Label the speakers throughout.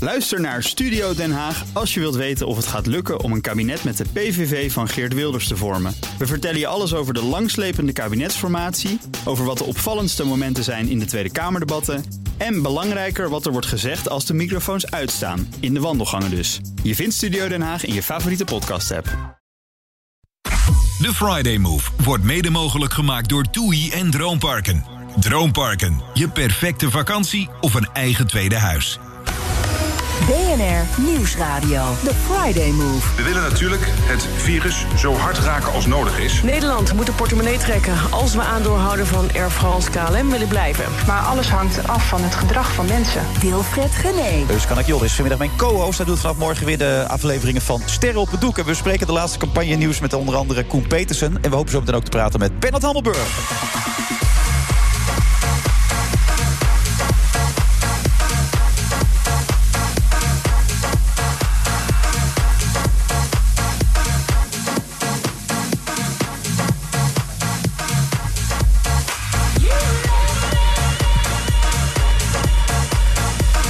Speaker 1: Luister naar Studio Den Haag als je wilt weten of het gaat lukken om een kabinet met de PVV van Geert Wilders te vormen. We vertellen je alles over de langslepende kabinetsformatie, over wat de opvallendste momenten zijn in de Tweede Kamerdebatten en belangrijker wat er wordt gezegd als de microfoons uitstaan, in de wandelgangen dus. Je vindt Studio Den Haag in je favoriete podcast-app.
Speaker 2: De Friday Move wordt mede mogelijk gemaakt door TUI en Droomparken. Droomparken, je perfecte vakantie of een eigen tweede huis.
Speaker 3: BNR Nieuwsradio. The Friday Move.
Speaker 4: We willen natuurlijk het virus zo hard raken als nodig is.
Speaker 5: Nederland moet de portemonnee trekken als we aandoorhouden van Air France KLM willen blijven.
Speaker 6: Maar alles hangt af van het gedrag van mensen.
Speaker 3: Wilfred Gené.
Speaker 7: Dus kan ik Joris, vanmiddag mijn co-host. Hij doet vanaf morgen weer de afleveringen van Sterren op het Doek. En we spreken de laatste campagne nieuws met onder andere Koen Petersen. En we hopen zo meteen ook te praten met Bernard Hammelburg.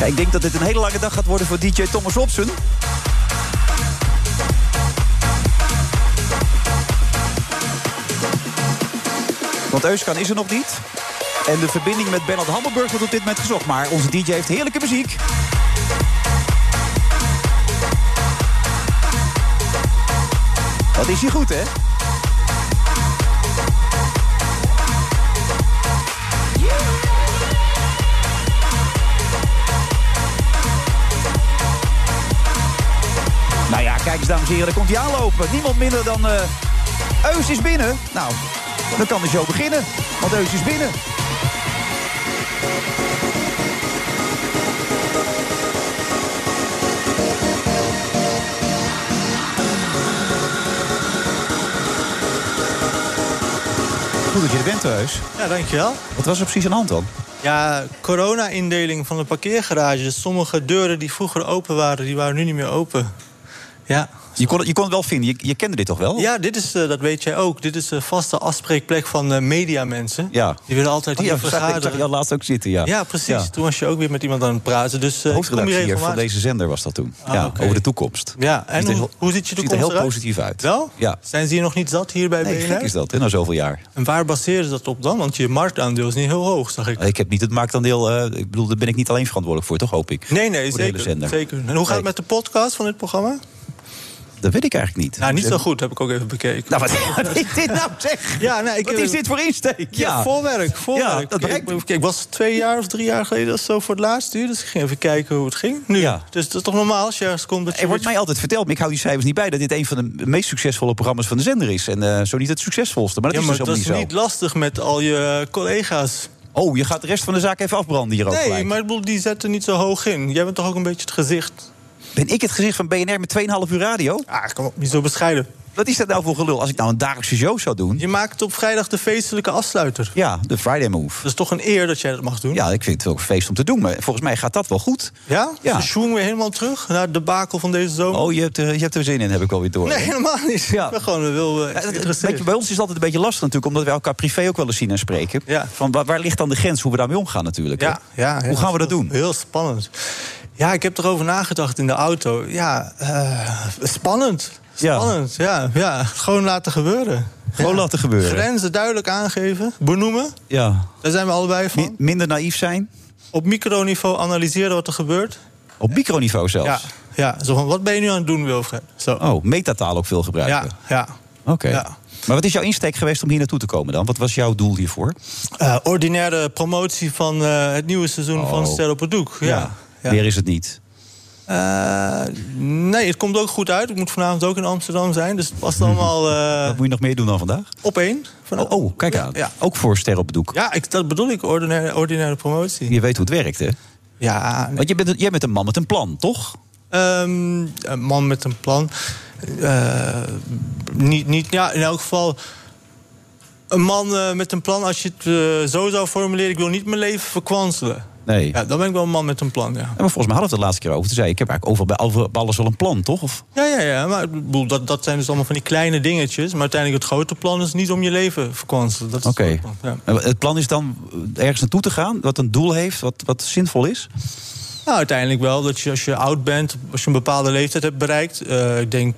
Speaker 7: Ja, ik denk dat dit een hele lange dag gaat worden voor DJ Thomas Robson. Want Euskan is er nog niet. En de verbinding met Bernard Hammelburg wordt op dit moment gezocht. Maar onze DJ heeft heerlijke muziek. Wat is hij goed, hè? Nou ja, kijk eens, dames en heren, daar komt hij aanlopen. Niemand minder dan eh Eus is binnen. Nou, dan kan de show beginnen, want Eus is binnen. Goed dat je er bent, Eus.
Speaker 8: Ja, dankjewel.
Speaker 7: Wat was er precies aan de hand dan?
Speaker 8: Ja, corona-indeling van de parkeergarages. Sommige deuren die vroeger open waren, die waren nu niet meer open. Ja,
Speaker 7: Je kon, het- je kon het wel vinden, je, je kende dit toch wel?
Speaker 8: ja dit is, eh, dat weet jij ook. Dit is de vaste afspreekplek van eh, mediamensen.
Speaker 7: Ja.
Speaker 8: Die willen altijd
Speaker 7: Oh, ja,
Speaker 8: hier
Speaker 7: ik zag, ik zag
Speaker 8: vergaderen.
Speaker 7: je al laatst ook zitten, ja.
Speaker 8: ja, precies.
Speaker 7: Ja.
Speaker 8: Toen was je ook weer met iemand aan het praten. Dus eh, ik kom hier
Speaker 7: Hoofdredactie van
Speaker 8: regelmatig.
Speaker 7: deze zender was dat toen.
Speaker 8: Ah,
Speaker 7: ja,
Speaker 8: oké.
Speaker 7: Over de toekomst.
Speaker 8: Ja, en
Speaker 7: Ziet er
Speaker 8: hoe,
Speaker 7: heel-
Speaker 8: hoe ziet je de
Speaker 7: ziet
Speaker 8: toekomst
Speaker 7: er heel
Speaker 8: eruit?
Speaker 7: positief uit.
Speaker 8: Wel?
Speaker 7: Ja.
Speaker 8: Zijn ze hier nog niet zat hier bij
Speaker 7: Nee,
Speaker 8: BNR?
Speaker 7: gek is dat, hè, na zoveel jaar.
Speaker 8: En waar baseren ze dat op dan? Want je marktaandeel is niet heel hoog, zag ik.
Speaker 7: Ik heb niet het marktaandeel, eh, ik bedoel, daar ben ik niet alleen verantwoordelijk voor, toch hoop ik?
Speaker 8: Nee, nee,
Speaker 7: Voor de hele
Speaker 8: zeker,
Speaker 7: zender.
Speaker 8: zeker. En hoe gaat het
Speaker 7: Nee.
Speaker 8: met de podcast van dit programma?
Speaker 7: Dat weet ik eigenlijk niet.
Speaker 8: Nou, niet
Speaker 7: Dus
Speaker 8: zo
Speaker 7: even-
Speaker 8: goed, heb ik ook even bekeken.
Speaker 7: Nou, wat, wat is dit nou zeg?
Speaker 8: Ja, nee, ik
Speaker 7: wat
Speaker 8: heb-
Speaker 7: is dit voor insteek?
Speaker 8: Ja, voorwerk, voorwerk.
Speaker 7: Ja, dat bereikt me.
Speaker 8: ik, ik was twee jaar of drie jaar geleden of zo voor het laatst hier. Dus ik ging even kijken hoe het ging. Nu.
Speaker 7: Ja.
Speaker 8: Dus dat is toch normaal als je ergens komt dat je...
Speaker 7: Er wordt mij altijd verteld, maar ik hou die cijfers niet bij... dat dit een van de meest succesvolle programma's van de zender is. En eh, zo niet het succesvolste, maar dat
Speaker 8: ja, maar
Speaker 7: is dus
Speaker 8: dat is
Speaker 7: helemaal
Speaker 8: niet
Speaker 7: niet zo.
Speaker 8: lastig met al je eh, collega's.
Speaker 7: Oh, je gaat de rest van de zaak even afbranden hier ook
Speaker 8: Nee,
Speaker 7: gelijk.
Speaker 8: maar ik bedoel, die zetten niet zo hoog in. Jij bent toch ook een beetje het gezicht.
Speaker 7: Ben ik het gezicht van BNR met 2,5 uur radio?
Speaker 8: Ah, kom op, niet zo bescheiden.
Speaker 7: Wat is dat nou voor gelul? Als ik nou een dagelijkse show zou doen...
Speaker 8: Je maakt op vrijdag de feestelijke afsluiter.
Speaker 7: Ja, de Friday Move.
Speaker 8: Dat is toch een eer dat jij dat mag doen?
Speaker 7: Ja, ik vind het wel een feest om te doen, maar volgens mij gaat dat wel goed.
Speaker 8: Ja?
Speaker 7: Ja.
Speaker 8: De schoen weer helemaal terug naar de bakel van deze zomer?
Speaker 7: Oh, je hebt, er, je hebt er zin in, heb ik wel weer door.
Speaker 8: nee, helemaal niet.
Speaker 7: Ja.
Speaker 8: Ik ben gewoon wel
Speaker 7: Ja,
Speaker 8: eh
Speaker 7: dat- dat-
Speaker 8: geïnteresseerd.
Speaker 7: weet je, bij ons is het altijd een beetje lastig natuurlijk, omdat we elkaar privé ook wel eens zien en spreken.
Speaker 8: Ja.
Speaker 7: Van waar, waar ligt dan de grens, hoe we daarmee omgaan natuurlijk. hè?
Speaker 8: Ja, ja, ja.
Speaker 7: Hoe gaan we dat doen?
Speaker 8: Heel spannend. Ja, ik heb erover nagedacht in de auto. Ja, eh, spannend.
Speaker 7: Ja.
Speaker 8: Spannend, ja. ja. Gewoon laten gebeuren.
Speaker 7: Gewoon
Speaker 8: Ja.
Speaker 7: laten gebeuren.
Speaker 8: Grenzen duidelijk aangeven, benoemen.
Speaker 7: Ja.
Speaker 8: Daar zijn we allebei van.
Speaker 7: Mi- minder naïef zijn,
Speaker 8: Op microniveau analyseren wat er gebeurt.
Speaker 7: op microniveau zelfs.
Speaker 8: Ja, ja. Zo van, wat ben je nu aan het doen, Wilfred? Zo.
Speaker 7: Oh, metataal ook veel
Speaker 8: ja,
Speaker 7: gebruiken.
Speaker 8: ja.
Speaker 7: Oké.
Speaker 8: Ja.
Speaker 7: Maar wat is jouw insteek geweest om hier naartoe te komen dan? Wat was jouw doel hiervoor?
Speaker 8: Eh, ordinaire promotie van eh, het nieuwe seizoen
Speaker 7: Oh.
Speaker 8: van Ster op het Doek. Ja. Ja.
Speaker 7: Weer is het niet.
Speaker 8: Eh, nee, het komt ook goed uit. Ik moet vanavond ook in Amsterdam zijn. Dus het past allemaal eh,
Speaker 7: Mhm. Wat moet je nog meer doen dan vandaag?
Speaker 8: op één.
Speaker 7: Oh,
Speaker 8: Vanavond.
Speaker 7: oh, kijk aan.
Speaker 8: Ja,
Speaker 7: Ook voor Ster op het Doek.
Speaker 8: ja ik, dat bedoel ik, ordinaire, ordinaire promotie.
Speaker 7: Je weet hoe het werkt, hè?
Speaker 8: Ja,
Speaker 7: Want je bent, jij bent een man met een plan, toch?
Speaker 8: ehm, een man met een plan. Eh, niet, niet, ja, in elk geval... Een man eh, met een plan, als je het eh, zo zou formuleren... ik wil niet mijn leven verkwanselen.
Speaker 7: Nee.
Speaker 8: Ja, dan ben ik wel een man met een plan, ja.
Speaker 7: Ja, maar volgens mij hadden we het de laatste keer over. Toen zei ik, ik heb eigenlijk overal bij, over- bij alles al een plan, toch? Of,
Speaker 8: Ja, ja, ja. Maar ik bedoel, dat, dat zijn dus allemaal van die kleine dingetjes. Maar uiteindelijk het grote plan is niet om je leven verkwanselen. Dat is het
Speaker 7: Oké.
Speaker 8: grote plan, ja.
Speaker 7: En Het plan is dan ergens naartoe te gaan, wat een doel heeft, wat, wat zinvol is.
Speaker 8: Nou, uiteindelijk wel. Dat je als je oud bent, als je een bepaalde leeftijd hebt bereikt. eh, ik denk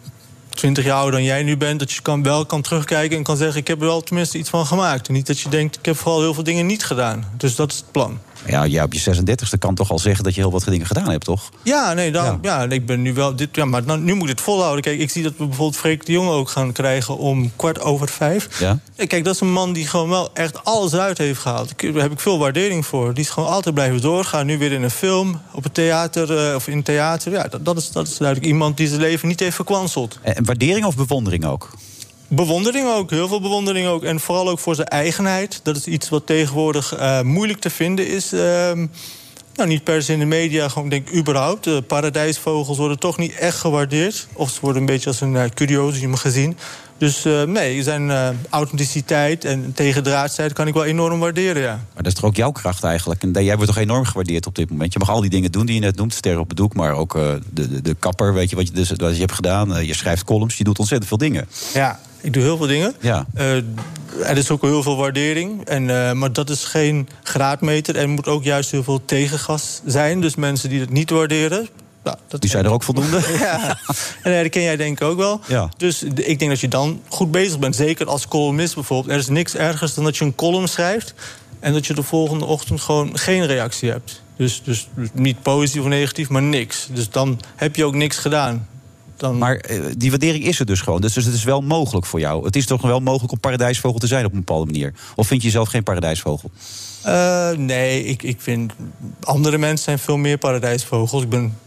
Speaker 8: 20 jaar ouder dan jij nu bent. Dat je kan, wel kan terugkijken en kan zeggen: Ik heb er wel tenminste iets van gemaakt. En niet dat je denkt: Ik heb vooral heel veel dingen niet gedaan. Dus dat is het plan.
Speaker 7: Ja, jij op je 36e kan toch al zeggen dat je heel wat dingen gedaan hebt, toch?
Speaker 8: Ja, nee, dan, ja. nee, ik ben nu wel. Dit, ja, maar nou, nu moet het volhouden. Kijk, ik zie dat we bijvoorbeeld Freek de Jonge ook gaan krijgen om kwart over vijf.
Speaker 7: Ja.
Speaker 8: Nee, Kijk, dat is een man die gewoon wel echt alles uit heeft gehaald. Ik- Daar heb ik veel waardering voor. Die is gewoon altijd blijven doorgaan. Nu weer in een film, op het theater eh, of in het theater. Ja, dat, dat, is, dat is duidelijk iemand die zijn leven niet heeft verkwanseld.
Speaker 7: En en waardering of bewondering ook?
Speaker 8: Bewondering ook, heel veel bewondering ook. En vooral ook voor zijn eigenheid. Dat is iets wat tegenwoordig eh, moeilijk te vinden is. Ehm, nou, niet per se in de media, gewoon denk ik überhaupt. De paradijsvogels worden toch niet echt gewaardeerd. Of ze worden een beetje als een eh, curiosium gezien. Dus eh, nee, zijn eh, authenticiteit en tegendraadsheid kan ik wel enorm waarderen, ja.
Speaker 7: Maar dat is toch ook jouw kracht eigenlijk? En jij wordt toch enorm gewaardeerd op dit moment? Je mag al die dingen doen die je net noemt. Sterren op het doek, maar ook eh, de, de, de kapper, weet je, wat je, dus, wat je hebt gedaan. Eh, je schrijft columns, je doet ontzettend veel dingen.
Speaker 8: Ja, ik doe heel veel dingen.
Speaker 7: Ja.
Speaker 8: Eh, er is ook heel veel waardering. En, eh, maar dat is geen graadmeter. Er moet ook juist heel veel tegengas zijn. Dus mensen die het niet waarderen. Nou, dat
Speaker 7: Die zijn er ook voldoende.
Speaker 8: Ja, en eh, dat ken jij denk ik ook wel.
Speaker 7: Ja.
Speaker 8: Dus d- ik denk dat je dan goed bezig bent. Zeker als columnist bijvoorbeeld. Er is niks ergers dan dat je een column schrijft... en dat je de volgende ochtend gewoon geen reactie hebt. Dus, dus niet positief of negatief, maar niks. Dus dan heb je ook niks gedaan. Dan...
Speaker 7: Maar eh, die waardering is er dus gewoon. Dus, dus het is wel mogelijk voor jou. Het is toch wel mogelijk om paradijsvogel te zijn op een bepaalde manier. Of vind je jezelf geen paradijsvogel?
Speaker 8: Eh, nee, ik, ik vind. Andere mensen zijn veel meer paradijsvogels. Ik ben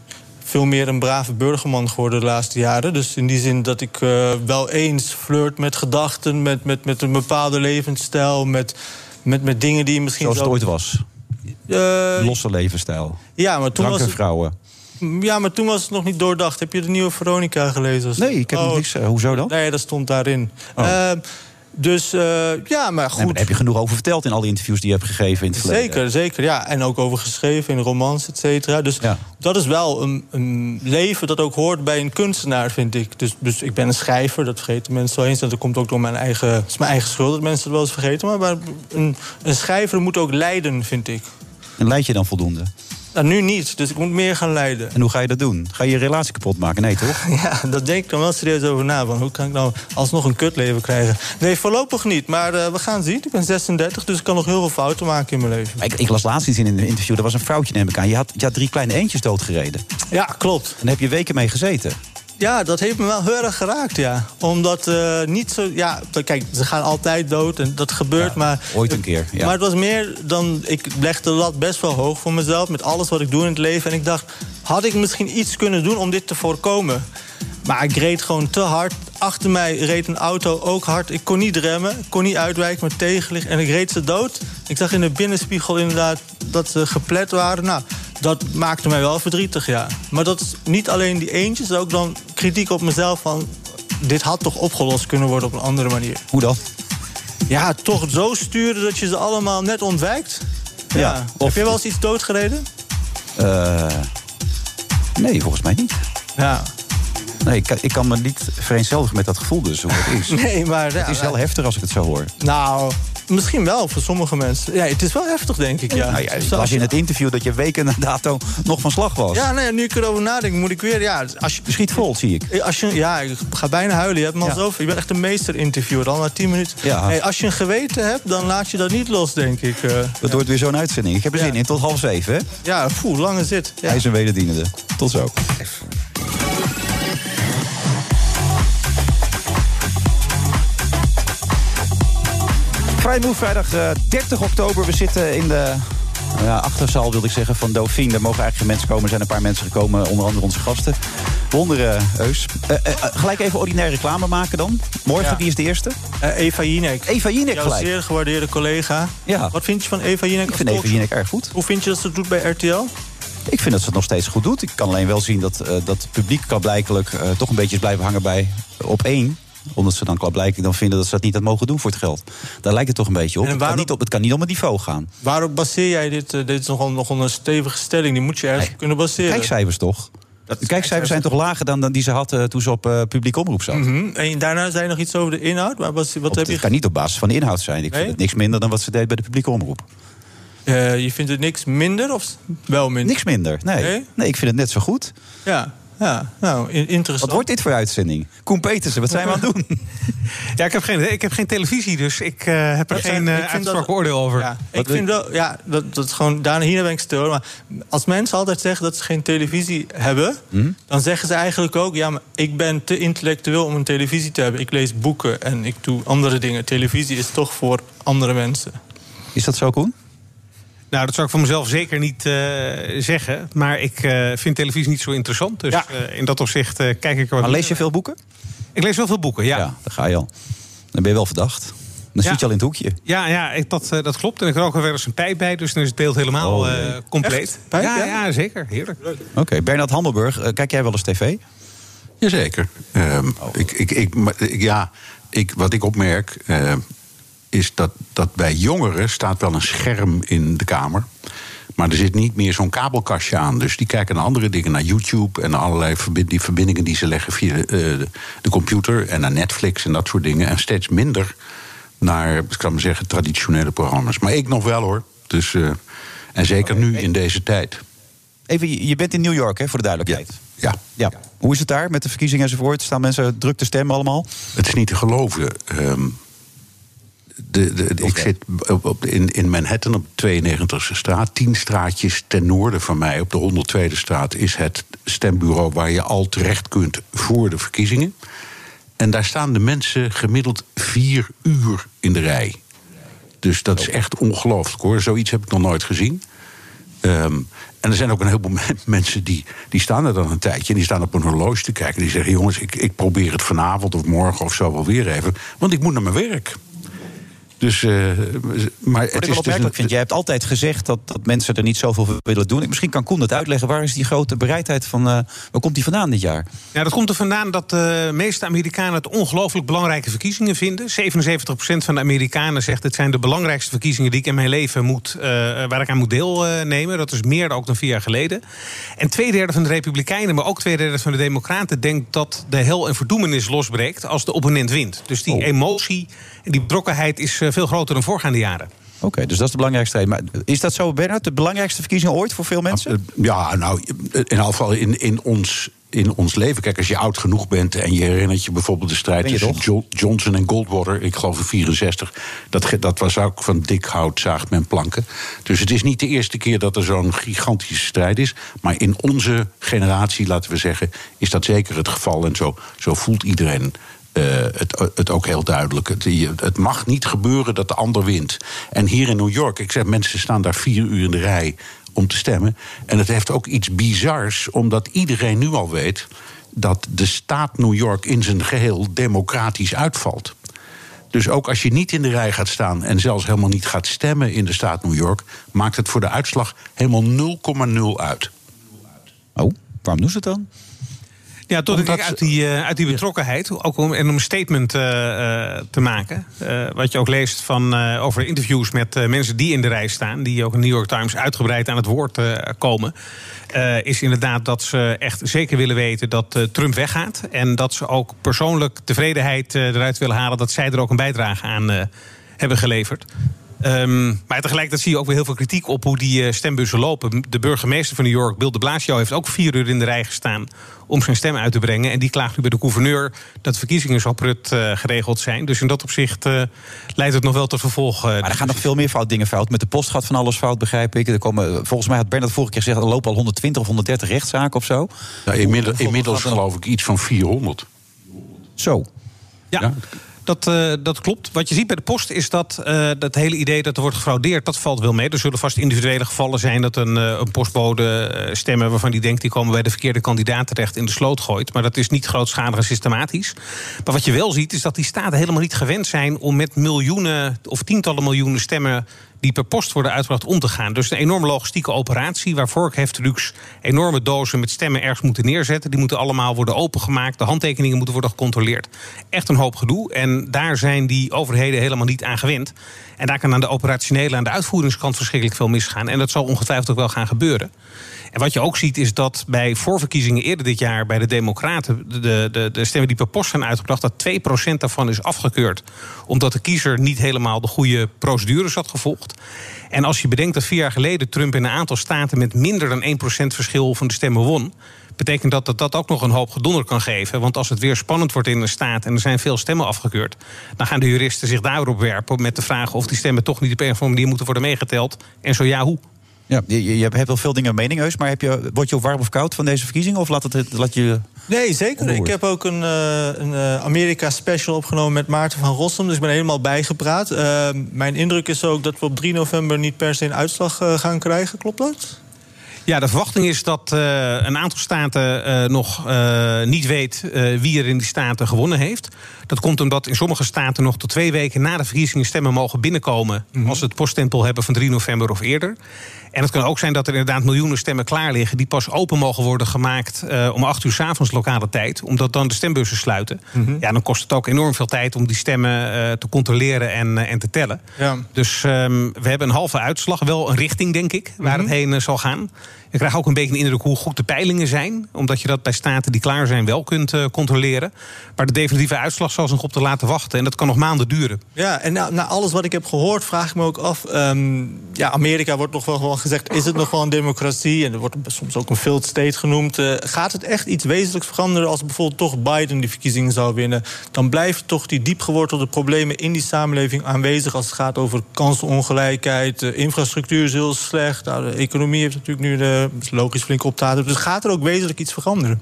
Speaker 8: veel meer een brave burgerman geworden de laatste jaren. Dus in die zin dat ik eh, wel eens flirt met gedachten, met, met, met een bepaalde levensstijl, met, met, met dingen die je misschien.
Speaker 7: Zoals het
Speaker 8: zelf-
Speaker 7: ooit was.
Speaker 8: Eh,
Speaker 7: Losse levensstijl.
Speaker 8: ja, maar toen
Speaker 7: Drank
Speaker 8: was
Speaker 7: en
Speaker 8: het,
Speaker 7: vrouwen.
Speaker 8: ja, maar toen was het nog niet doordacht. Heb je de nieuwe Veronica gelezen?
Speaker 7: Nee, ik heb
Speaker 8: Oh,
Speaker 7: nog niks. eh, hoezo dan? Oh.
Speaker 8: Nee, dat stond daarin. Eh, dus eh, ja, maar
Speaker 7: Nee,
Speaker 8: goed.
Speaker 7: maar daar heb je genoeg over verteld in alle interviews die je hebt gegeven in het verleden.
Speaker 8: Zeker, zeker. Ja. En ook over geschreven in romans, et cetera. Dus
Speaker 7: Ja.
Speaker 8: dat is wel een, een leven dat ook hoort bij een kunstenaar, vind ik. Dus, dus ik ben een schrijver, dat vergeten mensen wel eens. En dat komt ook door mijn eigen... Het is mijn eigen schuld dat mensen het wel eens vergeten. Maar, maar een, een schrijver moet ook lijden, vind ik.
Speaker 7: En leid je dan voldoende?
Speaker 8: Nou, nu niet, dus ik moet meer gaan lijden.
Speaker 7: En hoe ga je dat doen? Ga je je relatie kapot maken? Nee, toch?
Speaker 8: Ja, daar denk ik dan wel serieus over na. Want hoe kan ik nou alsnog een kutleven krijgen? Nee, voorlopig niet. Maar eh, we gaan zien. Ik ben 36, dus ik kan nog heel veel fouten maken in mijn leven.
Speaker 7: Maar Ik, ik las laatst iets in een interview. Er was een vrouwtje, neem ik aan. Je had, je had drie kleine eendjes doodgereden. En
Speaker 8: Ja, klopt.
Speaker 7: daar heb je weken mee gezeten.
Speaker 8: Ja, dat heeft me wel heel erg geraakt, ja. Omdat eh, niet zo... Ja, t- kijk, ze gaan altijd dood en dat gebeurt,
Speaker 7: Ja,
Speaker 8: maar...
Speaker 7: ooit een keer, ja.
Speaker 8: Maar het was meer dan... Ik leg de lat best wel hoog voor mezelf... met alles wat ik doe in het leven. En ik dacht, had ik misschien iets kunnen doen om dit te voorkomen? Maar ik reed gewoon te hard. Achter mij reed een auto ook hard. Ik kon niet remmen, ik kon niet uitwijken met tegenlicht. En ik reed ze dood. Ik zag in de binnenspiegel inderdaad dat ze geplet waren. Nou, dat maakte mij wel verdrietig, ja. Maar dat is niet alleen die eentjes, dat ook dan kritiek op mezelf van... dit had toch opgelost kunnen worden op een andere manier.
Speaker 7: Hoe dan?
Speaker 8: Ja, toch zo sturen dat je ze allemaal net ontwijkt? Ja.
Speaker 7: Ja, of-
Speaker 8: Heb je wel eens iets doodgereden?
Speaker 7: Eh, nee, volgens mij niet.
Speaker 8: Ja.
Speaker 7: Nee, ik, kan- ik kan me niet vereenzelvigen met dat gevoel dus, hoe het is.
Speaker 8: Nee, maar...
Speaker 7: Het is wel heftig als ik het zo hoor.
Speaker 8: Nou, misschien wel voor sommige mensen. Ja, het is wel heftig, denk ik, ja.
Speaker 7: Nou ja,
Speaker 8: Dus als
Speaker 7: ik las
Speaker 8: je-
Speaker 7: in het interview dat je weken na dato nog van slag was.
Speaker 8: Ja, nee, nu ik erover nadenk, moet ik weer... Ja, als je,
Speaker 7: Je schiet vol, zie ik.
Speaker 8: Eh, Als je, ja, ik ga bijna huilen. Je hebt me al
Speaker 7: Ja.
Speaker 8: zoveel. Je bent echt een meester-interviewer al na 10 minuten.
Speaker 7: Ja.
Speaker 8: Hey, als je een geweten hebt, dan laat je dat niet los, denk ik. Eh,
Speaker 7: Dat wordt weer zo'n uitzending. Ik heb er
Speaker 8: Ja.
Speaker 7: zin in. Tot half zeven, hè?
Speaker 8: ja, poeh, lang is dit. Ja.
Speaker 7: Hij is een wederdienende. Tot zo. Vrijmoe vrijdag eh, 30 oktober. We zitten in de ja, achterzaal, wilde ik zeggen, van Dauphine. Daar mogen eigenlijk geen mensen komen. Er zijn een paar mensen gekomen, onder andere onze gasten. Wonderen, Eus. Eh, eh, eh, gelijk even ordinaire reclame maken dan. Morgen,
Speaker 8: Ja.
Speaker 7: wie is de eerste?
Speaker 8: Eh, Eva Jinek.
Speaker 7: Eva Jinek
Speaker 8: Jouw
Speaker 7: gelijk.
Speaker 8: zeer gewaardeerde collega.
Speaker 7: Ja.
Speaker 8: Wat vind je van Eva Jinek?
Speaker 7: Ik vind Eva Jinek erg goed.
Speaker 8: Hoe vind je dat ze het doet bij RTL?
Speaker 7: Ik vind dat ze het nog steeds goed doet. Ik kan alleen wel zien dat, eh, dat het publiek kan blijkelijk eh, toch een beetje is blijven hangen bij eh, op één. Omdat ze dan blijkbaar dan vinden dat ze dat niet had mogen doen voor het geld. Daar lijkt het toch een beetje op.
Speaker 8: En
Speaker 7: Het,
Speaker 8: waarom-
Speaker 7: kan niet op het kan niet om het niveau gaan.
Speaker 8: Waarop baseer jij dit? Eh, dit is nogal, nogal een stevige stelling. Die moet je ergens
Speaker 7: Nee.
Speaker 8: op kunnen baseren.
Speaker 7: Kijkcijfers toch? de kijkcijfers zijn toch lager dan, dan die ze had eh, toen ze op eh publiek omroep zat.
Speaker 8: Hm? En daarna zei je nog iets over de inhoud. Maar wat, wat
Speaker 7: Op-
Speaker 8: heb
Speaker 7: het
Speaker 8: je...
Speaker 7: kan niet op basis van de inhoud zijn. Ik
Speaker 8: Nee?
Speaker 7: vind het niks minder dan wat ze deed bij de publieke omroep.
Speaker 8: Eh, je vindt het niks minder of wel minder?
Speaker 7: Niks minder. Nee.
Speaker 8: Nee?
Speaker 7: nee? ik vind het net zo goed.
Speaker 8: Ja, ja. nou, in- interessant.
Speaker 7: Wat wordt dit voor uitzending? Koen Petersen, wat zijn we aan het doen?
Speaker 9: Ja, ik heb geen, idee. ik heb geen televisie, dus ik eh, heb er
Speaker 8: Dat
Speaker 9: geen
Speaker 8: zijn-
Speaker 9: eh,
Speaker 8: ik vind dat-
Speaker 9: uitspraak oordeel over.
Speaker 8: Ja,
Speaker 7: Wat
Speaker 8: ik vind
Speaker 7: wil-
Speaker 8: wel, ja, dat, dat is gewoon, daar, hier ben ik stil. Maar als mensen altijd zeggen dat ze geen televisie hebben,
Speaker 9: Mhm.
Speaker 8: dan zeggen ze eigenlijk ook: ja, maar ik ben te intellectueel om een televisie te hebben. Ik lees boeken en ik doe andere dingen. Televisie is toch voor andere mensen.
Speaker 7: Is dat zo, Koen?
Speaker 9: Nou, dat zou ik van mezelf zeker niet eh, zeggen. Maar ik eh, vind televisie niet zo interessant. Dus
Speaker 8: Ja.
Speaker 9: eh, in dat opzicht eh, kijk ik er wat
Speaker 7: Maar lees je
Speaker 9: minder
Speaker 7: veel boeken?
Speaker 9: naar. Ik lees wel veel boeken, ja.
Speaker 7: ja,
Speaker 9: Ja,
Speaker 7: daar ga je al. Dan ben je wel verdacht. Dan
Speaker 9: Ja.
Speaker 7: zit je al in het hoekje.
Speaker 9: ja, ik, dat, eh, dat klopt. En ik rook er weer eens een pijp bij, dus dan is het beeld helemaal
Speaker 7: Oh,
Speaker 9: eh,
Speaker 7: jee.
Speaker 9: compleet.
Speaker 8: Echt? Pijp,
Speaker 9: ja,
Speaker 8: ja?
Speaker 9: ja, zeker. Heerlijk.
Speaker 7: Oké, Bernard Hammelburg, eh, kijk jij wel eens tv?
Speaker 10: Jazeker. Ehm,
Speaker 7: Oh.
Speaker 10: ik, ik, ik, maar ik- ja, ik, wat ik opmerk eh, is dat, dat bij jongeren staat wel een scherm in de kamer. Maar er zit niet meer zo'n kabelkastje aan. Dus die kijken naar andere dingen, naar YouTube en naar allerlei verbi- die verbindingen die ze leggen via eh, de, de computer en naar Netflix en dat soort dingen. En steeds minder naar, ik kan maar zeggen, traditionele programma's. Maar ik nog wel hoor. Dus, eh, en zeker nu in deze tijd.
Speaker 7: Even, je je bent in New York, hè, voor de duidelijkheid.
Speaker 10: Ja.
Speaker 7: Ja. Hoe is het daar met de verkiezingen enzovoort? Staan mensen druk te stemmen allemaal?
Speaker 10: Het is niet te geloven. Ehm, de, de, de- ik
Speaker 7: Oké.
Speaker 10: zit op, op- in, in Manhattan op de 92e straat. Tien straatjes ten noorden van mij, op de 102e straat, is het stembureau waar je al terecht kunt voor de verkiezingen. En daar staan de mensen gemiddeld vier uur in de rij. Dus dat is echt ongelooflijk hoor. Zoiets heb ik nog nooit gezien. Ehm, en er zijn ook een heleboel men- mensen die, die staan er dan een tijdje... en die staan op een horloge te kijken. Die zeggen, jongens, ik, ik probeer het vanavond of morgen of zo wel weer even... want ik moet naar mijn werk. Dus, eh, maar
Speaker 7: Wat
Speaker 10: het
Speaker 7: ik
Speaker 10: is
Speaker 7: wel
Speaker 10: dus
Speaker 7: opmerkelijk
Speaker 10: een-
Speaker 7: vind, jij hebt altijd gezegd dat, dat mensen er niet zoveel voor willen doen. Ik- Misschien kan Koen dat uitleggen. Waar is die grote bereidheid van, eh, waar komt die vandaan dit jaar?
Speaker 9: Ja, dat komt er vandaan dat de meeste Amerikanen het ongelooflijk belangrijke verkiezingen vinden. 77% van de Amerikanen zegt: dit zijn de belangrijkste verkiezingen die ik in mijn leven moet, eh, waar ik aan moet deelnemen. Dat is meer dan ook dan vier jaar geleden. En twee derde van de Republikeinen, maar ook twee derde van de Democraten, denkt dat de hel en verdoemenis losbreekt als de opponent wint. Dus die
Speaker 7: Oh.
Speaker 9: emotie en die betrokkenheid is eh, veel groter dan voorgaande jaren.
Speaker 7: Oké, dus dat is de belangrijkste reden. Maar is dat zo, Bernard? De belangrijkste verkiezing ooit voor veel mensen?
Speaker 10: Eh, Ja, nou, in ieder geval in, in, ons, in ons leven. Kijk, als je oud genoeg bent en je herinnert je bijvoorbeeld de strijd
Speaker 7: Ben je
Speaker 10: tussen
Speaker 7: toch?
Speaker 10: Jo- Johnson en Goldwater, ik geloof in 64. Dat, ge- dat was ook van dik hout, zaagt men planken. Dus het is niet de eerste keer dat er zo'n gigantische strijd is. Maar in onze generatie, laten we zeggen, is dat zeker het geval. En zo, zo voelt iedereen. eh, het, het ook heel duidelijk. Het, je- het mag niet gebeuren dat de ander wint. En hier in New York, ik zeg, mensen staan daar vier uur in de rij om te stemmen. En het heeft ook iets bizars, omdat iedereen nu al weet dat de staat New York in zijn geheel democratisch uitvalt. Dus ook als je niet in de rij gaat staan en zelfs helemaal niet gaat stemmen in de staat New York, maakt het voor de uitslag helemaal 0,0 uit.
Speaker 7: Oh, waarom doen ze het dan?
Speaker 9: Ja, tot
Speaker 10: Omdat
Speaker 9: ik uit
Speaker 10: ze-
Speaker 9: die, eh, uit die betrokkenheid, ook om, en om een statement eh, eh, te maken. eh, wat je ook leest van, eh, over interviews met eh, mensen die in de rij staan, die ook in New York Times uitgebreid aan het woord eh, komen. eh, is inderdaad dat ze echt zeker willen weten dat eh, Trump weggaat. En dat ze ook persoonlijk tevredenheid eh, eruit willen halen dat zij er ook een bijdrage aan eh, hebben geleverd. Ehm, maar tegelijkertijd zie je ook weer heel veel kritiek op hoe die eh, stembussen lopen. De burgemeester van New York, Bill de Blasio, heeft ook vier uur in de rij gestaan om zijn stem uit te brengen. En die klaagt nu bij de gouverneur dat de verkiezingen zo prut eh, geregeld zijn. Dus in dat opzicht eh, leidt het nog wel tot vervolg. eh,
Speaker 7: Maar er gaan nog veel meer fout dingen fout. Met de post gaat van alles fout, begrijp ik. Er komen, volgens mij had Bernard vorige keer gezegd... er lopen al 120 of 130 rechtszaken of zo.
Speaker 10: Nou, inmiddels
Speaker 7: Hoeveel
Speaker 10: inmiddels
Speaker 7: gaat er nog-
Speaker 10: geloof ik iets van 400.
Speaker 7: Zo.
Speaker 9: Ja, dat, eh, dat klopt. Wat je ziet bij de post is dat eh, dat hele idee dat er wordt gefraudeerd, dat valt wel mee. Er zullen vast individuele gevallen zijn dat een, eh, een postbode eh, stemmen waarvan die denkt die komen bij de verkeerde kandidaat terecht in de sloot gooit. Maar dat is niet grootschalig en systematisch. Maar wat je wel ziet is dat die staten helemaal niet gewend zijn om met miljoenen of tientallen miljoenen stemmen die per post worden uitgebracht om te gaan. Dus een enorme logistieke operatie waar Vork heeft Lux enorme dozen met stemmen ergens moeten neerzetten. Die moeten allemaal worden opengemaakt. De handtekeningen moeten worden gecontroleerd. Echt een hoop gedoe. En daar zijn die overheden helemaal niet aan gewend. En daar kan aan de operationele, aan de uitvoeringskant verschrikkelijk veel misgaan. En dat zal ongetwijfeld ook wel gaan gebeuren. En wat je ook ziet is dat bij voorverkiezingen eerder dit jaar... bij de Democraten, de, de, de stemmen die per post zijn uitgebracht... dat 2% daarvan is afgekeurd. Omdat de kiezer niet helemaal de goede procedures had gevolgd. En als je bedenkt dat vier jaar geleden Trump in een aantal staten... met minder dan 1% verschil van de stemmen won betekent dat dat dat ook nog een hoop gedonder kan geven. Want als het weer spannend wordt in een staat en er zijn veel stemmen afgekeurd, dan gaan de juristen zich daarop werpen met de vraag of die stemmen toch niet op een of andere manier moeten worden meegeteld. En zo ja, hoe?
Speaker 7: Ja, je, je hebt wel veel dingen mening, Heus, maar heb je, word je ook warm of koud van deze verkiezingen? Of laat, het, het- laat je.
Speaker 8: Nee, zeker. Ik heb ook een, eh, een eh, Amerika-special opgenomen met Maarten van Rossum. Dus ik ben helemaal bijgepraat. Eh, mijn indruk is ook dat we op 3 november niet per se een uitslag eh, gaan krijgen. Klopt dat?
Speaker 9: Ja, de verwachting is dat eh, een aantal staten eh, nog eh, niet weet eh, wie er in die staten gewonnen heeft. Dat komt omdat in sommige staten nog tot twee weken na de verkiezingen stemmen mogen binnenkomen. als ze het poststempel hebben van 3 november of eerder. En het kan ook zijn dat er inderdaad miljoenen stemmen klaar liggen. die pas open mogen worden gemaakt eh, om 8 uur s avonds lokale tijd. omdat dan de stembussen sluiten.
Speaker 8: Mhm.
Speaker 9: Ja, dan kost het ook enorm veel tijd om die stemmen eh, te controleren en, eh, en te tellen.
Speaker 8: Ja.
Speaker 9: Dus ehm, we hebben een halve uitslag. Wel een richting, denk ik, waar het heen eh, zal gaan. Ik krijg ook een beetje de indruk hoe goed de peilingen zijn. Omdat je dat bij staten die klaar zijn wel kunt eh, controleren. Maar de definitieve uitslag zal ze nog op te laten wachten. En dat kan nog maanden duren.
Speaker 8: Ja, en nou, na, na alles wat ik heb gehoord vraag ik me ook af... ehm, ja, Amerika wordt nog wel gewoon gezegd, is het nog wel een democratie? En er wordt soms ook een failed state genoemd. Eh, gaat het echt iets wezenlijks veranderen als bijvoorbeeld toch Biden die verkiezingen zou winnen? Dan blijven toch die diepgewortelde problemen in die samenleving aanwezig... als het gaat over kansenongelijkheid, eh, infrastructuur is heel slecht... Nou, de economie heeft natuurlijk nu de, is logisch flink op te halen. Dus gaat er ook wezenlijk iets veranderen?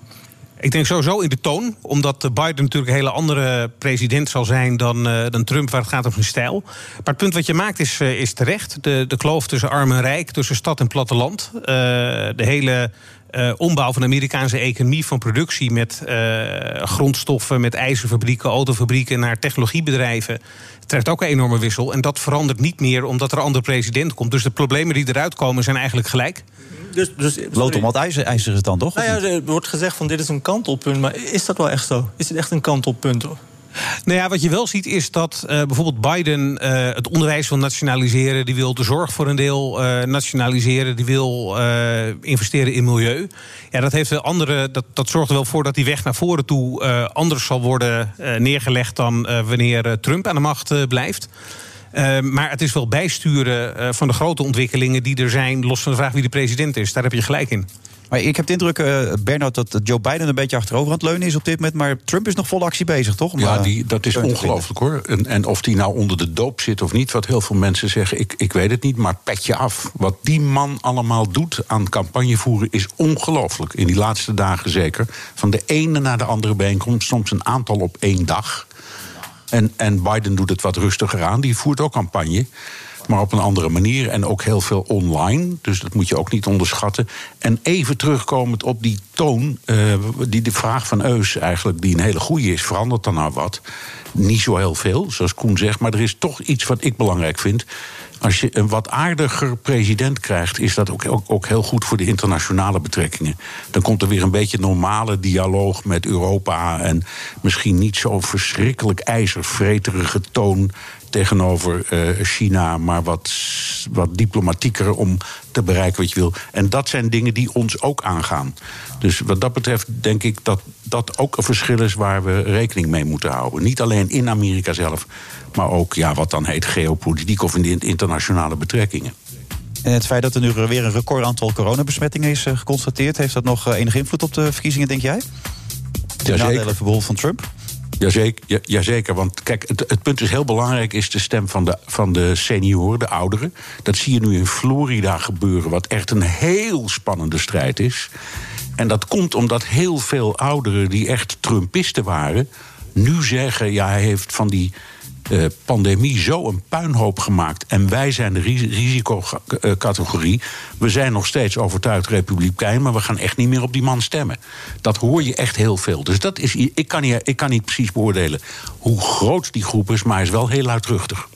Speaker 9: Ik denk sowieso in de toon, omdat eh, Biden natuurlijk een hele andere president zal zijn dan, eh, dan Trump, waar het gaat om zijn stijl. Maar het punt wat je maakt is, eh, is terecht. De, de kloof tussen arm en rijk, tussen stad en platteland. eh, de hele eh, ombouw van de Amerikaanse economie van productie met eh, grondstoffen, met ijzerfabrieken, autofabrieken naar technologiebedrijven. trekt ook een enorme wissel. En dat verandert niet meer omdat er een ander president komt. Dus de problemen die eruit komen zijn eigenlijk gelijk.
Speaker 8: Dus, dus,
Speaker 7: Lood om wat ijzer, ijzer is dan toch?
Speaker 8: Nou ja, er wordt gezegd van dit is een kantelpunt, maar is dat wel echt zo? Is het echt een kantelpunt? hoor?
Speaker 9: Nou ja, wat je wel ziet is dat eh, bijvoorbeeld Biden eh, het onderwijs wil nationaliseren. Die wil de zorg voor een deel eh, nationaliseren. Die wil eh, investeren in milieu. Ja, dat, heeft wel andere, dat, dat zorgt er wel voor dat die weg naar voren toe eh, anders zal worden eh, neergelegd dan eh, wanneer eh, Trump aan de macht eh, blijft. Eh, maar het is wel bijsturen eh, van de grote ontwikkelingen die er zijn, los van de vraag wie de president is. Daar heb je gelijk in.
Speaker 7: Maar ik heb de indruk, eh Bernard, dat Joe Biden een beetje achterover aan het leunen is op dit moment. Maar Trump is nog vol actie bezig, toch? Om,
Speaker 10: Ja,
Speaker 7: eh,
Speaker 10: die, dat is
Speaker 7: steun te
Speaker 10: ongelooflijk hoor. En, en of die nou onder de doop zit of niet, wat heel veel mensen zeggen, ik, ik weet het niet, maar pet je af. Wat die man allemaal doet aan campagne voeren is ongelooflijk. In die laatste dagen zeker. Van de ene naar de andere bijeenkomst, soms een aantal op één dag. En, en Biden doet het wat rustiger aan. Die voert ook campagne. Maar op een andere manier en ook heel veel online. Dus dat moet je ook niet onderschatten. En even terugkomend op die toon, eh, die de vraag van Eus eigenlijk, die een hele goede is, verandert dan nou wat? Niet zo heel veel, zoals Koen zegt, maar er is toch iets wat ik belangrijk vind. Als je een wat aardiger president krijgt, is dat ook, ook, ook heel goed voor de internationale betrekkingen. Dan komt er weer een beetje normale dialoog met Europa. En misschien niet zo verschrikkelijk ijzervreterige toon tegenover eh, China. Maar wat, s- wat diplomatieker om te bereiken wat je wil. En dat zijn dingen die ons ook aangaan. Dus wat dat betreft denk ik dat dat ook een verschil is waar we rekening mee moeten houden. Niet alleen in Amerika zelf, maar ook ja, wat dan heet geopolitiek of in de internationale betrekkingen.
Speaker 7: En het feit dat er nu weer een record aantal coronabesmettingen is eh, geconstateerd, heeft dat nog eh, enige invloed op de verkiezingen, denk jij? De
Speaker 10: Jazeker.
Speaker 7: nadelen bijvoorbeeld van Trump?
Speaker 10: Jazeker, ja, jazeker want kijk, het, het punt is heel belangrijk... is de stem van de, van de senioren, de ouderen. Dat zie je nu in Florida gebeuren, wat echt een heel spannende strijd is. En dat komt omdat heel veel ouderen die echt Trumpisten waren... nu zeggen, ja, hij heeft van die eh, pandemie zo een puinhoop gemaakt... en wij zijn de ri- risicocategorie. We zijn nog steeds overtuigd republikein... maar we gaan echt niet meer op die man stemmen. Dat hoor je echt heel veel. Dus dat is, i- ik, kan niet, ik kan niet precies beoordelen hoe groot die groep is... maar hij is wel heel luidruchtig.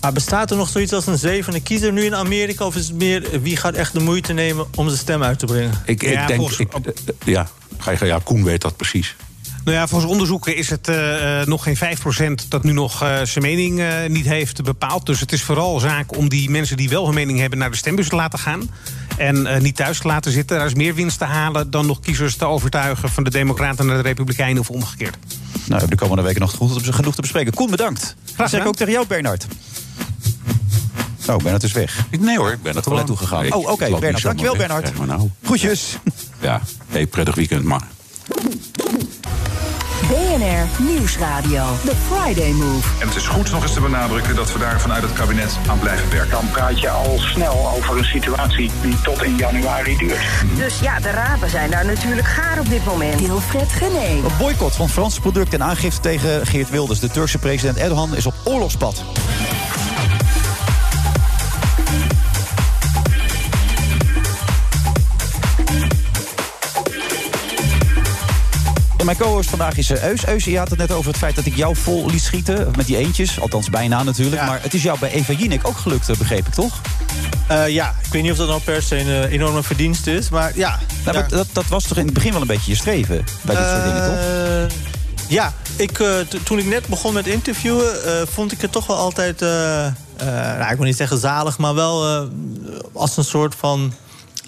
Speaker 8: Maar bestaat er nog zoiets als een zevende kiezer nu in Amerika? Of is het meer eh, wie gaat echt de moeite nemen om zijn stem uit te brengen?
Speaker 10: eh, Ik, ik denk... Ik, eh, ja, ga je- ja, Koen weet dat precies.
Speaker 9: Nou ja, volgens onderzoeken is het eh, eh, nog geen 5% dat nu nog eh, zijn mening eh, niet heeft bepaald. Dus het is vooral zaak om die mensen die wel hun mening hebben naar de stembus te laten gaan. En eh, niet thuis te laten zitten. Daar is meer winst te halen dan nog kiezers te overtuigen van de Democraten naar de Republikeinen of omgekeerd.
Speaker 7: Nou, de komende weken nog genoeg, genoeg te bespreken. Koen, bedankt. Dat zeg ik ook tegen jou, Bernard. Oh, Bernard is weg.
Speaker 10: Nee hoor, ik ben er
Speaker 7: Toilet
Speaker 10: gewoon.
Speaker 7: toegegaan.
Speaker 10: Ik
Speaker 7: Oh, oké,
Speaker 10: loop niet
Speaker 7: Bernard.
Speaker 10: zomaar
Speaker 7: Dankjewel,
Speaker 10: weg.
Speaker 7: Bernard.
Speaker 10: Zeg maar nou.
Speaker 7: Groetjes.
Speaker 10: Ja, hey, prettig weekend, man.
Speaker 3: BNR Nieuwsradio. The Friday Move.
Speaker 4: En het is goed nog eens te benadrukken dat we daar vanuit het kabinet aan blijven werken. Dan praat je al snel over een situatie die tot in januari duurt.
Speaker 3: Dus ja, de rapen zijn daar natuurlijk gaar op dit moment. Wilfred Genee.
Speaker 7: Een boycott van Franse producten en aangifte tegen Geert Wilders. De Turkse president Erdogan is op oorlogspad. En Mijn co-host vandaag is eh, Eus. Eus, je had het net over het feit dat ik jou vol liet schieten. Met die eentjes, althans bijna natuurlijk. Maar het is jou bij Eva Jinek ook gelukt, eh, begreep ik toch?
Speaker 8: Eh, ja, ik weet niet of dat nou per se een eh, enorme verdienst is, maar ja.
Speaker 7: Nou, maar dat, dat was toch in het begin wel een beetje je streven bij dit soort dingen, toch?
Speaker 8: Eh, Ja, ik, eh, t- toen ik net begon met interviewen, eh, vond ik het toch wel altijd, eh, eh, nou, ik wil niet zeggen zalig, maar wel eh, als een soort van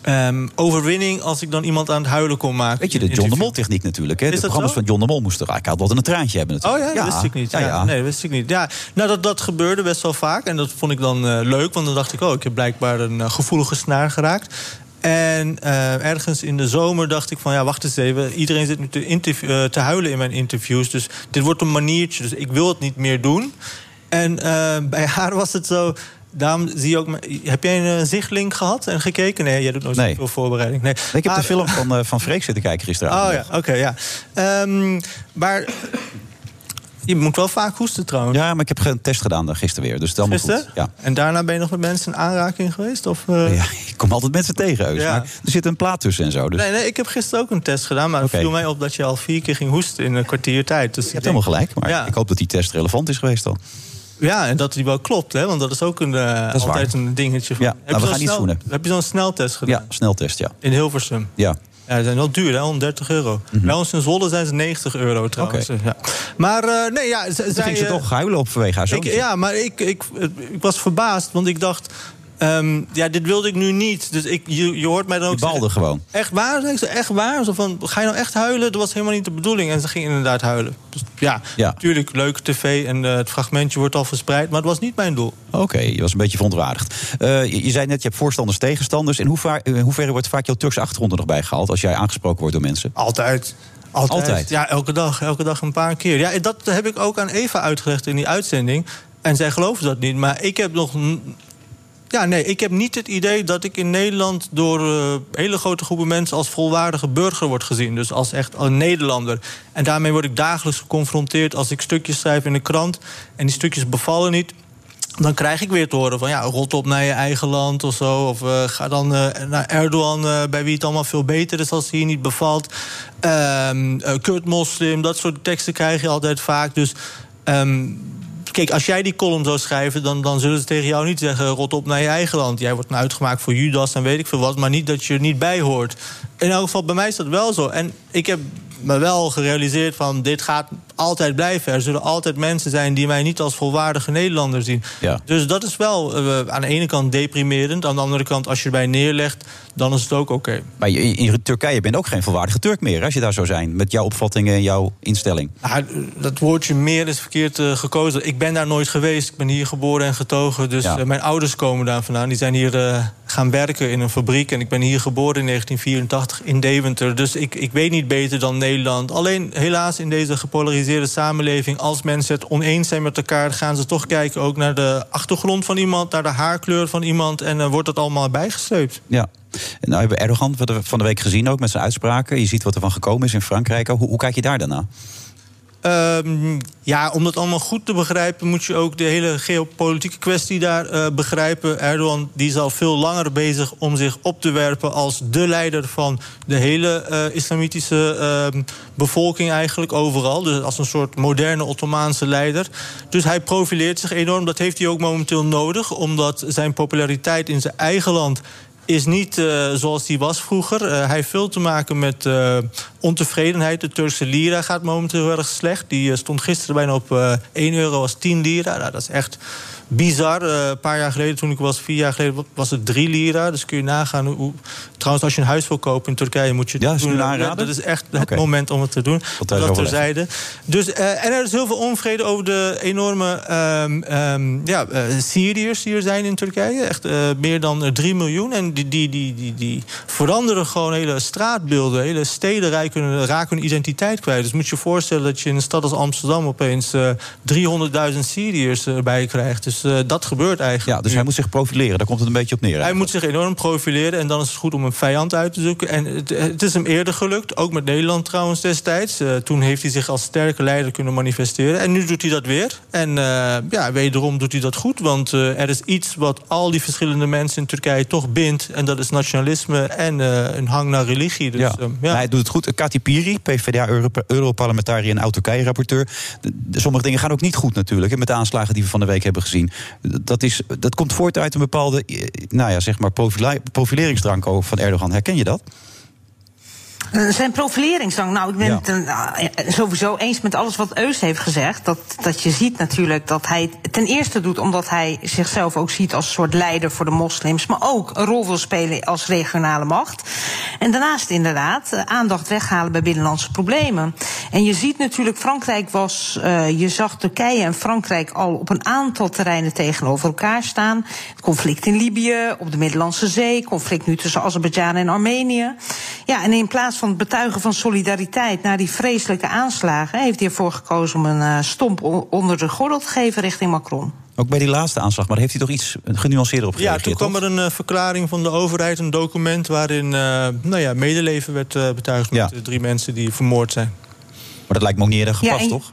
Speaker 8: ehm, overwinning als ik dan iemand aan het huilen kon maken.
Speaker 7: Weet je, de John de Mol-techniek natuurlijk. Hè?
Speaker 8: Is
Speaker 7: de
Speaker 8: dat
Speaker 7: programma's
Speaker 8: zo?
Speaker 7: van John de Mol moesten ik had altijd een traantje hebben
Speaker 8: Oh
Speaker 7: natuurlijk.
Speaker 8: ja, dat wist ik niet. Ja, Nee, dat wist ik niet. Ja, nou, dat, dat gebeurde best wel vaak. En dat vond ik dan eh, leuk, want dan dacht ik... oh, ik heb blijkbaar een eh, gevoelige snaar geraakt. En eh, ergens in de zomer dacht ik van... ja, wacht eens even, iedereen zit nu te, interview- eh, te huilen in mijn interviews... dus dit wordt een maniertje, dus ik wil het niet meer doen. En eh, bij haar was het zo... Daarom zie je ook... me- Heb jij een eh, zichtlink gehad en gekeken? Nee, jij doet nooit
Speaker 7: Nee.
Speaker 8: zoveel voorbereiding. Nee.
Speaker 7: Ik heb
Speaker 8: Maar-
Speaker 7: de film van, eh, van Freek zitten kijken gisteravond.
Speaker 8: Oh ja, oké, ja. Ehm, maar je moet wel vaak hoesten trouwens.
Speaker 7: Ja, maar ik heb een test gedaan daar gisteren weer. Dus het is allemaal
Speaker 8: Gisteren?
Speaker 7: goed. Ja.
Speaker 8: En daarna ben je nog met mensen in aanraking geweest? Of, eh?
Speaker 7: Ja, ik kom altijd mensen tegen, Eus.
Speaker 8: Ja.
Speaker 7: Maar er zit een plaat tussen en zo. Dus
Speaker 8: Nee, nee, ik heb gisteren ook een test gedaan, maar
Speaker 7: Oké.
Speaker 8: het viel mij op dat je al vier keer ging hoesten in een kwartier tijd. Dus
Speaker 7: je hebt helemaal gelijk. Maar
Speaker 8: Ja.
Speaker 7: ik hoop dat die test relevant is geweest dan.
Speaker 8: Ja, en dat die wel klopt, hè? want dat is ook een, eh,
Speaker 7: is waar.
Speaker 8: altijd een dingetje. Van.
Speaker 7: Ja,
Speaker 8: je
Speaker 7: nou,
Speaker 8: zo'n
Speaker 7: we gaan niet
Speaker 8: snel-
Speaker 7: zoenen.
Speaker 8: Heb je zo'n sneltest gedaan
Speaker 7: Ja, sneltest, ja.
Speaker 8: in Hilversum?
Speaker 7: Ja,
Speaker 8: Ja, die zijn wel duur, hè? 130 euro.
Speaker 7: Mhm.
Speaker 8: Bij ons in Zwolle zijn ze 90 euro trouwens. Ja. Maar eh, nee, ja, ze,
Speaker 7: toen
Speaker 8: zij,
Speaker 7: ging ze
Speaker 8: eh,
Speaker 7: toch huilen op vanwege haar
Speaker 8: Ik,
Speaker 7: zoontje.
Speaker 8: ja, maar ik, ik, ik was verbaasd, want ik dacht... ehm, ja, dit wilde ik nu niet. Dus ik, je, je hoort mij dan ook
Speaker 7: Die balde
Speaker 8: zeggen,
Speaker 7: gewoon.
Speaker 8: Echt waar? Zei ik zo, echt waar? Zo van, ga je nou echt huilen? Dat was helemaal niet de bedoeling. En ze ging inderdaad huilen. Dus ja,
Speaker 7: Ja.
Speaker 8: natuurlijk, leuke tv en eh, het fragmentje wordt al verspreid. Maar het was niet mijn doel.
Speaker 7: Oké, je was een beetje verontwaardigd. Eh, je, je zei net, je hebt voorstanders, tegenstanders. In hoever- in hoeverre wordt vaak jouw Turkse achtergrond er nog bij gehaald... als jij aangesproken wordt door mensen?
Speaker 8: Altijd. Altijd.
Speaker 7: Altijd?
Speaker 8: Ja, elke dag. Elke dag een paar keer. Ja, dat heb ik ook aan Eva uitgelegd in die uitzending. En zij geloofde dat niet. Maar ik heb nog... n- Ja, nee, ik heb niet het idee dat ik in Nederland... door eh, hele grote groepen mensen als volwaardige burger word gezien. Dus als echt een Nederlander. En daarmee word ik dagelijks geconfronteerd... als ik stukjes schrijf in de krant en die stukjes bevallen niet... Dan krijg ik weer te horen van ja, rot op naar je eigen land of zo. Of eh, ga dan eh, naar Erdogan, eh, bij wie het allemaal veel beter is als hij je niet bevalt. Ehm eh, kut moslim, dat soort teksten krijg je altijd vaak. Dus ehm, kijk, als jij die column zou schrijven, dan, dan zullen ze tegen jou niet zeggen: rot op naar je eigen land. Jij wordt nou uitgemaakt voor Judas en weet ik veel wat, maar niet dat je er niet bij hoort. In elk geval, bij mij is dat wel zo. En ik heb me wel gerealiseerd van dit gaat altijd blijven. Er zullen altijd mensen zijn die mij niet als volwaardige Nederlander zien.
Speaker 7: Ja.
Speaker 8: Dus dat is wel eh, aan de ene kant deprimerend. Aan de andere kant, als je erbij neerlegt, dan is het ook oké.
Speaker 7: Maar je- in Turkije ben je ook geen volwaardige Turk meer... als je daar zou zijn, met jouw opvattingen en jouw instelling.
Speaker 8: Nou, dat woordje meer is verkeerd eh, gekozen. Ik ben daar nooit geweest. Ik ben hier geboren en getogen. Dus
Speaker 7: Ja.
Speaker 8: eh, mijn ouders komen daar vandaan. Die zijn hier eh, gaan werken in een fabriek. En ik ben hier geboren in 1984 in Deventer. Dus ik, ik weet niet beter dan Nederland. Alleen helaas in deze gepolariseerde samenleving... als mensen het oneens zijn met elkaar... gaan ze toch kijken ook naar de achtergrond van iemand... naar de haarkleur van iemand. En eh, wordt dat allemaal bijgesleept.
Speaker 7: Ja. En nou hebben we Erdogan van de- van de week gezien ook met zijn uitspraken. Je ziet wat er van gekomen is in Frankrijk. ook. Hoe, hoe kijk je daar daarna?
Speaker 8: Ehm, ja, om dat allemaal goed te begrijpen, moet je ook de hele geopolitieke kwestie daar eh, begrijpen. Erdogan die is al veel langer bezig om zich op te werpen als de leider van de hele eh, islamitische ehm, bevolking, eigenlijk overal. Dus als een soort moderne Ottomaanse leider. Dus hij profileert zich enorm. Dat heeft hij ook momenteel nodig, omdat zijn populariteit in zijn eigen land is niet eh, zoals die was vroeger. Eh, hij heeft veel te maken met eh, ontevredenheid. De Turkse lira gaat momenteel heel erg slecht. Die eh, stond gisteren bijna op eh 1 euro als 10 lira. Nou, dat is echt bizar. Eh, een paar jaar geleden, toen ik was, vier jaar geleden, wa- was het 3 lira. Dus kun je nagaan hoe... hoe- Trouwens, als je een huis wil kopen in Turkije, moet je...
Speaker 7: Ja, is
Speaker 8: doen.
Speaker 7: nu aanraden?
Speaker 8: Dat is echt het
Speaker 7: Oké.
Speaker 8: moment om het te doen.
Speaker 7: thuis
Speaker 8: Dat
Speaker 7: overleggen.
Speaker 8: terzijde. Dus, eh, en er is heel veel onvrede over de enorme ehm, ehm, ja, eh, Syriërs die er zijn in Turkije. Echt eh, meer dan eh, 3 miljoen. En die, die, die, die, die veranderen gewoon hele straatbeelden. Hele steden raken, raken hun identiteit kwijt. Dus moet je je voorstellen dat je in een stad als Amsterdam opeens eh, 300.000 Syriërs erbij krijgt. Dus eh, dat gebeurt eigenlijk.
Speaker 7: Ja, dus hij moet zich profileren. Daar komt het een beetje op neer.
Speaker 8: Hij moet zich enorm profileren en dan is het goed om een vijand uit te zoeken. En het, het is hem eerder gelukt, ook met Nederland trouwens destijds. Eh, toen heeft hij zich als sterke leider kunnen manifesteren. En nu doet hij dat weer. En eh, ja, wederom doet hij dat goed. Want eh, er is iets wat al die verschillende mensen in Turkije toch bindt. En dat is nationalisme en eh, een hang naar religie. Dus,
Speaker 7: ja.
Speaker 8: ehm,
Speaker 7: Maar Hij doet het goed. Kati Piri, PvdA-europarlementariër en oud-Turkije-rapporteur. De- de- Sommige dingen gaan ook niet goed natuurlijk. hè, Met de aanslagen die we van de week hebben gezien. Dat, is, dat komt voort uit een bepaalde eh, nou ja, zeg maar profila- profileringsdrang ook van Erdogan. Herken je dat?
Speaker 3: Eh, Zijn profileringsdrang. Nou, ik ben
Speaker 7: Ja.
Speaker 3: het een- ah, eh, sowieso eens met alles wat Eus heeft gezegd. Dat, dat je ziet natuurlijk dat hij het ten eerste doet omdat hij zichzelf ook ziet als een soort leider voor de moslims. Maar ook een rol wil spelen als regionale macht. En daarnaast inderdaad eh, aandacht weghalen bij binnenlandse problemen. En je ziet natuurlijk, Frankrijk was. eh, je zag Turkije en Frankrijk al op een aantal terreinen tegenover elkaar staan. Het conflict in Libië, op de Middellandse Zee, conflict nu tussen Azerbeidzjan en Armenië. Ja, en in plaats van het betuigen van solidariteit na die vreselijke aanslagen, heeft hij ervoor gekozen om een eh, stomp o- onder de gordel te geven richting Macron.
Speaker 7: Ook bij die laatste aanslag. Maar daar heeft hij toch iets genuanceerder op
Speaker 8: Ja,
Speaker 7: gereageerd?
Speaker 8: toen kwam
Speaker 7: toch?
Speaker 8: er een eh, verklaring van de overheid, een document waarin eh, nou ja, medeleven werd eh, betuigd met de drie mensen die vermoord zijn.
Speaker 7: Maar dat lijkt me ook niet erg
Speaker 3: Ja,
Speaker 7: gepast,
Speaker 3: en-
Speaker 7: toch?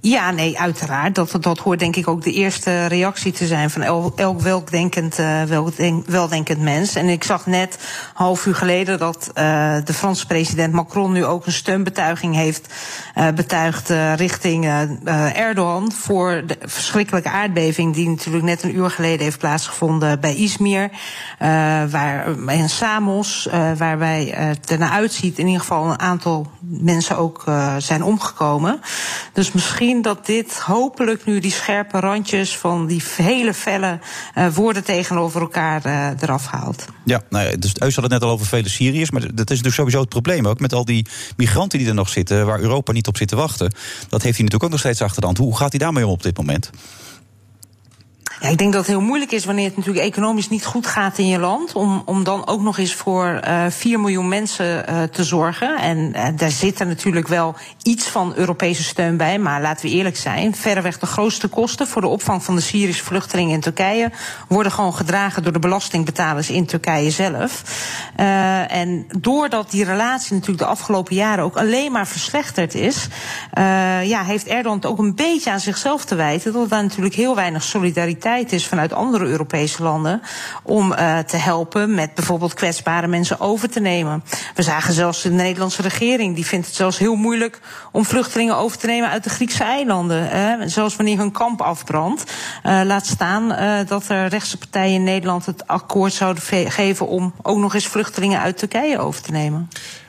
Speaker 3: Ja, nee, uiteraard. Dat, dat hoort denk ik ook de eerste reactie te zijn van el- elk weldenkend, eh, weldenk- weldenkend mens. En ik zag net, half uur geleden, dat eh, de Franse president Macron nu ook een steunbetuiging heeft eh, betuigd eh, richting eh, eh, Erdogan voor de verschrikkelijke aardbeving die natuurlijk net een uur geleden heeft plaatsgevonden bij Izmir eh, waar, en Samos, eh, waarbij eh, het ernaar uitziet in ieder geval een aantal mensen ook eh, zijn omgekomen. Dus misschien dat dit hopelijk nu die scherpe randjes van die hele felle eh, woorden tegenover elkaar eh, eraf haalt.
Speaker 7: Ja, nou ja, dus Eus had het net al over vele Syriërs. Maar dat is natuurlijk sowieso het probleem ook. Met al die migranten die er nog zitten, waar Europa niet op zit te wachten. Dat heeft hij natuurlijk ook nog steeds achter de hand. Hoe gaat hij daarmee om op dit moment?
Speaker 3: Ja, ik denk dat het heel moeilijk is wanneer het natuurlijk economisch niet goed gaat in je land. Om, om dan ook nog eens voor eh 4 miljoen mensen eh, te zorgen. En eh, daar zit er natuurlijk wel iets van Europese steun bij. Maar laten we eerlijk zijn, verreweg de grootste kosten voor de opvang van de Syrische vluchtelingen in Turkije worden gewoon gedragen door de belastingbetalers in Turkije zelf. Eh, en doordat die relatie natuurlijk de afgelopen jaren ook alleen maar verslechterd is, eh, ja, heeft Erdogan het ook een beetje aan zichzelf te wijten. Dat daar natuurlijk heel weinig solidariteit is vanuit andere Europese landen. Om eh, te helpen met bijvoorbeeld kwetsbare mensen over te nemen. We zagen zelfs de Nederlandse regering. Die vindt het zelfs heel moeilijk om vluchtelingen over te nemen uit de Griekse eilanden. Hè. Zelfs wanneer hun kamp afbrandt. Eh, laat staan eh, dat er rechtse partijen in Nederland het akkoord zouden ve- geven om ook nog eens vluchtelingen uit Turkije over te nemen.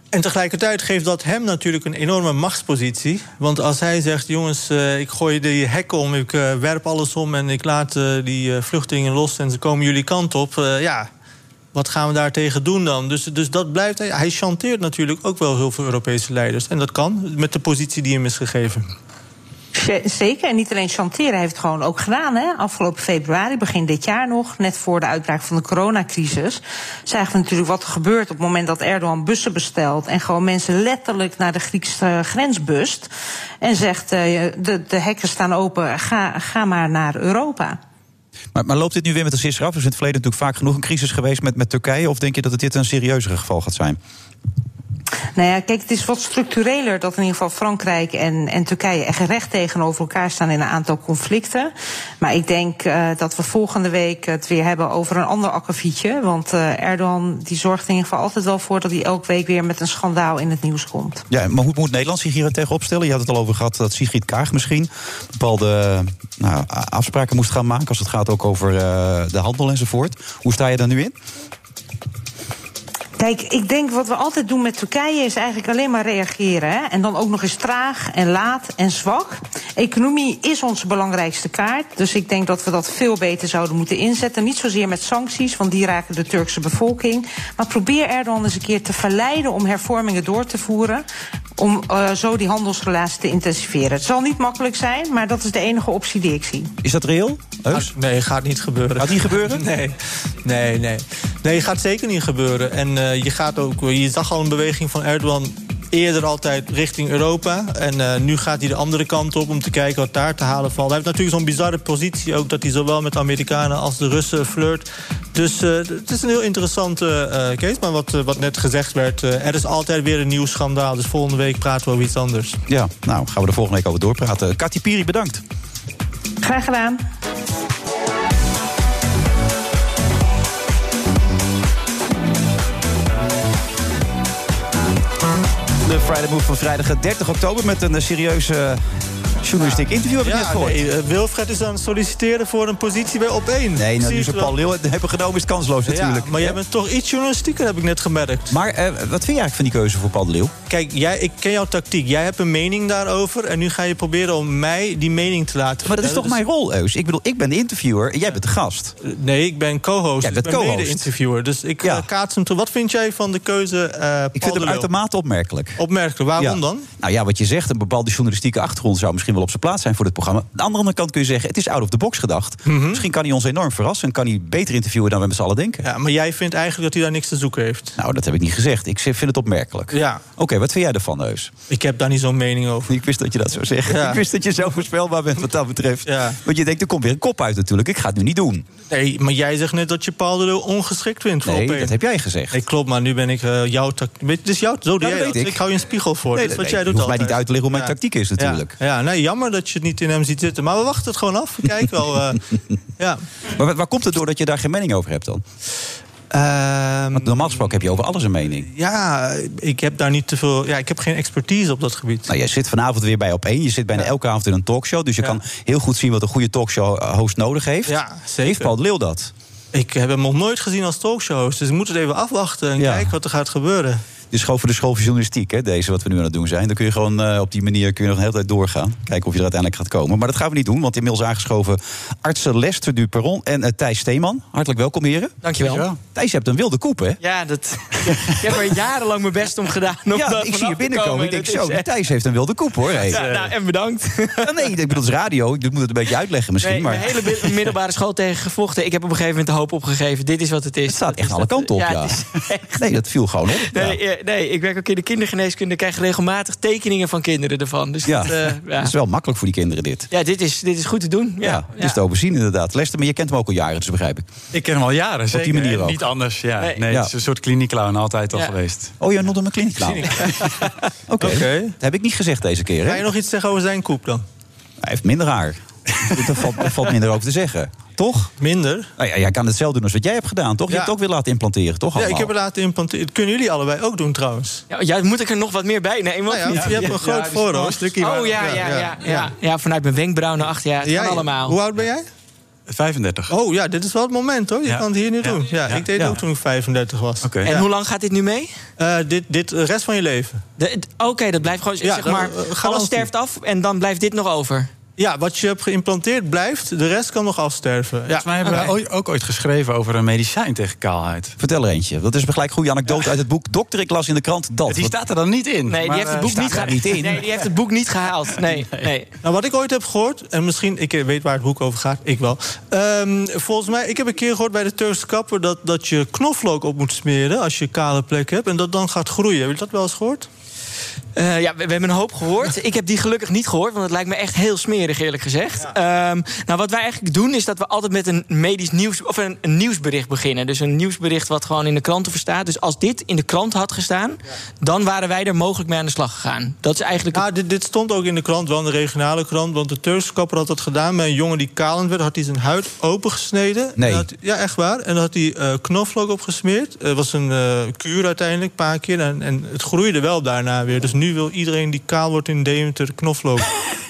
Speaker 8: En tegelijkertijd geeft dat hem natuurlijk een enorme machtspositie. Want als hij zegt, jongens, eh, ik gooi die hekken om, ik eh, werp alles om... en ik laat eh, die eh, vluchtelingen los en ze komen jullie kant op... eh, ja, wat gaan we daartegen doen dan? Dus, dus dat blijft... Hij hij chanteert natuurlijk ook wel heel veel Europese leiders. En dat kan, met de positie die hem is gegeven.
Speaker 3: Z- Zeker, en niet alleen chanteren, hij heeft het gewoon ook gedaan. Hè? Afgelopen februari, begin dit jaar nog, net voor de uitbraak van de coronacrisis... zagen we natuurlijk wat er gebeurt op het moment dat Erdogan bussen bestelt... en gewoon mensen letterlijk naar de Griekse eh, grens bust... en zegt, eh, de, de hekken staan open, ga, ga maar naar Europa.
Speaker 7: Maar, maar loopt dit nu weer met de sisser af? Er Is in het verleden natuurlijk vaak genoeg een crisis geweest met, met Turkije? Of denk je dat het dit een serieuzer geval gaat zijn?
Speaker 3: Nou ja, kijk, het is wat structureler dat in ieder geval Frankrijk en, en Turkije echt recht tegenover elkaar staan in een aantal conflicten. Maar ik denk eh, dat we volgende week het weer hebben over een ander akkefietje. Want eh, Erdogan die zorgt er in ieder geval altijd wel voor dat hij elke week weer met een schandaal in het nieuws komt.
Speaker 7: Ja, maar hoe moet Nederland zich hier tegen opstellen? Je had het al over gehad dat Sigrid Kaag misschien bepaalde nou, a- afspraken moest gaan maken. Als het gaat ook over eh, de handel enzovoort. Hoe sta je daar nu in?
Speaker 3: Kijk, ik denk wat we altijd doen met Turkije is eigenlijk alleen maar reageren. Hè? En dan ook nog eens traag en laat en zwak. Economie is onze belangrijkste kaart. Dus ik denk dat we dat veel beter zouden moeten inzetten. Niet zozeer met sancties, want die raken de Turkse bevolking. Maar probeer Erdogan eens een keer te verleiden om hervormingen door te voeren. Om eh, zo die handelsrelatie te intensiveren. Het zal niet makkelijk zijn, maar dat is de enige optie die ik zie.
Speaker 7: Is dat reëel? Heus?
Speaker 8: nee, gaat niet gebeuren.
Speaker 7: Gaat niet gebeuren?
Speaker 8: nee. nee, nee. Nee, gaat zeker niet gebeuren. En eh, je, gaat ook, je zag al een beweging van Erdogan eerder altijd richting Europa. En eh, nu gaat hij de andere kant op om te kijken wat daar te halen valt. Hij heeft natuurlijk zo'n bizarre positie ook... dat hij zowel met de Amerikanen als de Russen flirt. Dus eh, het is een heel interessante eh case. Maar wat, eh, wat net gezegd werd, eh, er is altijd weer een nieuw schandaal. Dus volgende week praten we over iets anders.
Speaker 7: Ja, nou gaan we er volgende week over doorpraten. Katy Piri, bedankt.
Speaker 3: Graag gedaan.
Speaker 7: De Friday Move van vrijdag 30 oktober met een eh, serieuze journalistiek interview heb ik
Speaker 8: Ja,
Speaker 7: net gehoord.
Speaker 8: nee, eh, Wilfred is aan het solliciteren voor een positie bij Opeen.
Speaker 7: Nee, nou,
Speaker 8: Zie
Speaker 7: nu
Speaker 8: ik
Speaker 7: ze
Speaker 8: wel.
Speaker 7: Paul Leeuw hebben genomen is het kansloos natuurlijk.
Speaker 8: Ja, maar jij bent toch iets journalistieker, heb ik net gemerkt.
Speaker 7: Maar eh, wat vind je eigenlijk van die keuze voor Paul de Leeuw?
Speaker 8: Kijk, jij, ik ken jouw tactiek. Jij hebt een mening daarover. En nu ga je proberen om mij die mening te laten
Speaker 7: Maar dat is toch
Speaker 8: vertellen. Dus- Eh,
Speaker 7: mijn rol, Eus? Ik bedoel, ik ben de interviewer en jij bent de gast.
Speaker 8: Nee, ik ben co-host. dus
Speaker 7: Jij bent
Speaker 8: ik ben
Speaker 7: co-host.
Speaker 8: mede-interviewer. Dus ik eh, kaats hem toe. Wat vind jij van de keuze eh
Speaker 7: Ik vind hem uitermate opmerkelijk.
Speaker 8: Opmerkelijk. Waarom
Speaker 7: Ja.
Speaker 8: dan?
Speaker 7: Nou ja, wat je zegt, een bepaalde journalistieke achtergrond zou misschien wel op zijn plaats zijn voor dit programma. Aan de andere kant kun je zeggen, het is out of the box gedacht.
Speaker 8: Mhm.
Speaker 7: Misschien kan hij ons enorm verrassen en kan hij beter interviewen dan we met z'n allen denken.
Speaker 8: Ja, maar jij vindt eigenlijk dat hij daar niks te zoeken heeft.
Speaker 7: Nou, dat heb ik niet gezegd. Ik vind het opmerkelijk.
Speaker 8: Ja.
Speaker 7: Oké, wat vind jij ervan, Eus?
Speaker 8: Ik heb daar niet zo'n mening over.
Speaker 7: Ik wist dat je dat zou zeggen.
Speaker 8: Ja.
Speaker 7: Ik wist dat je zo voorspelbaar bent wat dat betreft. Want je denkt, er komt weer een kop uit natuurlijk. Ik ga het nu niet doen.
Speaker 8: Nee, maar jij zegt net dat je Paul de Leeuw ongeschikt vindt voor
Speaker 7: Nee,
Speaker 8: Opeen.
Speaker 7: dat heb jij gezegd.
Speaker 8: Nee, klopt, maar nu ben ik eh, jouw tactiek. Dit is jouw, zo doe
Speaker 7: dat
Speaker 8: jij
Speaker 7: weet
Speaker 8: dat.
Speaker 7: ik.
Speaker 8: Ik hou je een spiegel voor.
Speaker 7: Nee,
Speaker 8: dat is
Speaker 7: nee,
Speaker 8: wat
Speaker 7: je
Speaker 8: jij doet
Speaker 7: hoeft mij
Speaker 8: altijd.
Speaker 7: niet uit te leggen hoe mijn
Speaker 8: Ja.
Speaker 7: tactiek is,
Speaker 8: Ja.
Speaker 7: natuurlijk.
Speaker 8: Ja, nee, jammer dat je het niet in hem ziet zitten. Maar we wachten het gewoon af. We kijken wel. eh, ja.
Speaker 7: Maar wa- waar komt het door dat je daar geen mening over hebt dan? Want normaal gesproken heb je over alles een mening.
Speaker 8: ja, ik heb daar niet te veel. Ja, ik heb geen expertise op dat gebied.
Speaker 7: Nou, jij zit vanavond weer bij op één. Je zit bijna elke avond in een talkshow. Dus je kan heel goed zien wat een goede talkshow-host nodig heeft.
Speaker 8: Ja, zeker.
Speaker 7: Heeft Paul de Leeuw dat?
Speaker 8: Ik heb hem nog nooit gezien als talkshows. Dus ik moet het even afwachten en kijken wat er gaat gebeuren.
Speaker 7: Dit is gewoon voor de school van journalistiek, hè, deze wat we nu aan het doen zijn. Dan kun je gewoon eh, op die manier kun je nog een hele tijd doorgaan. Kijken of je er uiteindelijk gaat komen. Maar dat gaan we niet doen, want inmiddels aangeschoven artsen Lester Duperon en eh, Thijs Steeman. Hartelijk welkom, heren.
Speaker 11: Dankjewel. Dankjewel.
Speaker 7: Thijs, je hebt een wilde koep, hè?
Speaker 11: Ja, dat, ik heb er jarenlang mijn best om gedaan. Om
Speaker 7: ja,
Speaker 11: daar
Speaker 7: ik zie
Speaker 11: vanaf
Speaker 7: je
Speaker 11: te
Speaker 7: binnenkomen.
Speaker 11: komen.
Speaker 7: Ik denk,
Speaker 11: Dat
Speaker 7: zo,
Speaker 11: is
Speaker 7: die
Speaker 11: echt-
Speaker 7: Thijs heeft een wilde koep, hoor. Hey.
Speaker 11: Ja, nou, en bedankt.
Speaker 7: Ja, nee, ik bedoel, het is radio. Ik moet het een beetje uitleggen misschien.
Speaker 11: Nee,
Speaker 7: maar...
Speaker 11: Mijn hele mid- middelbare school tegen gevochten. Ik heb op een gegeven moment de hoop opgegeven. Dit is wat het is. Het staat
Speaker 7: echt alle kanten op, ja.
Speaker 11: het is-
Speaker 7: Nee, dat viel gewoon op.
Speaker 11: nee, eh, nee, ik werk ook in de kindergeneeskunde. Ik krijg regelmatig tekeningen van kinderen ervan. Dus
Speaker 7: Ja,
Speaker 11: dat, eh, ja.
Speaker 7: dat is wel makkelijk voor die kinderen dit.
Speaker 11: ja dit, is, dit is goed te doen. Ja.
Speaker 7: Ja, dus te overzien inderdaad. Lester, maar je kent hem ook al jaren, dus begrijp ik.
Speaker 12: Ik ken hem al jaren,
Speaker 7: Op die
Speaker 12: zeker.
Speaker 7: manier
Speaker 12: En
Speaker 7: ook.
Speaker 12: Niet anders, ja.
Speaker 7: Nee.
Speaker 12: Nee,
Speaker 7: Ja.
Speaker 12: het is een soort klinieklown altijd al
Speaker 7: Ja.
Speaker 12: geweest.
Speaker 7: Oh, jij noemt hem een kliniek. Nou. Oké, dat heb ik niet gezegd deze keer. Hè?
Speaker 8: Ga je nog iets zeggen over zijn koep dan?
Speaker 7: Hij heeft minder haar. Daar valt, daar valt minder over te zeggen. Toch?
Speaker 8: Minder?
Speaker 7: Nou ja, jij kan hetzelfde doen als wat jij hebt gedaan, toch? Je
Speaker 8: Ja.
Speaker 7: hebt het ook weer laten implanteren, toch?
Speaker 8: Ja, ik
Speaker 7: allemaal?
Speaker 8: heb het laten implanteren. Dat kunnen jullie allebei ook doen trouwens.
Speaker 11: Ja, ja, moet ik er nog wat meer bij nemen? of
Speaker 8: Nou ja,
Speaker 11: niet?
Speaker 8: je hebt een groot
Speaker 7: dus-
Speaker 11: er is nog
Speaker 8: voorhoofd.
Speaker 11: een stukje waar- Oh ja, ja, ja. ja, ja. vanuit mijn wenkbrauw naar achter. Ja, het
Speaker 8: Jij?
Speaker 11: kan allemaal.
Speaker 8: Hoe oud ben jij?
Speaker 12: 35.
Speaker 8: Oh ja, dit is wel het moment hoor. Oh, Je kan het hier nu doen. Ja, ik deed
Speaker 11: Ja.
Speaker 8: ook toen ik 35 was.
Speaker 11: En hoe lang gaat dit nu mee?
Speaker 8: Eh, dit, dit de rest van je leven.
Speaker 11: De- d- Oké, dat blijft gewoon.
Speaker 8: Ja,
Speaker 11: zeg
Speaker 8: dan,
Speaker 11: maar,
Speaker 8: eh, garantie.
Speaker 11: alles sterft af en dan blijft dit nog over.
Speaker 8: Ja, wat je hebt geïmplanteerd blijft. De rest kan nog afsterven. Ja.
Speaker 12: Volgens mij hebben we ooit- ook ooit geschreven over een medicijn tegen kaalheid.
Speaker 7: Vertel er eentje. Dat is gelijk goede anekdote uit het boek Dokter, ik las in de krant dat.
Speaker 12: Die staat er dan niet in.
Speaker 11: Nee, die
Speaker 12: maar,
Speaker 11: heeft het
Speaker 12: eh,
Speaker 11: boek
Speaker 12: staat
Speaker 11: niet,
Speaker 12: er
Speaker 11: geha-
Speaker 12: niet in.
Speaker 11: Nee, die heeft het boek niet gehaald. Nee, nee.
Speaker 8: Nou, wat ik ooit heb gehoord, en misschien, ik weet waar het boek over gaat, ik wel. Ehm, volgens mij, ik heb een keer gehoord bij de Turkse kapper dat, dat je knoflook op moet smeren als je kale plek hebt. En dat dan gaat groeien. Heb je dat wel eens gehoord?
Speaker 11: Eh, ja, we, we hebben een hoop gehoord. Ik heb die gelukkig niet gehoord, want het lijkt me echt heel smerig, eerlijk gezegd. Ehm, nou, wat wij eigenlijk doen, is dat we altijd met een medisch nieuws, of een, een nieuwsbericht beginnen. Dus een nieuwsbericht wat gewoon in de kranten verstaat. Dus als dit in de krant had gestaan, dan waren wij er mogelijk mee aan de slag gegaan. Dat is eigenlijk.
Speaker 8: Ja, dit, dit stond ook in de krant, wel in de regionale krant. Want de Turkse kapper had dat gedaan. Bij een jongen die kalend werd, had hij zijn huid opengesneden.
Speaker 7: Nee.
Speaker 8: En had- ja, echt waar. En daar had hij eh knoflook op gesmeerd. Het was een eh, kuur uiteindelijk, een paar keer. En, en het groeide wel daarna weer. Dus nu wil iedereen die kaal wordt in Deventer knoflook.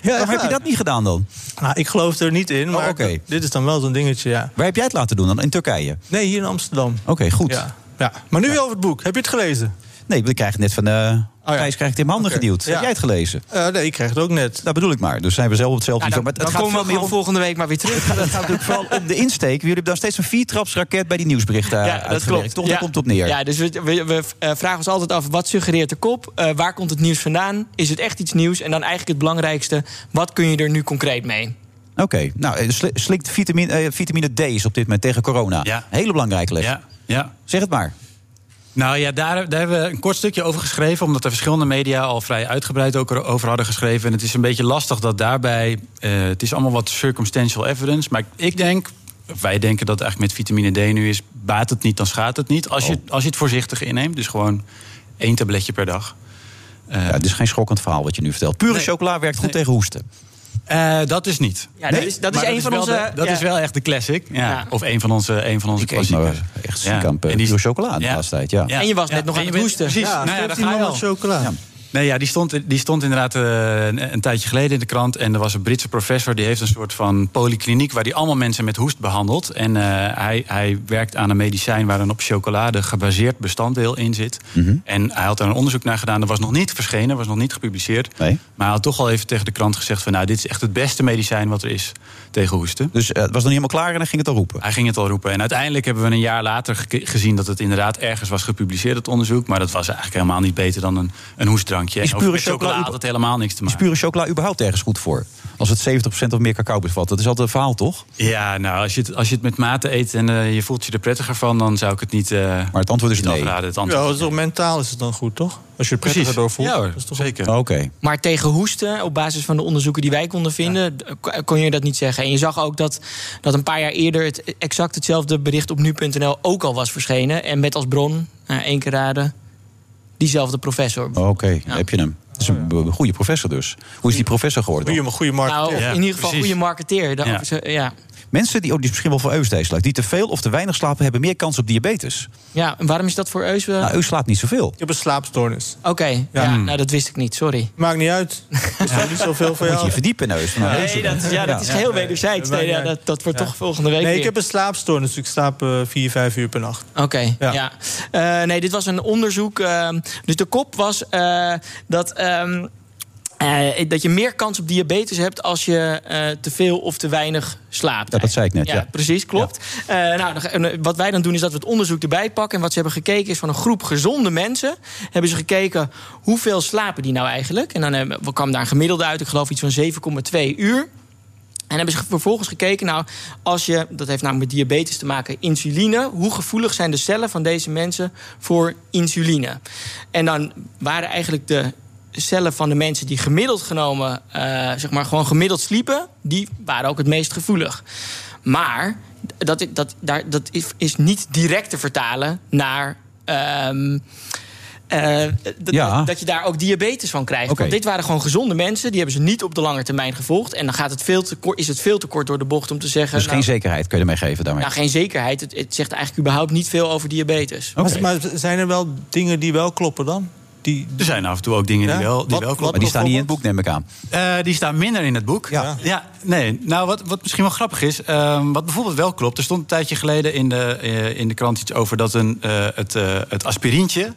Speaker 7: Waarom heb je dat niet gedaan dan?
Speaker 8: Nou, ik geloof er niet in, maar dit is dan wel zo'n dingetje, ja.
Speaker 7: Waar heb jij het laten doen dan? In Turkije?
Speaker 8: Nee, hier in Amsterdam.
Speaker 7: Oké, goed.
Speaker 8: Ja. Maar nu wel over het boek. Heb je het gelezen?
Speaker 7: Nee, we krijgen net van... eh Thijs krijgt het in mijn handen geduwd. Heb jij het gelezen?
Speaker 8: Eh, nee, ik krijg het ook net.
Speaker 7: Dat bedoel ik maar. Dus zijn we zelf op hetzelfde
Speaker 11: Nou, dan,
Speaker 7: niveau.
Speaker 11: dan
Speaker 7: Maar
Speaker 11: komen we
Speaker 7: veel meer
Speaker 11: gewoon volgende week maar weer terug.
Speaker 7: Het gaat natuurlijk vooral om de insteek. Jullie hebben dan steeds een viertrapsraket bij die nieuwsberichten
Speaker 11: Ja,
Speaker 7: eh, uitgewerkt. Toch, daar
Speaker 11: Ja.
Speaker 7: komt het op neer.
Speaker 11: Ja, dus we, we, we, eh, vragen ons altijd af, wat suggereert de kop? Eh, waar komt het nieuws vandaan? Is het echt iets nieuws? En dan eigenlijk het belangrijkste, wat kun je er nu concreet mee?
Speaker 7: Oké, nou, eh, sli- slikt vitamine, eh, vitamine D is op dit moment tegen corona. Hele belangrijke les.
Speaker 12: Ja, ja.
Speaker 7: Zeg het maar.
Speaker 12: Nou ja, daar, daar hebben we een kort stukje over geschreven. Omdat er verschillende media al vrij uitgebreid ook er- over hadden geschreven. En het is een beetje lastig dat daarbij. eh, het is allemaal wat circumstantial evidence. Maar ik- ik denk. of Wij denken dat eigenlijk met vitamine D nu is. baat het niet, dan schaadt het niet. Als, je,
Speaker 7: Oh.
Speaker 12: als je het voorzichtig inneemt. Dus gewoon één tabletje per dag.
Speaker 7: Ja, het is geen schokkend verhaal wat je nu vertelt. Pure chocola werkt goed tegen hoesten.
Speaker 12: Eh, dat is niet.
Speaker 11: Ja, dat is- dat is
Speaker 12: Maar
Speaker 11: een van
Speaker 12: wel
Speaker 11: onze-
Speaker 12: de- dat
Speaker 11: ja.
Speaker 12: is wel echt de classic. Ja.
Speaker 11: Ja.
Speaker 12: Of een van onze, een van onze
Speaker 7: Ik eet maar
Speaker 12: klassiekers.
Speaker 7: echt ziek
Speaker 12: Ja.
Speaker 7: aan eh,
Speaker 12: En die-
Speaker 7: pure chocola de
Speaker 12: Ja.
Speaker 7: laatste tijd. Ja.
Speaker 12: Ja.
Speaker 11: En je was
Speaker 12: Ja,
Speaker 11: net nog
Speaker 12: en
Speaker 11: aan
Speaker 12: je
Speaker 11: het
Speaker 12: bent-
Speaker 11: hoesten.
Speaker 12: precies.
Speaker 11: Ja,
Speaker 12: Nou ja, daar ga je al.
Speaker 8: chocola.
Speaker 12: Nee, ja, die stond, die stond inderdaad eh, een, een tijdje geleden in de krant. En er was een Britse professor die heeft een soort van polykliniek waar hij allemaal mensen met hoest behandelt. En eh, hij, hij werkt aan een medicijn waar een op chocolade gebaseerd bestanddeel in zit.
Speaker 7: Mhm.
Speaker 12: En hij had daar een onderzoek naar gedaan. Dat was nog niet verschenen, was nog niet gepubliceerd. Maar hij had toch al even tegen de krant gezegd van... nou, dit is echt het beste medicijn wat er is tegen hoesten.
Speaker 7: Dus het was nog niet helemaal klaar en hij ging het al roepen?
Speaker 12: Hij ging het al roepen. En uiteindelijk hebben we een jaar later geke- gezien... dat het inderdaad ergens was gepubliceerd, het onderzoek. Maar dat was eigenlijk helemaal niet beter dan een, een hoestdrankje.
Speaker 7: Is
Speaker 12: en over-
Speaker 7: pure
Speaker 12: met chocola
Speaker 7: chocola-
Speaker 12: had het helemaal niks te
Speaker 7: Is
Speaker 12: maken.
Speaker 7: pure chocola überhaupt ergens goed voor? Als het 70% of meer cacao bevat. Dat is altijd een verhaal, toch?
Speaker 12: Ja, nou, als je het, als je het met mate eet en eh, je voelt je er prettiger van... dan zou ik het niet Maar
Speaker 7: het antwoord is
Speaker 12: nee. Afraden. Het
Speaker 8: Ja,
Speaker 12: antwoord.
Speaker 8: dat is toch mentaal is het dan goed, toch? Als je het prettiger door voelt.
Speaker 12: Ja hoor,
Speaker 8: Dat is toch-
Speaker 12: zeker.
Speaker 7: Oké.
Speaker 11: Maar tegen hoesten, op basis van de onderzoeken die wij konden vinden, k- kon je dat niet zeggen. En je zag ook dat, dat een paar jaar eerder het, exact hetzelfde bericht op nu.nl ook al was verschenen. En met als bron, nou, één keer raden, diezelfde professor.
Speaker 7: Oh, Oké, daar heb je hem. Dat is een b- goede professor dus. Hoe is die professor geworden? dan?
Speaker 8: Goeie, goede marketing.
Speaker 11: Nou,
Speaker 7: Ja,
Speaker 11: in ieder geval
Speaker 7: precies.
Speaker 11: goede marketeer. Dat-
Speaker 7: Ja.
Speaker 11: ze- ja.
Speaker 7: Mensen die, oh, die is misschien wel voor Eus deze lijkt, die te veel of te weinig slapen, hebben meer kans op diabetes.
Speaker 11: Ja, en waarom is dat voor Eus? eh,
Speaker 7: Nou, Eus slaapt niet zoveel.
Speaker 8: Je hebt een slaapstoornis. Hmm.
Speaker 11: Oké, ja. nou dat wist ik niet, sorry.
Speaker 8: Maakt niet uit. Er is toch niet zoveel van
Speaker 7: Moet je
Speaker 8: jou.
Speaker 7: je verdiepen,
Speaker 8: Dus
Speaker 7: Eus. van Eus.
Speaker 11: Nee, dat, ja, dat is geheel wederzijds. Nee, ja, dat, dat wordt
Speaker 8: Ja.
Speaker 11: toch volgende week
Speaker 8: Nee, ik
Speaker 11: weer.
Speaker 8: heb een slaapstoornis. Dus ik slaap eh, vier, vijf uur per nacht.
Speaker 11: Oké, ja. Eh, nee, dit was een onderzoek. ehm, dus de kop was eh, dat, ehm, eh, dat je meer kans op diabetes hebt als je eh, te veel of te weinig slaapt.
Speaker 7: Ja, dat zei ik net, ja.
Speaker 11: precies, klopt. Eh, nou, dan- en, eh, wat wij dan doen is dat we het onderzoek erbij pakken. En wat ze hebben gekeken is van een groep gezonde mensen. Hebben ze gekeken hoeveel slapen die nou eigenlijk. En dan hebben- we kwam daar een gemiddelde uit. Ik geloof iets van 7,2 uur. En hebben ze vervolgens gekeken, nou, als je, dat heeft namelijk met diabetes te maken, insuline, hoe gevoelig zijn de cellen van deze mensen voor insuline? En dan waren eigenlijk de cellen van de mensen die gemiddeld genomen, eh, zeg maar gewoon gemiddeld sliepen, die waren ook het meest gevoelig. Maar dat, i- dat, daar, dat is, is niet direct te vertalen naar. ehm, eh, dat,
Speaker 7: Ja.
Speaker 11: dat je daar ook diabetes van krijgt.
Speaker 7: Oké.
Speaker 11: Want dit waren gewoon gezonde mensen. Die hebben ze niet op de lange termijn gevolgd. En dan gaat het veel te kort, is het veel te kort door de bocht om te zeggen...
Speaker 7: Dus
Speaker 11: nou,
Speaker 7: geen zekerheid kun je ermee geven daarmee.
Speaker 11: nou, geen zekerheid. Het, het zegt eigenlijk überhaupt niet veel over diabetes.
Speaker 8: Maar- Maar zijn er wel dingen die wel kloppen dan? Die,
Speaker 12: Er zijn af en toe ook dingen
Speaker 8: Ja?
Speaker 12: die wel, die
Speaker 8: Wat-
Speaker 12: wel kloppen.
Speaker 8: wat
Speaker 7: maar die staan niet in het boek, neem ik aan.
Speaker 12: Eh, die staan minder in het boek. Ja. nee. Nou, wat, wat misschien wel grappig is, ehm, wat bijvoorbeeld wel klopt, er stond een tijdje geleden in de, eh, in de krant iets over dat een, eh, het, eh, het aspirintje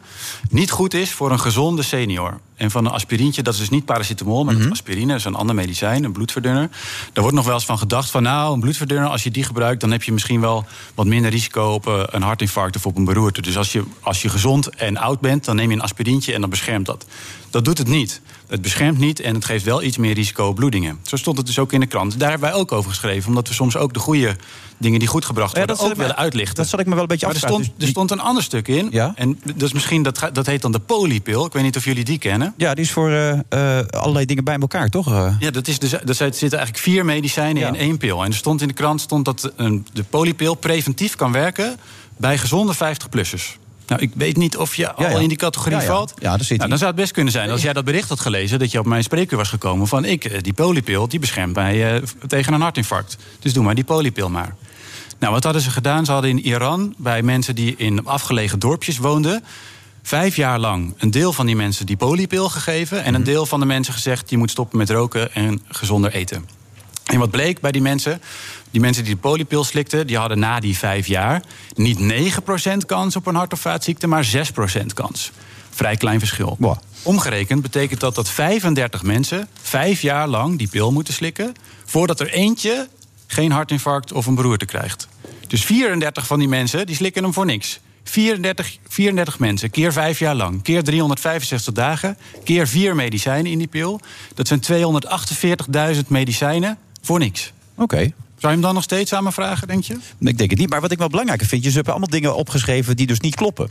Speaker 12: niet goed is voor een gezonde senior. En van een aspirintje, dat is dus niet paracetamol, maar dat is aspirine, dat is een ander medicijn, een bloedverdunner. Daar wordt nog wel eens van gedacht van, nou, een bloedverdunner, als je die gebruikt, dan heb je misschien wel wat minder risico op eh, een hartinfarct of op een beroerte. Dus als je, als je gezond en oud bent, dan neem je een aspirintje en dan beschermt dat. Dat doet het niet. Het beschermt niet en het geeft wel iets meer risico op bloedingen. Zo stond het dus ook in de krant. Daar hebben wij ook over geschreven, omdat we soms ook de goede dingen die goed gebracht worden
Speaker 7: zal
Speaker 12: ook
Speaker 7: ik me-
Speaker 12: willen uitlichten.
Speaker 7: Dat zal ik me wel een beetje
Speaker 12: Maar er
Speaker 7: afvragen.
Speaker 12: stond, er stond een ander stuk in. En dat, is misschien, dat, ga- dat heet dan de polypil. Ik weet niet of jullie die kennen.
Speaker 7: Ja, die is voor eh, eh, allerlei dingen bij elkaar, toch? Eh,
Speaker 12: Ja, dat is dus, er zit- zitten eigenlijk vier medicijnen in één pil. En er stond in de krant stond dat een, de polypil preventief kan werken bij gezonde 50-plussers. Nou, ik weet niet of je al
Speaker 7: ja.
Speaker 12: in die categorie
Speaker 7: Ja, ja.
Speaker 12: valt.
Speaker 7: Ja, daar zit
Speaker 12: nou,
Speaker 7: hij.
Speaker 12: dan zou het best kunnen zijn, als jij dat bericht had gelezen... dat je op mijn spreekuur was gekomen van... ik, eh, die polypil, die beschermt mij eh, v- tegen een hartinfarct. Dus doe maar die polypil maar. Nou, wat hadden ze gedaan? Ze hadden in Iran, bij mensen die in afgelegen dorpjes woonden... vijf jaar lang een deel van die mensen die polypil gegeven... en een deel van de mensen gezegd, je moet stoppen met roken en gezonder eten. En wat bleek bij die mensen? Die mensen die de poliepil slikten, die hadden na die vijf jaar niet 9% kans op een hart- of vaatziekte, maar 6% kans. Vrij klein verschil. Omgerekend betekent dat dat 35 mensen vijf jaar lang die pil moeten slikken. voordat er eentje geen hartinfarct of een beroerte krijgt. Dus 34 van die mensen die slikken hem voor niks. 34, 34 mensen, keer vijf jaar lang, keer 365 dagen, keer vier medicijnen in die pil. Dat zijn 248.000 medicijnen voor niks.
Speaker 7: Oké.
Speaker 12: Zou je hem dan nog steeds aan me vragen, denk je?
Speaker 7: Ik denk het niet. Maar wat ik wel belangrijker vind, je hebt allemaal dingen opgeschreven die dus niet kloppen.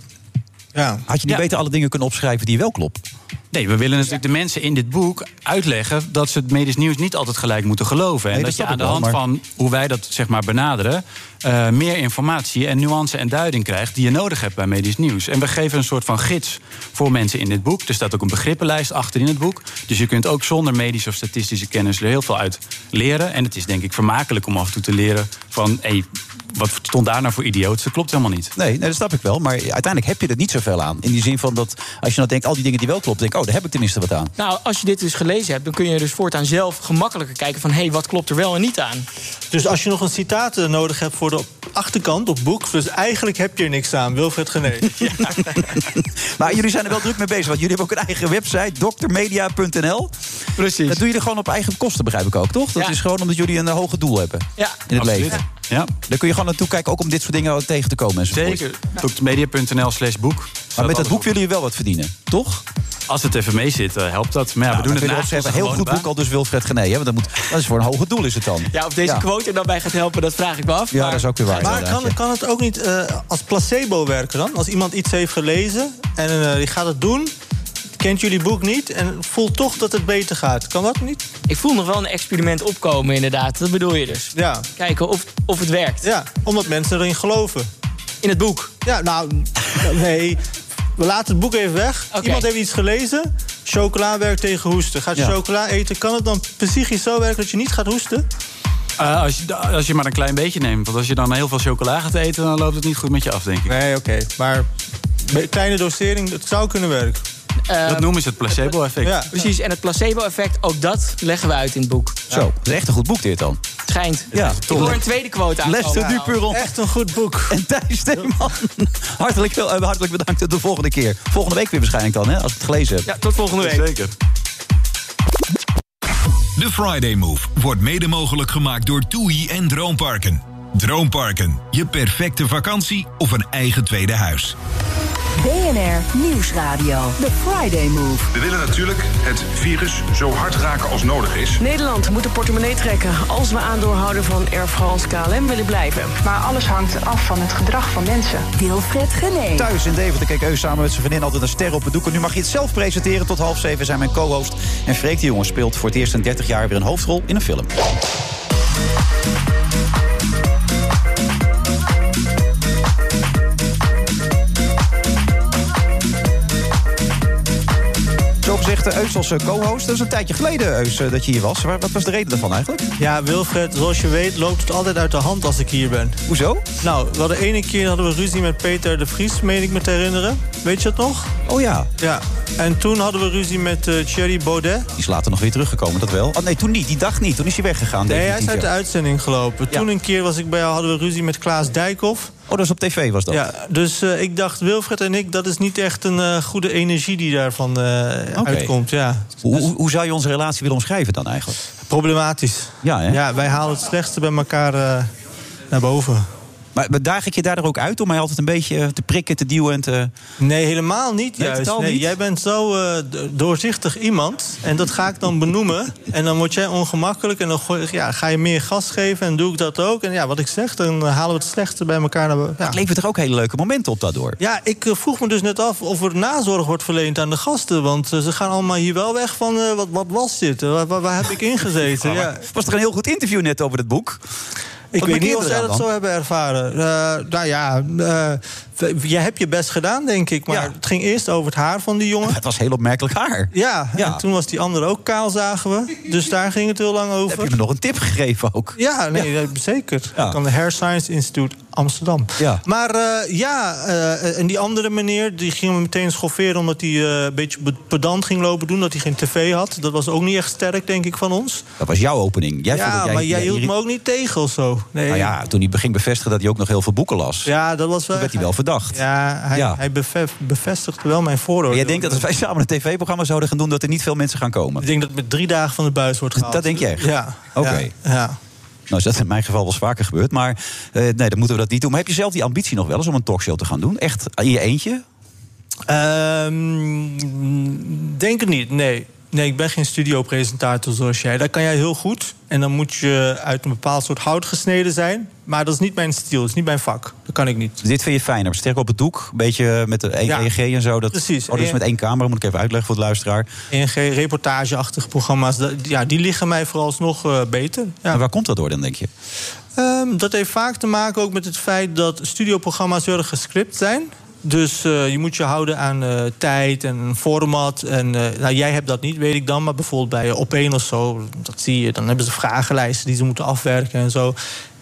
Speaker 7: Had je niet
Speaker 12: Ja.
Speaker 7: beter alle dingen kunnen opschrijven die wel kloppen?
Speaker 12: Nee, we willen natuurlijk de mensen in dit boek uitleggen dat ze het medisch nieuws niet altijd gelijk moeten geloven. En
Speaker 7: Nee,
Speaker 12: dat,
Speaker 7: dat
Speaker 12: je
Speaker 7: snap
Speaker 12: aan
Speaker 7: ik
Speaker 12: de
Speaker 7: wel,
Speaker 12: hand
Speaker 7: maar-
Speaker 12: van hoe wij dat zeg maar benaderen, eh, meer informatie en nuance en duiding krijgt die je nodig hebt bij medisch nieuws. En we geven een soort van gids voor mensen in dit boek. Er staat ook een begrippenlijst achter in het boek. Dus je kunt ook zonder medische of statistische kennis er heel veel uit leren. En het is denk ik vermakelijk om af en toe te leren van hé, wat stond daar nou voor idioot? Dat klopt helemaal niet.
Speaker 7: Nee, nee, dat snap ik wel. Maar uiteindelijk heb je er niet zoveel aan. In die zin van dat als je nou denkt, al die dingen die wel kloppen, denk ik, oh, daar heb ik tenminste wat aan.
Speaker 11: Nou, als je dit dus gelezen hebt, dan kun je dus voortaan zelf gemakkelijker kijken van hé, hey, wat klopt er wel en niet aan.
Speaker 8: Dus als je nog een citaat eh, nodig hebt voor de achterkant op boek... dus eigenlijk heb je er niks aan, Wilfred Genees.
Speaker 7: Maar jullie zijn er wel druk mee bezig, want jullie hebben ook een eigen website, doktermedia.nl.
Speaker 11: Precies.
Speaker 7: Dat doe je er gewoon op eigen kosten, begrijp ik ook, toch? Dat is gewoon omdat jullie een eh, hoger doel hebben
Speaker 12: Ja,
Speaker 7: in het
Speaker 12: absoluut.
Speaker 7: leven.
Speaker 12: Ja.
Speaker 7: Daar kun je gewoon naartoe kijken, ook om dit soort dingen tegen te komen. enzovoort.
Speaker 12: Zeker. Doktermedia.nl slash boek.
Speaker 7: Maar met dat boek willen jullie wel wat verdienen, toch?
Speaker 12: Als het even mee zit, eh, helpt dat. Maar ja, we
Speaker 7: Nou,
Speaker 12: doen
Speaker 7: dan
Speaker 12: het
Speaker 7: kun je
Speaker 12: naast
Speaker 7: opschrijven,
Speaker 12: onze
Speaker 7: Heel
Speaker 12: gewone
Speaker 7: goed
Speaker 12: baan.
Speaker 7: boek al dus Wilfred Gené. Hè? Want dat, moet, dat is voor een hoger doel is het dan.
Speaker 11: Ja, of deze quote er dan bij gaat helpen, dat vraag ik me af.
Speaker 7: Ja, dat is ook weer waar.
Speaker 8: Maar
Speaker 7: inderdaad, ja.
Speaker 8: kan, kan het ook niet eh, als placebo werken dan? Als iemand iets heeft gelezen en eh, die gaat het doen... kent jullie boek niet en voelt toch dat het beter gaat. Kan dat niet?
Speaker 11: Ik voel nog wel een experiment opkomen inderdaad, dat bedoel je dus.
Speaker 8: Ja.
Speaker 11: Kijken of, of het werkt.
Speaker 8: Ja, omdat mensen erin geloven.
Speaker 11: In het boek?
Speaker 8: Ja, nou, nee. We laten het boek even weg. Iemand heeft iets gelezen. Chocola werkt tegen hoesten. Gaat je
Speaker 12: Ja.
Speaker 8: chocola eten, kan het dan psychisch zo werken dat je niet gaat hoesten?
Speaker 12: Eh, als, je, als je maar een klein beetje neemt. Want als je dan heel veel chocola gaat eten, dan loopt het niet goed met je af, denk ik.
Speaker 8: Nee, oké. Maar een kleine dosering, het zou kunnen werken.
Speaker 12: dat noemen ze het placebo-effect.
Speaker 8: Ja.
Speaker 11: Eh, Precies, en het placebo-effect, ook dat leggen we uit in het boek.
Speaker 7: Zo, dat is echt een goed boek dit dan.
Speaker 11: Schijnt.
Speaker 7: Ja,
Speaker 11: ik hoor een tweede quote aan.
Speaker 7: Les de Dupuron.
Speaker 8: Echt een goed boek.
Speaker 7: En Thijs Steeman, hartelijk, wel- eh, hartelijk bedankt. Tot de volgende keer. Volgende week weer waarschijnlijk dan, hè, als ik het gelezen heb.
Speaker 11: Ja, tot volgende week.
Speaker 12: Zeker.
Speaker 2: De Friday Move wordt mede mogelijk gemaakt door TUI en Droomparken. Droomparken, je perfecte vakantie of een eigen tweede huis.
Speaker 13: BNR Nieuwsradio. The Friday Move.
Speaker 4: We willen natuurlijk het virus zo hard raken als nodig is.
Speaker 5: Nederland moet de portemonnee trekken als we aandeelhouder van Air France KLM willen blijven.
Speaker 6: Maar alles hangt af van het gedrag van mensen.
Speaker 13: Wilfred Gené.
Speaker 7: Thuis in Deventer keek Eus samen met zijn vriendin altijd een ster op het doek. En nu mag je het zelf presenteren. Tot half zeven zijn mijn co-host. En Freek de Jongen speelt voor het eerst in 30 jaar weer een hoofdrol in een film. Zo gezegd, eh, Eus als eh, co-host. Dat is een tijdje geleden, Eus, eh, dat je hier was. Waar- Wat was de reden daarvan eigenlijk?
Speaker 8: Ja, Wilfred, zoals je weet loopt het altijd uit de hand als ik hier ben.
Speaker 7: Hoezo?
Speaker 8: Nou, we hadden ene keer hadden we ruzie met Peter de Vries, meen ik me te herinneren. Weet je dat nog?
Speaker 7: Oh ja.
Speaker 8: Ja. En toen hadden we ruzie met eh, Thierry Baudet.
Speaker 7: Die is later nog weer teruggekomen, dat wel. Oh, nee, toen niet. Die dag niet. Toen is hij weggegaan.
Speaker 8: Nee, hij is
Speaker 7: definitief,
Speaker 8: uit de
Speaker 7: ja.
Speaker 8: uitzending gelopen. Toen een keer was ik bij jou, hadden we ruzie met Klaas Dijkhoff.
Speaker 7: Oh, dat is op tv was dat?
Speaker 8: Ja, dus eh, ik dacht, Wilfred en ik, dat is niet echt een eh, goede energie die daarvan eh,
Speaker 7: Oké.
Speaker 8: uitkomt. Ja.
Speaker 7: Hoe, hoe- hoe zou je onze relatie willen omschrijven dan eigenlijk?
Speaker 8: Problematisch.
Speaker 7: Ja, hè?
Speaker 8: Ja, wij halen het slechtste bij elkaar eh, naar boven.
Speaker 7: Maar daag ik je daardoor ook uit om mij altijd een beetje eh, te prikken, te duwen en te...
Speaker 8: Nee, helemaal niet
Speaker 7: Nee,
Speaker 8: juist.
Speaker 7: totaal
Speaker 8: Nee,
Speaker 7: niet.
Speaker 8: Jij bent zo eh, d- doorzichtig iemand. En dat ga ik dan benoemen. En dan word jij ongemakkelijk. En dan gooi- ja, ga je meer gas geven. En doe ik dat ook. En ja, wat ik zeg, dan eh, halen we het slechtste bij elkaar naar boven. Ja.
Speaker 7: Het levert er ook hele leuke momenten op daardoor.
Speaker 8: Ja, ik eh, vroeg me dus net af of er nazorg wordt verleend aan de gasten. Want eh, ze gaan allemaal hier wel weg van eh, wat, wat was dit? Eh, Waar, waar, waar heb ik ingezeten? Ja.
Speaker 7: Was er een heel goed interview net over het boek?
Speaker 8: Ik
Speaker 7: Wat
Speaker 8: weet niet
Speaker 7: markeerde
Speaker 8: of zij
Speaker 7: eraan
Speaker 8: dat
Speaker 7: dan?
Speaker 8: zo hebben ervaren. Eh, nou ja, eh, Jij hebt je best gedaan, denk ik. Maar het ging eerst over het haar van die jongen.
Speaker 7: Het was heel opmerkelijk haar.
Speaker 8: Ja, en toen was die andere ook kaal, zagen we. Dus daar ging het heel lang over. Heb
Speaker 7: je me nog een tip gegeven ook?
Speaker 8: Ja, nee, dat- zeker. Aan de Hair Science Institute Amsterdam.
Speaker 7: Ja.
Speaker 8: Maar eh, ja, eh, en die andere meneer, die ging me meteen schofferen... omdat hij eh, een beetje be- pedant ging lopen doen, dat hij geen tv had. Dat was ook niet echt sterk, denk ik, van ons.
Speaker 7: Dat was jouw opening. Jij vond
Speaker 8: ja,
Speaker 7: dat jij,
Speaker 8: maar jij hield
Speaker 7: irri-
Speaker 8: me ook niet tegen of zo. Nee.
Speaker 7: Nou ja, toen hij ging bevestigen dat hij ook nog heel veel boeken las.
Speaker 8: Ja, dat was wel...
Speaker 7: werd hij wel verdacht.
Speaker 8: Ja, hij,
Speaker 7: Ja.
Speaker 8: hij beve- bevestigde wel mijn vooroordeel.
Speaker 7: Jij denkt dat als wij samen een tv-programma zouden gaan doen... dat er niet veel mensen gaan komen?
Speaker 8: Ik denk dat met drie dagen van de buis wordt gehaald.
Speaker 7: Dat denk je echt?
Speaker 8: Ja.
Speaker 7: Oké.
Speaker 8: Ja. ja.
Speaker 7: Nou is dat in mijn geval wel eens vaker gebeurd. Maar eh, nee, dan moeten we dat niet doen. Maar heb je zelf die ambitie nog wel eens om een talkshow te gaan doen? Echt in je eentje?
Speaker 8: Ehm, denk het niet, nee. Nee, ik ben geen studiopresentator zoals jij. Dat kan jij heel goed. En dan moet je uit een bepaald soort hout gesneden zijn. Maar dat is niet mijn stijl, dat is niet mijn vak. Dat kan ik niet.
Speaker 7: Dit vind je fijner. Sterk op het doek, een beetje met de E- EEG en zo. Dat,
Speaker 8: precies.
Speaker 7: Oh, dat is met één camera, moet ik even uitleggen voor de luisteraar.
Speaker 8: ENG-reportageachtige programma's, dat- ja, die liggen mij vooralsnog eh, beter. Ja.
Speaker 7: En waar komt dat door dan, denk je?
Speaker 8: Ehm, dat heeft vaak te maken ook met het feit dat studioprogramma's heel erg gescript zijn. Dus eh, je moet je houden aan eh, tijd en format. En, eh, nou, jij hebt dat niet, weet ik dan. Maar bijvoorbeeld bij op één of zo, dat zie je. Dan hebben ze vragenlijsten die ze moeten afwerken en zo.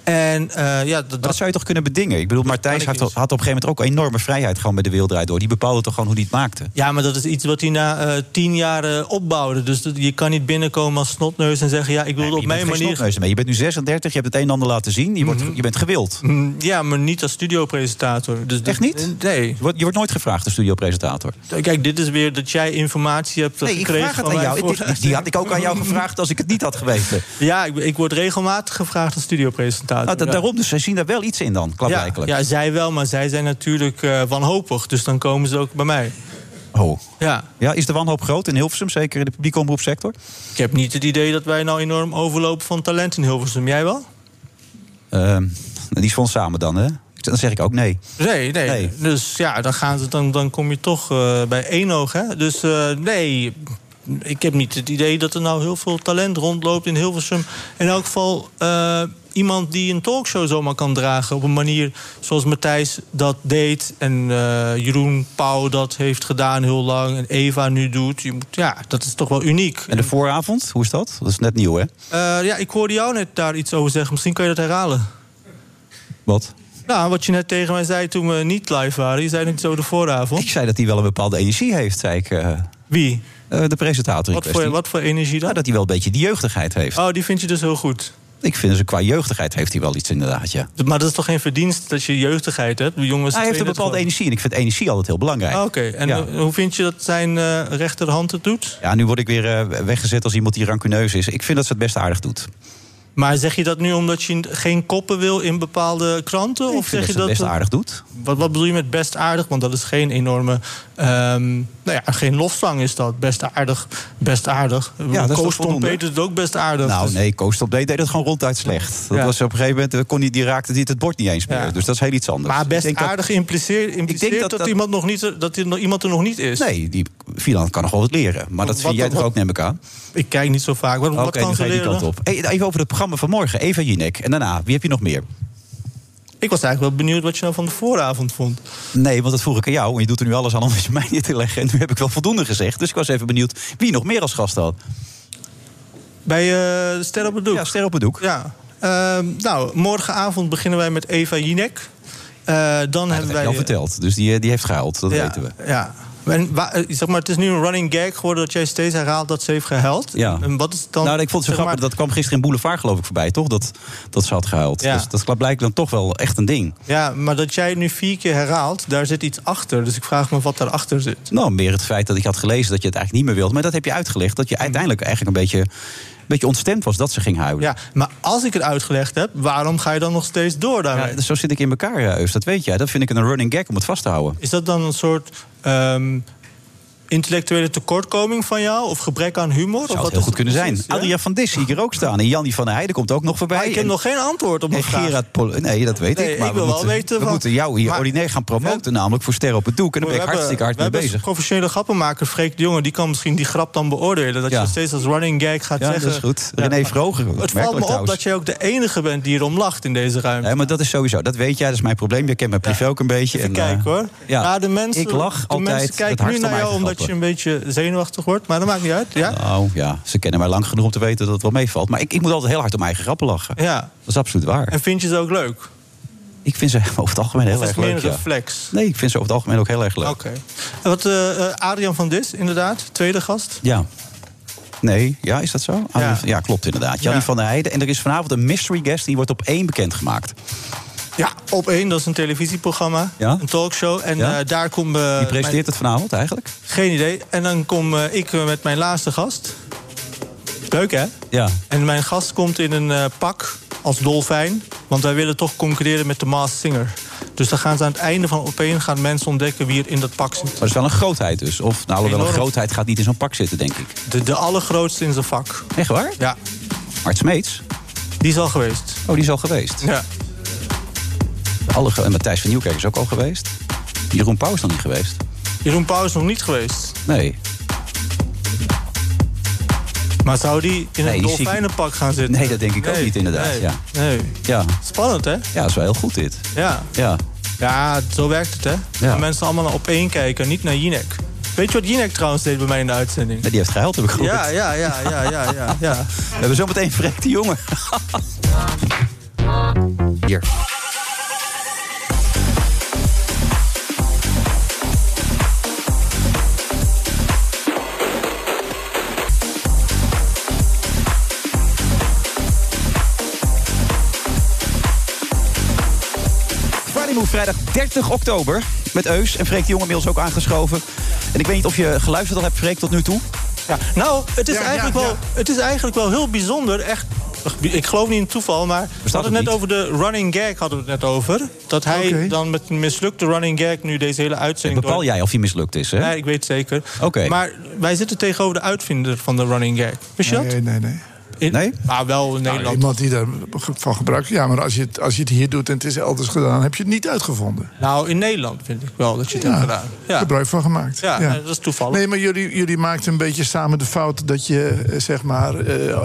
Speaker 8: En, eh, ja, dat,
Speaker 7: Maar dat zou je toch kunnen bedingen? Ik bedoel, Martijn had, had op een gegeven moment ook enorme vrijheid... gewoon bij de wereldrijd door. Die bepaalde toch gewoon hoe die het maakte?
Speaker 8: Ja, maar dat is iets wat hij na eh, tien jaar eh, opbouwde. Dus dat- je kan niet binnenkomen als snotneus en zeggen... ja, ik wil het op
Speaker 7: je bent
Speaker 8: mijn
Speaker 7: geen
Speaker 8: manier Mhm.
Speaker 7: snotneus ermee. Je bent nu 36, je hebt het een en ander laten zien. Je, wordt, je bent gewild.
Speaker 8: Mm, Ja, maar niet als studiopresentator. Dus Echt niet? Nee.
Speaker 7: Je wordt, je wordt nooit gevraagd, de studiopresentator.
Speaker 8: Kijk, dit is weer dat jij informatie hebt
Speaker 7: Nee, ik
Speaker 8: gekregen.
Speaker 7: vraag het
Speaker 8: van
Speaker 7: aan
Speaker 8: mij
Speaker 7: jou.
Speaker 8: voor-
Speaker 7: Die- die had ik ook aan jou gevraagd als ik het niet had geweten.
Speaker 8: Ja, ik, ik word regelmatig gevraagd als studiopresentator.
Speaker 7: Nou, da-
Speaker 8: ja.
Speaker 7: Daarom, dus zij zien daar wel iets in dan,
Speaker 8: ja,
Speaker 7: klaarblijkelijk.
Speaker 8: ja, zij wel, maar zij zijn natuurlijk eh, wanhopig. Dus dan komen ze ook bij mij.
Speaker 7: Oh.
Speaker 8: Ja.
Speaker 7: ja, is de wanhoop groot in Hilversum, zeker in de publieke omroepsector?
Speaker 8: Ik heb niet het idee dat wij nou enorm overlopen van talent in Hilversum. Jij wel?
Speaker 7: Ehm, die is van ons samen dan, hè? Dan zeg ik ook nee.
Speaker 8: Nee, nee. Dus ja, dan, gaan ze, dan, dan kom je toch eh, bij één oog. Hè? Dus eh, nee, ik heb niet het idee dat er nou heel veel talent rondloopt in Hilversum. In elk geval eh, iemand die een talkshow zomaar kan dragen. Op een manier zoals Matthijs dat deed. En eh, Jeroen Pauw dat heeft gedaan heel lang. En Eva nu doet. Je moet, ja, dat is toch wel uniek.
Speaker 7: En de vooravond, hoe is dat? Dat is net nieuw, hè?
Speaker 8: Eh, ja, ik hoorde jou net daar iets over zeggen. Misschien kan je dat herhalen.
Speaker 7: Wat?
Speaker 8: Nou, wat je net tegen mij zei toen we niet live waren. Je zei het zo de vooravond.
Speaker 7: Ik zei dat hij wel een bepaalde energie heeft, zei ik. eh,
Speaker 8: Wie?
Speaker 7: de presentator. in
Speaker 8: Wat voor,
Speaker 7: kwestie.
Speaker 8: wat voor energie dan?
Speaker 7: Nou, dat hij wel een beetje die jeugdigheid heeft.
Speaker 8: Oh, die vind je dus heel goed.
Speaker 7: Ik vind ze qua jeugdigheid heeft hij wel iets inderdaad, ja.
Speaker 8: Maar dat is toch geen verdienst dat je jeugdigheid hebt? De Jongens,
Speaker 7: Hij heeft een
Speaker 8: 32
Speaker 7: bepaalde energie en ik vind energie altijd heel belangrijk.
Speaker 8: Ah, Oké, en
Speaker 7: Ja.
Speaker 8: eh, hoe vind je dat zijn eh, rechterhand het doet?
Speaker 7: Ja, nu word ik weer eh, weggezet als iemand die rancuneus is. Ik vind dat ze het best aardig doet.
Speaker 8: Maar zeg je dat nu omdat je geen koppen wil in bepaalde kranten? of
Speaker 7: vind
Speaker 8: zeg je
Speaker 7: dat ze het best aardig doet.
Speaker 8: Wat, wat bedoel je met best aardig? Want dat is geen enorme. ehm, nou ja, geen lofzang is dat. Best aardig. Best aardig.
Speaker 7: Ja, dat is toch
Speaker 8: Koos
Speaker 7: voldoende?
Speaker 8: Peter het ook best aardig.
Speaker 7: Nou
Speaker 8: Dus-
Speaker 7: nee, Koos Top deed, deed het gewoon ronduit slecht. Dat
Speaker 8: Ja.
Speaker 7: was op een gegeven moment, eh, kon die, die raakte dit het bord niet eens meer.
Speaker 8: Ja.
Speaker 7: Dus dat is heel iets anders.
Speaker 8: Maar best
Speaker 7: Ik denk dat-
Speaker 8: aardig impliceert, impliceert
Speaker 7: dat
Speaker 8: dat,
Speaker 7: dat-
Speaker 8: iemand nog niet, er- dat er nog- iemand er nog niet is.
Speaker 7: Nee, die Filan kan nog wel wat leren. Maar dat
Speaker 8: Wat-
Speaker 7: vind jij
Speaker 8: wat-
Speaker 7: toch ook, neem ik aan?
Speaker 8: Ik kijk niet zo vaak. Wat,
Speaker 7: Oké,
Speaker 8: wat kan
Speaker 7: dan
Speaker 8: ze
Speaker 7: ga je die
Speaker 8: leren?
Speaker 7: kant op. Hey, even over het programma van morgen. Eva Jinek. En daarna, wie heb je nog meer?
Speaker 8: Ik was eigenlijk wel benieuwd wat je nou van de vooravond vond.
Speaker 7: Nee, want dat vroeg ik aan jou. En je doet er nu alles aan om het je mij neer te leggen. En nu heb ik wel voldoende gezegd. Dus ik was even benieuwd wie nog meer als gast had.
Speaker 8: Bij eh, Ster op het Doek? Ja,
Speaker 7: Ster op het Doek.
Speaker 8: Ja. Ehm, nou, morgenavond beginnen wij met Eva Jinek. Eh, dan hebben
Speaker 7: Dat
Speaker 8: wij...
Speaker 7: heb je al verteld. Dus die, eh, die heeft gehuild. Dat
Speaker 8: Ja,
Speaker 7: weten we.
Speaker 8: Ja. En, wa- eh, zeg maar, het is nu een running gag geworden dat jij steeds herhaalt dat ze heeft gehuild.
Speaker 7: Ja.
Speaker 8: En wat is dan...
Speaker 7: nou, ik vond het zo
Speaker 8: zeg maar-
Speaker 7: grappig. Dat kwam gisteren in Boulevard, geloof ik, voorbij, toch? Dat, dat ze had gehuild.
Speaker 8: Ja.
Speaker 7: Dus dat blijkt dan toch wel echt een ding.
Speaker 8: Ja, maar dat jij het nu vier keer herhaalt, daar zit iets achter. Dus ik vraag me wat daarachter zit.
Speaker 7: Nou, meer het feit dat ik had gelezen dat je het eigenlijk niet meer wilde. Maar dat heb je uitgelegd. Dat je uiteindelijk eigenlijk een beetje, een beetje ontstemd was dat ze ging huilen.
Speaker 8: Ja, maar als ik het uitgelegd heb, waarom ga je dan nog steeds door daarmee?
Speaker 7: Dus zo zit ik in elkaar, eh, Eus. Dat weet jij. Dat vind ik een running gag om het vast te houden.
Speaker 8: Is dat dan een soort ehm, intellectuele tekortkoming van jou of gebrek aan humor? of
Speaker 7: Zou
Speaker 8: wat
Speaker 7: het heel
Speaker 8: is
Speaker 7: goed
Speaker 8: het
Speaker 7: kunnen zijn.
Speaker 8: precies,
Speaker 7: Adriaan van Dis zie ik er ook staan. En Jannie van der Heijden komt ook nog voorbij.
Speaker 8: Ah, ik heb nog geen antwoord op
Speaker 7: En
Speaker 8: mijn vraag.
Speaker 7: Gerard Pol- Nee, dat weet
Speaker 8: Nee,
Speaker 7: ik. Maar
Speaker 8: ik
Speaker 7: we,
Speaker 8: wil wel
Speaker 7: moeten,
Speaker 8: weten
Speaker 7: we
Speaker 8: van-
Speaker 7: moeten jou hier ordinair gaan promoten, namelijk voor Ster op het Doek. En daar ben ik
Speaker 8: We
Speaker 7: hartstikke hard
Speaker 8: we
Speaker 7: mee
Speaker 8: hebben
Speaker 7: bezig.
Speaker 8: een professionele grappenmaker, Freek de Jonge, die kan misschien die grap dan beoordelen. Dat je het steeds als running gag gaat
Speaker 7: Ja, dat
Speaker 8: zeggen.
Speaker 7: is goed. René Vroger,
Speaker 8: Het
Speaker 7: merkelijk
Speaker 8: valt me op
Speaker 7: trouwens.
Speaker 8: dat jij ook de enige bent die erom lacht in deze ruimte.
Speaker 7: Nee, maar dat is sowieso. Dat weet jij, dat is mijn probleem. Je kent mijn privé ook een beetje.
Speaker 8: Even
Speaker 7: en, eh,
Speaker 8: kijken hoor.
Speaker 7: Ja,
Speaker 8: Nou, de mensen,
Speaker 7: ik lach
Speaker 8: de
Speaker 7: altijd
Speaker 8: Mensen
Speaker 7: het
Speaker 8: kijken nu
Speaker 7: hardst
Speaker 8: naar jou omdat je een beetje zenuwachtig wordt, maar dat maakt niet uit. Ja?
Speaker 7: Oh ja, ze kennen mij lang genoeg om te weten dat het wel meevalt. Maar ik, ik moet altijd heel hard om mijn eigen grappen lachen.
Speaker 8: Ja.
Speaker 7: Dat is absoluut waar.
Speaker 8: En vind je ze ook leuk?
Speaker 7: Ik vind ze over het algemeen heel
Speaker 8: Of is
Speaker 7: erg
Speaker 8: het meer
Speaker 7: leuk.
Speaker 8: een
Speaker 7: ja.
Speaker 8: reflex?
Speaker 7: Nee, ik vind ze over het algemeen ook heel erg leuk.
Speaker 8: Oké. En Wat eh, eh, Adrian van Dis, inderdaad, tweede gast.
Speaker 7: Ja. Nee, ja, is dat zo? Ah, Ja, klopt inderdaad. Jannie
Speaker 8: Ja.
Speaker 7: van der Heijden. En er is vanavond een mystery guest, die wordt op één bekendgemaakt.
Speaker 8: Ja, op één, dat is een televisieprogramma,
Speaker 7: Ja?
Speaker 8: een talkshow. En
Speaker 7: Ja?
Speaker 8: eh, daar kom... eh,
Speaker 7: Wie presenteert
Speaker 8: mijn-
Speaker 7: het vanavond eigenlijk?
Speaker 8: Geen idee. En dan kom eh, ik eh, met mijn laatste gast. Leuk, hè?
Speaker 7: Ja.
Speaker 8: En mijn gast komt in een eh, pak als dolfijn. Want wij willen toch concurreren met de Maas Singer. Dus dan gaan ze aan het einde van opeen gaan mensen ontdekken wie er in dat pak zit.
Speaker 7: Maar dat is wel een grootheid dus. Of nou, alhoewel een
Speaker 8: Enorm.
Speaker 7: grootheid gaat niet in zo'n pak zitten, denk ik.
Speaker 8: De, de allergrootste in zijn vak.
Speaker 7: Echt waar?
Speaker 8: Ja.
Speaker 7: Mart Smeets?
Speaker 8: Die is al geweest.
Speaker 7: Oh, die is al geweest?
Speaker 8: Ja.
Speaker 7: Alle, en Matthijs van Nieuwkerk is ook al geweest. Jeroen Pauw is nog niet geweest.
Speaker 8: Jeroen Pauw is nog niet geweest.
Speaker 7: Nee.
Speaker 8: Maar zou die in
Speaker 7: Nee,
Speaker 8: een
Speaker 7: die zie ik-
Speaker 8: dolfijnenpak gaan zitten?
Speaker 7: Nee, dat denk ik ook niet, inderdaad,
Speaker 8: Nee.
Speaker 7: ja.
Speaker 8: nee.
Speaker 7: Ja.
Speaker 8: Spannend, hè?
Speaker 7: ja, dat is wel heel goed dit.
Speaker 8: Ja.
Speaker 7: Ja.
Speaker 8: Ja, zo werkt het, hè?
Speaker 7: Ja.
Speaker 8: Dat mensen allemaal naar opeen kijken, niet naar Jinek. Weet je wat Jinek trouwens deed bij mij in de uitzending?
Speaker 7: Die heeft gehuild, heb ik gehoord.
Speaker 8: Ja, ja, ja, ja, ja, ja, ja.
Speaker 7: We hebben zometeen Freek de Jongen. Hier. Friday Move vrijdag 30 oktober. Met Eus en Freek de Jonge inmiddels ook aangeschoven. En ik weet niet of je geluisterd al hebt, Freek, tot nu toe.
Speaker 8: Ja, nou, het is,
Speaker 7: Ja, ja,
Speaker 8: eigenlijk
Speaker 7: ja.
Speaker 8: Wel, het is eigenlijk wel heel bijzonder. Echt, ik geloof niet in toeval, maar we hadden het net over de running gag. Hadden we het net over. Dat hij dan met een mislukte running gag nu deze hele uitzending.
Speaker 7: Bepaal
Speaker 8: door-
Speaker 7: jij of hij mislukt is, hè?
Speaker 8: Nee, ik weet het zeker.
Speaker 7: Oké.
Speaker 8: Maar wij zitten tegenover de uitvinder van de running gag. Wist je dat?
Speaker 14: Nee, nee, nee.
Speaker 7: nee?
Speaker 8: Maar wel in Nederland.
Speaker 14: Nou, iemand die daarvan gebruikt. Ja, maar als je, het, als je het hier doet en het is elders gedaan, heb je het niet uitgevonden.
Speaker 8: Nou, in Nederland vind ik wel dat je het
Speaker 14: Ja,
Speaker 8: hebt gedaan. Ja.
Speaker 14: Gebruik van gemaakt.
Speaker 8: Ja, eh, dat is toevallig.
Speaker 14: Nee, maar jullie, jullie maakten een beetje samen de fout dat je eh, zeg maar eh, eh,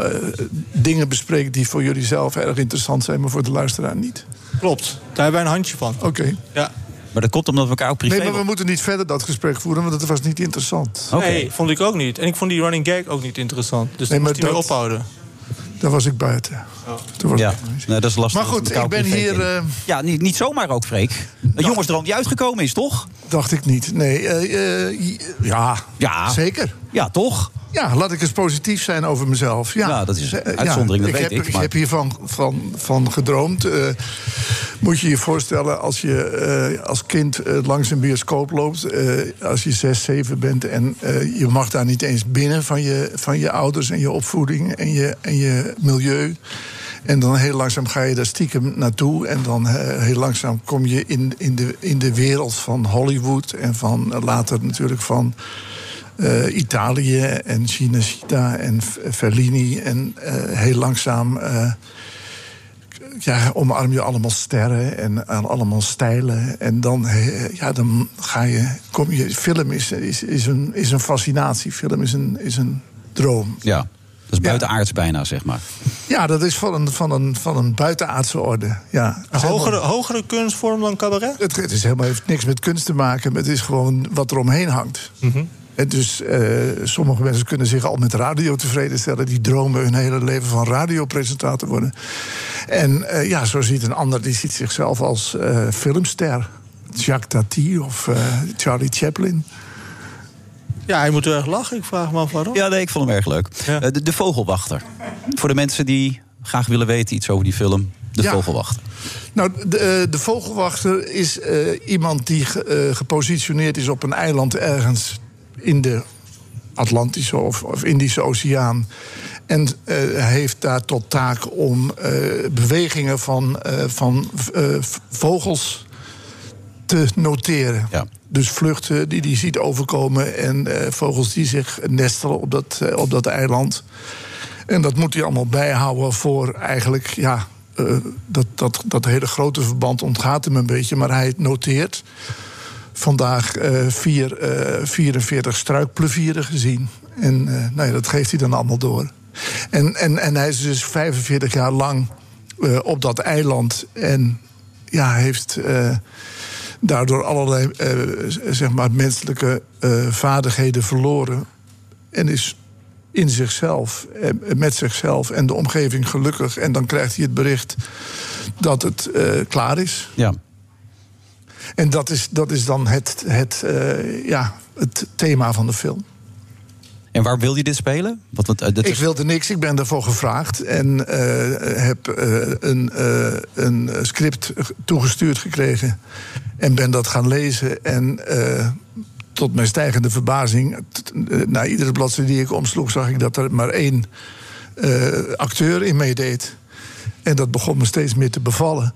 Speaker 14: dingen bespreekt die voor jullie zelf erg interessant zijn, maar voor de luisteraar niet.
Speaker 8: Klopt. Daar hebben wij een handje van.
Speaker 14: Oké.
Speaker 8: Ja.
Speaker 7: Maar dat komt omdat we elkaar ook privé...
Speaker 14: Nee, maar we moeten niet verder dat gesprek voeren, want het was niet interessant.
Speaker 8: Nee, vond ik ook niet. En ik vond die running gag ook niet interessant. Dus
Speaker 14: Nee,
Speaker 8: daar
Speaker 14: maar
Speaker 8: moest hij mee
Speaker 14: dat-
Speaker 8: ophouden.
Speaker 14: Daar was ik buiten.
Speaker 7: Ja, nee, dat is lastig.
Speaker 14: Maar goed,
Speaker 7: Dat elkaar
Speaker 14: ik ben
Speaker 7: privé
Speaker 14: hier, eh,
Speaker 7: kennen. Ja, niet, niet zomaar ook, Freek. Een jongensdroom die uitgekomen is, toch?
Speaker 14: Dacht ik niet. Nee, eh, eh, j- ja,
Speaker 7: Ja.
Speaker 14: zeker.
Speaker 7: Ja, toch?
Speaker 14: Ja, laat ik eens positief zijn over mezelf. Ja,
Speaker 7: Ja, dat is een
Speaker 14: Eh, ja.
Speaker 7: uitzondering, dat
Speaker 14: ik
Speaker 7: weet
Speaker 14: heb,
Speaker 7: ik, maar-
Speaker 14: heb hiervan van, van gedroomd. Eh, moet je je voorstellen als je eh, als kind eh, langs een bioscoop loopt... eh, als je zes, zeven bent en eh, je mag daar niet eens binnen... van je, van je ouders en je opvoeding en je, en je milieu... En dan heel langzaam ga je daar stiekem naartoe. En dan eh, heel langzaam kom je in, in, de, in de wereld van Hollywood. En van eh, later natuurlijk van eh, Italië en Cinecittà en F- Fellini. En eh, heel langzaam eh, k- ja, omarm je allemaal sterren en aan allemaal stijlen. En dan, eh, ja, dan ga je, kom je... Film is, is, is, een, is een fascinatie. Film is een, is een droom.
Speaker 7: Ja, dat is buitenaards bijna, zeg maar.
Speaker 14: Ja, dat is van een, van een, van een buitenaardse orde. Ja.
Speaker 8: Een hogere, hogere kunstvorm dan cabaret?
Speaker 14: Het, het is helemaal, heeft niks met kunst te maken. maar Het is gewoon wat er omheen hangt. En dus eh, sommige mensen kunnen zich al met radio tevreden stellen. Die dromen hun hele leven van radiopresentator worden. En eh, ja, zo ziet een ander, die ziet zichzelf als eh, filmster. Jacques Tati of eh, Charlie Chaplin.
Speaker 8: Ja, hij moet erg lachen. Ik vraag me af waarom.
Speaker 7: Ja, nee, ik vond hem erg leuk. Eh, De, de Vogelwachter. Voor de mensen die graag willen weten iets over die film. De
Speaker 14: Ja.
Speaker 7: Vogelwachter.
Speaker 14: Nou, de, eh, de vogelwachter is eh, iemand die ge- eh, gepositioneerd is op een eiland ergens in de Atlantische of, of Indische Oceaan. En eh, hij heeft daar tot taak om eh, bewegingen van, eh, van eh, v- vogels te noteren. Dus vluchten die hij ziet overkomen en eh, vogels die zich nestelen op dat, eh, op dat eiland. En dat moet hij allemaal bijhouden voor eigenlijk, ja, eh, dat, dat, dat hele grote verband ontgaat hem een beetje, maar hij noteert. Vandaag eh, vier, eh, 44 struikplevieren gezien. En eh, nou ja, dat geeft hij dan allemaal door. En, en, en hij is dus 45 jaar lang eh, op dat eiland. En ja, heeft eh, daardoor allerlei eh, z- zeg maar menselijke eh, vaardigheden verloren. En is in zichzelf, eh, met zichzelf en de omgeving gelukkig. En dan krijgt hij het bericht dat het eh, klaar is.
Speaker 7: Ja.
Speaker 14: En dat is, dat is dan het, het, eh, ja, het thema van de film.
Speaker 7: En waar wil je dit spelen? Wat, wat, eh, dit
Speaker 14: ik
Speaker 7: is-
Speaker 14: wilde niks, ik ben daarvoor gevraagd. En eh, heb eh, een, eh, een script toegestuurd gekregen. En ben dat gaan lezen. En eh, tot mijn stijgende verbazing, t- eh, na iedere bladzijde die ik omsloeg, zag ik dat er maar één eh, acteur in meedeed. En dat begon me steeds meer te bevallen.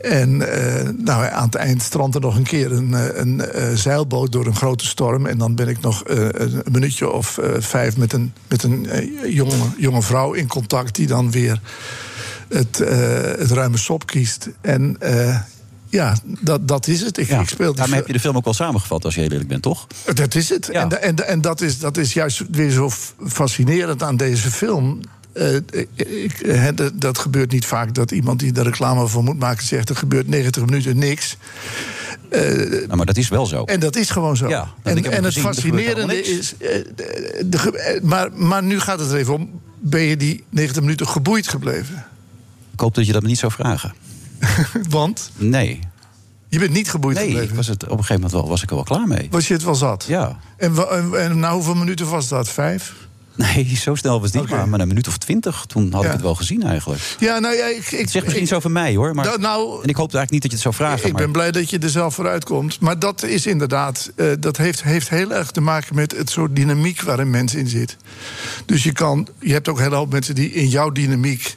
Speaker 14: En eh, nou, aan het eind strandde nog een keer een, eh, een eh, zeilboot door een grote storm. En dan ben ik nog eh, een minuutje of eh, vijf met een, met een eh, jonge, jonge vrouw in contact. die dan weer het, eh, het ruime sop kiest. En eh, ja, dat, dat is het. Ik, ik speel die
Speaker 7: Daarmee
Speaker 14: fil-
Speaker 7: heb je de film ook wel samengevat, als je heel eerlijk bent, toch?
Speaker 14: dat is het. En, da- en, da- en dat, is, dat is juist weer zo f- fascinerend aan deze film. Eh, ik, eh, hè, dat- dat gebeurt niet vaak dat iemand die er reclame voor moet maken zegt: er gebeurt 90 minuten niks.
Speaker 7: nou, maar dat is wel zo.
Speaker 14: Eh, En dat is gewoon zo.
Speaker 7: Ja, want ik
Speaker 14: en
Speaker 7: heb
Speaker 14: en
Speaker 7: hem
Speaker 14: het
Speaker 7: gezien, er gebeurt helemaal
Speaker 14: fascinerende
Speaker 7: niks.
Speaker 14: is. eh, de- de ge- eh, maar, maar nu gaat het er even om: ben je die 90 minuten geboeid gebleven?
Speaker 7: Ik hoop dat je dat me niet zou vragen.
Speaker 14: Want?
Speaker 7: Nee.
Speaker 14: Je bent niet geboeid
Speaker 7: nee,
Speaker 14: gebleven?
Speaker 7: ik was het op een gegeven moment wel, was ik er wel klaar mee.
Speaker 14: Was je het wel zat?
Speaker 7: Ja.
Speaker 14: En, wa- en, en na hoeveel minuten was dat? Vijf?
Speaker 7: Nee, zo snel was die maar, maar een minuut of twintig. Toen had ik het wel gezien eigenlijk.
Speaker 14: Ja, nou ja, ik. ik
Speaker 7: Het zegt misschien zo van mij hoor. Maar,
Speaker 14: Nou, nou-
Speaker 7: en ik hoopte eigenlijk niet dat je het zou vragen.
Speaker 14: Ik
Speaker 7: maar,
Speaker 14: ben blij dat je er zelf vooruit komt. Maar dat is inderdaad, eh, dat heeft, heeft heel erg te maken met het soort dynamiek waar een mens in zit. Dus je kan, je hebt ook een hele hoop mensen die in jouw dynamiek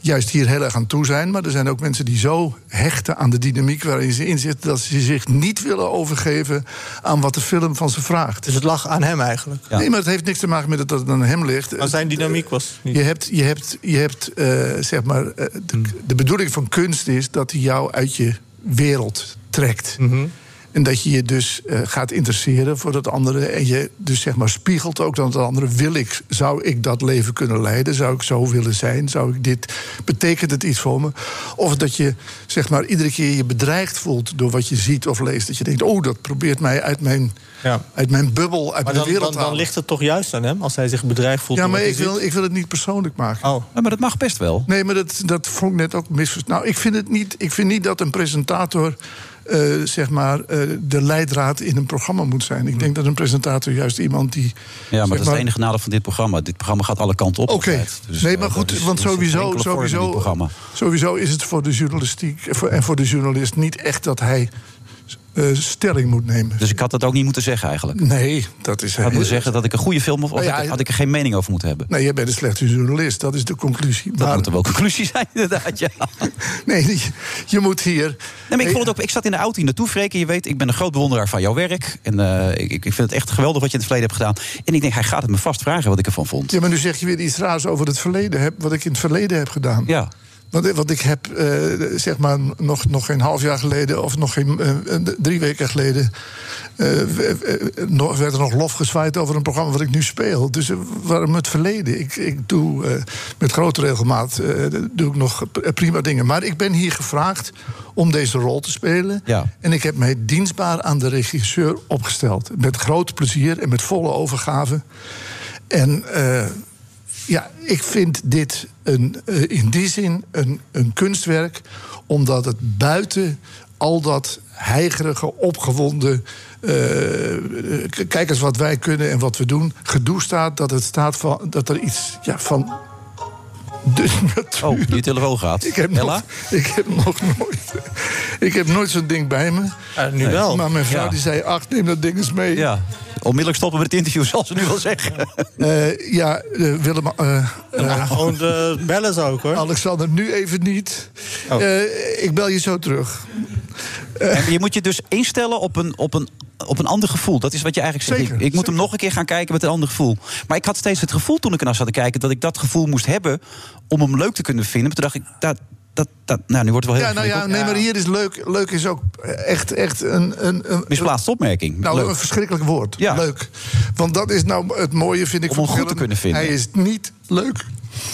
Speaker 14: juist hier heel erg aan toe zijn. Maar er zijn ook mensen die zo hechten aan de dynamiek waarin ze in zitten, dat ze zich niet willen overgeven aan wat de film van ze vraagt.
Speaker 8: Dus het lag aan hem eigenlijk.
Speaker 14: Nee, maar het heeft niks te maken met dat het aan hem ligt.
Speaker 8: Maar zijn dynamiek was niet... Hmm.
Speaker 14: Je hebt, je hebt, je hebt eh, zeg maar, eh, de, de bedoeling van kunst is dat hij jou uit je wereld trekt.
Speaker 8: Mhm.
Speaker 14: En dat je je dus eh, gaat interesseren voor dat andere. En je dus zeg maar spiegelt ook dan het andere. Wil ik, zou ik dat leven kunnen leiden? Zou ik zo willen zijn? Zou ik dit, betekent het iets voor me? Of dat je zeg maar iedere keer je bedreigd voelt door wat je ziet of leest. Dat je denkt, oh dat probeert mij uit mijn, uit mijn bubbel, uit
Speaker 8: Maar
Speaker 14: mijn
Speaker 8: dan,
Speaker 14: wereld
Speaker 8: dan,
Speaker 14: te
Speaker 8: dan
Speaker 14: halen.
Speaker 8: ligt het toch juist aan hem als hij zich bedreigd voelt.
Speaker 14: Ja,
Speaker 8: door
Speaker 14: maar
Speaker 8: wat
Speaker 14: ik
Speaker 8: hij
Speaker 14: wil,
Speaker 8: ziet?
Speaker 14: ik wil het niet persoonlijk maken.
Speaker 8: Oh.
Speaker 7: maar dat mag best wel.
Speaker 14: Nee, maar dat, dat vond ik net ook misverstand. Nou, ik vind, het niet, ik vind niet dat een presentator eh, zeg maar, eh, de leidraad in een programma moet zijn. Ik denk dat een presentator juist iemand die.
Speaker 7: ja, maar
Speaker 14: zeg
Speaker 7: dat is het enige nadeel van dit programma. Dit programma gaat alle kanten op.
Speaker 14: Oké,
Speaker 7: altijd. Dus,
Speaker 14: nee,
Speaker 7: eh,
Speaker 14: maar
Speaker 7: dat
Speaker 14: goed,
Speaker 7: is-
Speaker 14: want
Speaker 7: er is geen
Speaker 14: sowieso,
Speaker 7: enkele vorm in dit
Speaker 14: sowieso,
Speaker 7: programma.
Speaker 14: sowieso is het voor de journalistiek eh, voor- en voor de journalist niet echt dat hij eh, stelling moet nemen.
Speaker 7: Dus ik had dat ook niet moeten zeggen eigenlijk.
Speaker 14: Nee, dat is...
Speaker 7: Ik had moeten zeggen dat ik een goede film... of, of
Speaker 14: Nou ja,
Speaker 7: had ik- had ik er geen mening over moeten hebben.
Speaker 14: Nee, Nou, jij bent een slechte journalist, dat is de conclusie.
Speaker 7: Dat moet er wel conclusie zijn, inderdaad. Ja.
Speaker 14: Nee, je, je moet hier. Nee,
Speaker 7: maar ik, vond het ook, ik zat in de auto hier naartoe, Freek. En je weet, ik ben een groot bewonderaar van jouw werk. En eh, ik, ik vind het echt geweldig wat je in het verleden hebt gedaan. En ik denk, hij gaat het me vast vragen wat ik ervan vond.
Speaker 14: Ja, maar nu zeg je weer iets raars over het verleden, heb, wat ik in het verleden heb gedaan.
Speaker 7: Ja.
Speaker 14: Want, want ik heb, eh, zeg maar, nog, nog geen half jaar geleden... of nog geen eh, eh, drie weken geleden... eh, w- eh, nog- werd er nog lof gezwaaid over een programma wat ik nu speel. Dus eh, waarom het verleden? Ik, ik doe eh, met grote regelmaat eh, doe ik nog eh, prima dingen. Maar ik ben hier gevraagd om deze rol te spelen.
Speaker 7: Ja.
Speaker 14: En ik heb mij dienstbaar aan de regisseur opgesteld. Met groot plezier en met volle overgave. En eh, ja, ik vind dit een, eh, in die zin een, een kunstwerk, omdat het buiten al dat heigerige, opgewonden. eh, k- kijk eens wat wij kunnen en wat we doen. Gedoe staat dat het staat van dat er iets ja, van.
Speaker 7: Oh, je telefoon gaat.
Speaker 14: Ik heb, nog,
Speaker 7: Ella?
Speaker 14: ik heb nog nooit. Ik heb nooit zo'n ding bij me.
Speaker 7: Eh, nu Nee. wel.
Speaker 14: Maar mijn vrouw
Speaker 7: Ja.
Speaker 14: die zei: Ach, neem dat ding eens mee.
Speaker 7: Ja. Onmiddellijk stoppen met het interview, zal ze nu wel zeggen.
Speaker 14: Eh, ja, eh, Willem. eh, eh,
Speaker 8: Gewoon de bellen zou ik hoor.
Speaker 14: Alexander, nu even niet. Eh, ik bel je zo terug.
Speaker 7: Oh. En je moet je dus instellen op een, op, een, op een ander gevoel. Dat is wat je eigenlijk zegt. ik ik moet hem nog een keer gaan kijken met een ander gevoel. Maar ik had steeds het gevoel toen ik ernaar zat te kijken... dat ik dat gevoel moest hebben om hem leuk te kunnen vinden. Maar toen dacht ik, dat, dat, dat, nou, nu wordt het wel
Speaker 14: Ja,
Speaker 7: heel
Speaker 14: nou ja,
Speaker 7: ingewikkeld.
Speaker 14: nee, maar hier is leuk. Leuk is ook echt, echt een. een, een
Speaker 7: Misplaatste opmerking.
Speaker 14: Nou,
Speaker 7: Leuk.
Speaker 14: een verschrikkelijk woord. Leuk. Want dat is nou het mooie, vind ik.
Speaker 7: Om
Speaker 14: van
Speaker 7: hem goed
Speaker 14: Willem.
Speaker 7: te kunnen vinden.
Speaker 14: Hij is niet leuk.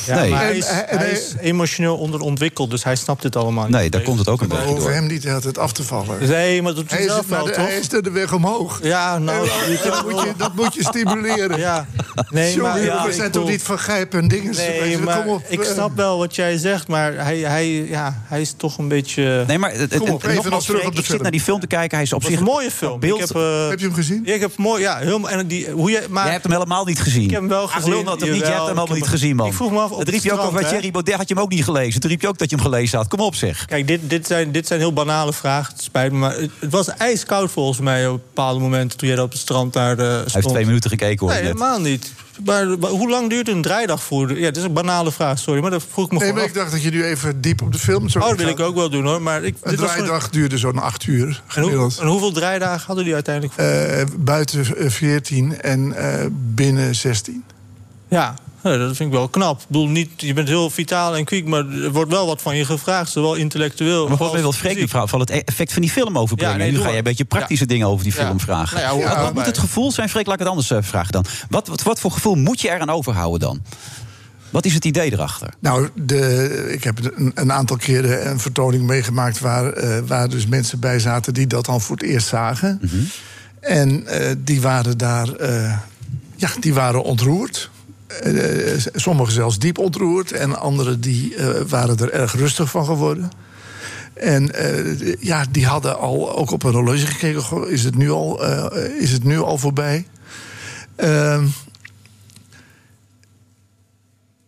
Speaker 8: Ja, maar hij
Speaker 14: En-
Speaker 8: is,
Speaker 14: en-
Speaker 8: hij is emotioneel onderontwikkeld, dus hij snapt het allemaal niet.
Speaker 7: Nee, daar komt het ook een
Speaker 14: We hoeven hem niet altijd af te vallen.
Speaker 8: Nee, maar dat doet hij
Speaker 14: hij is,
Speaker 8: zelf
Speaker 14: maar
Speaker 8: wel,
Speaker 14: de-
Speaker 8: toch?
Speaker 14: Hij is er de weg omhoog.
Speaker 8: Ja, nou,
Speaker 14: En-
Speaker 8: je
Speaker 14: dat,
Speaker 8: kunt
Speaker 14: moet je, dat moet je stimuleren.
Speaker 8: Ja. Nee, maar,
Speaker 14: Sorry,
Speaker 8: ja,
Speaker 14: we
Speaker 8: ik
Speaker 14: zijn toch
Speaker 8: bedoel-
Speaker 14: niet van grijp en dingen.
Speaker 8: Nee, maar ik
Speaker 14: eh,
Speaker 8: snap wel wat jij zegt, maar hij, hij, ja, hij is toch een beetje...
Speaker 7: Nee, maar het- het- Kom op, en even nogmaals, nog terug Freek, op de ik zit film. naar die film te kijken, hij is op
Speaker 8: Het was
Speaker 7: zich-
Speaker 8: een mooie film.
Speaker 7: beeld-
Speaker 8: Ik heb, eh,
Speaker 7: Heb
Speaker 14: je hem gezien?
Speaker 8: Ik heb mooi, ja, helemaal... En die, hoe je, maar,
Speaker 7: Jij hebt hem helemaal niet gezien.
Speaker 8: Ik heb hem wel
Speaker 7: Ach,
Speaker 8: gezien.
Speaker 7: lul dat toch niet. Jij hebt
Speaker 8: Jawel,
Speaker 7: hem
Speaker 8: ik
Speaker 7: helemaal
Speaker 8: heb
Speaker 7: niet
Speaker 8: hem-
Speaker 7: gezien, man.
Speaker 8: Ik vroeg me af op
Speaker 7: Dat riep
Speaker 8: het
Speaker 7: je ook al
Speaker 8: strand,
Speaker 7: bij
Speaker 8: hè?
Speaker 7: Thierry Baudet. Had je hem ook niet gelezen. Toen riep je ook dat je hem gelezen had. Kom op, zeg.
Speaker 8: Kijk, dit, dit, zijn, dit zijn heel banale vragen, het spijt me. Maar het, het was ijskoud volgens mij op bepaalde momenten... toen jij daar op het strand daar eh, stond.
Speaker 7: Hij heeft twee minuten gekeken, hoor
Speaker 8: Nee,
Speaker 7: je net.
Speaker 8: helemaal niet. Maar, maar hoe lang duurt een draaidag-voerder? Ja, dit is een banale vraag, sorry. Maar dat vroeg ik me
Speaker 14: Nee,
Speaker 8: gewoon
Speaker 14: maar
Speaker 8: af.
Speaker 14: ik dacht dat je nu even diep op de film zou
Speaker 8: Oh, dat wil
Speaker 14: gaan.
Speaker 8: ik ook wel doen, hoor. Maar ik,
Speaker 14: Een
Speaker 8: dit was gewoon-
Speaker 14: draaidag duurde zo'n acht uur
Speaker 8: En, hoe-
Speaker 14: gemiddeld.
Speaker 8: en hoeveel draaidagen hadden die uiteindelijk? Voor?
Speaker 14: Eh, buiten eh, 14 en eh, binnen 16.
Speaker 8: ja, eh, dat vind ik wel knap. Ik bedoel, niet, je bent heel vitaal en kwiek, maar er wordt wel wat van je gevraagd. Zowel intellectueel
Speaker 7: Maar volgens mij
Speaker 8: als
Speaker 7: wil Freek nu
Speaker 8: fysiek.
Speaker 7: verhaal van het effect van die film overbrengen.
Speaker 8: Ja, nee,
Speaker 7: nu
Speaker 8: doe
Speaker 7: ga
Speaker 8: maar.
Speaker 7: jij een beetje praktische dingen over die
Speaker 8: Ja.
Speaker 7: film vragen.
Speaker 8: Nou ja, hoe-
Speaker 7: wat wat
Speaker 8: Ja.
Speaker 7: moet het gevoel zijn? Freek, laat ik het anders eh, vragen dan. Wat, wat, wat voor gevoel moet je eraan overhouden dan? Wat is het idee erachter?
Speaker 14: Nou, de, ik heb een, een aantal keren een vertoning meegemaakt... Waar, eh, waar dus mensen bij zaten die dat dan voor het eerst zagen. En eh, die waren daar... eh, ja, die waren ontroerd. Eh, eh, sommigen zelfs diep ontroerd. En anderen die, eh, waren er erg rustig van geworden. En eh, ja, die hadden al ook op een horloge gekeken. Goh, is, het nu al, eh, is het nu al voorbij? Ehm,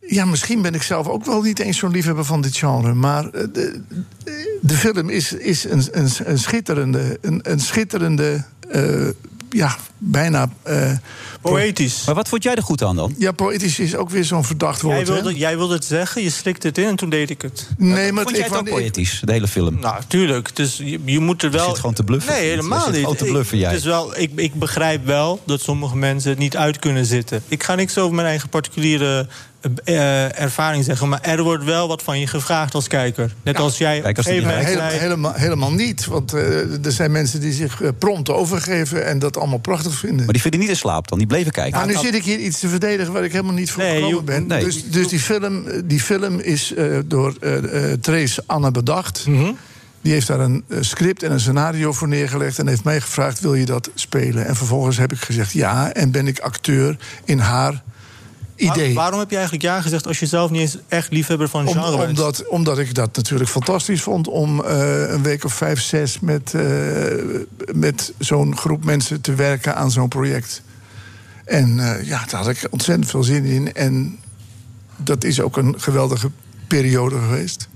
Speaker 14: ja, misschien ben ik zelf ook wel niet eens zo'n liefhebber van dit genre. Maar eh, de, de film is, is een, een, een schitterende, een, een schitterende eh, ja, bijna... eh,
Speaker 8: Poëtisch.
Speaker 7: Maar wat vond jij er goed aan dan?
Speaker 14: Ja, poëtisch is ook weer zo'n verdacht woord.
Speaker 8: Jij
Speaker 14: hè?
Speaker 8: wilde, jij wilde het zeggen, je slikte het in en toen deed ik het.
Speaker 14: Nee, maar ik wou- ik-
Speaker 7: Poëtisch, de hele film.
Speaker 8: Nou, tuurlijk. Dus je, je moet er wel.
Speaker 7: zit gewoon te bluffen,
Speaker 8: Nee,
Speaker 7: Piet. Je
Speaker 8: helemaal
Speaker 7: zit
Speaker 8: niet.
Speaker 7: gewoon te
Speaker 8: Ik-
Speaker 7: bluffen, jij.
Speaker 8: Het is wel, ik, ik begrijp wel dat sommige mensen het niet uit kunnen zitten. Ik ga niks over mijn eigen particuliere eh, ervaring zeggen. Maar er wordt wel wat van je gevraagd als kijker. Net als jij. op een gegeven moment
Speaker 14: Hele-
Speaker 8: zei-
Speaker 14: helemaal, helemaal niet. Want eh, er zijn mensen die zich eh, prompt overgeven en dat allemaal prachtig vinden.
Speaker 7: Maar die vinden niet in slaap dan. Die bleven kijken. Nou,
Speaker 14: maar Nou, nu zit ik hier iets te verdedigen waar ik helemaal niet voor gekomen ben.
Speaker 7: nee.
Speaker 14: Dus, dus die, film, eh, die film is eh, door eh, eh, Trace Anne bedacht.
Speaker 7: Mhm.
Speaker 14: Die heeft daar een eh, script en een scenario voor neergelegd... en heeft mij gevraagd, wil je dat spelen? En vervolgens heb ik gezegd ja, en ben ik acteur in haar idee.
Speaker 8: Waar- waarom heb je eigenlijk ja gezegd als je zelf niet eens echt liefhebber van
Speaker 14: Om-
Speaker 8: genre bent?
Speaker 14: omdat, omdat ik dat natuurlijk fantastisch vond om eh, een week of vijf, zes met, eh, met zo'n groep mensen te werken aan zo'n project. En eh, ja, daar had ik ontzettend veel zin in. En dat is ook een geweldige periode geweest.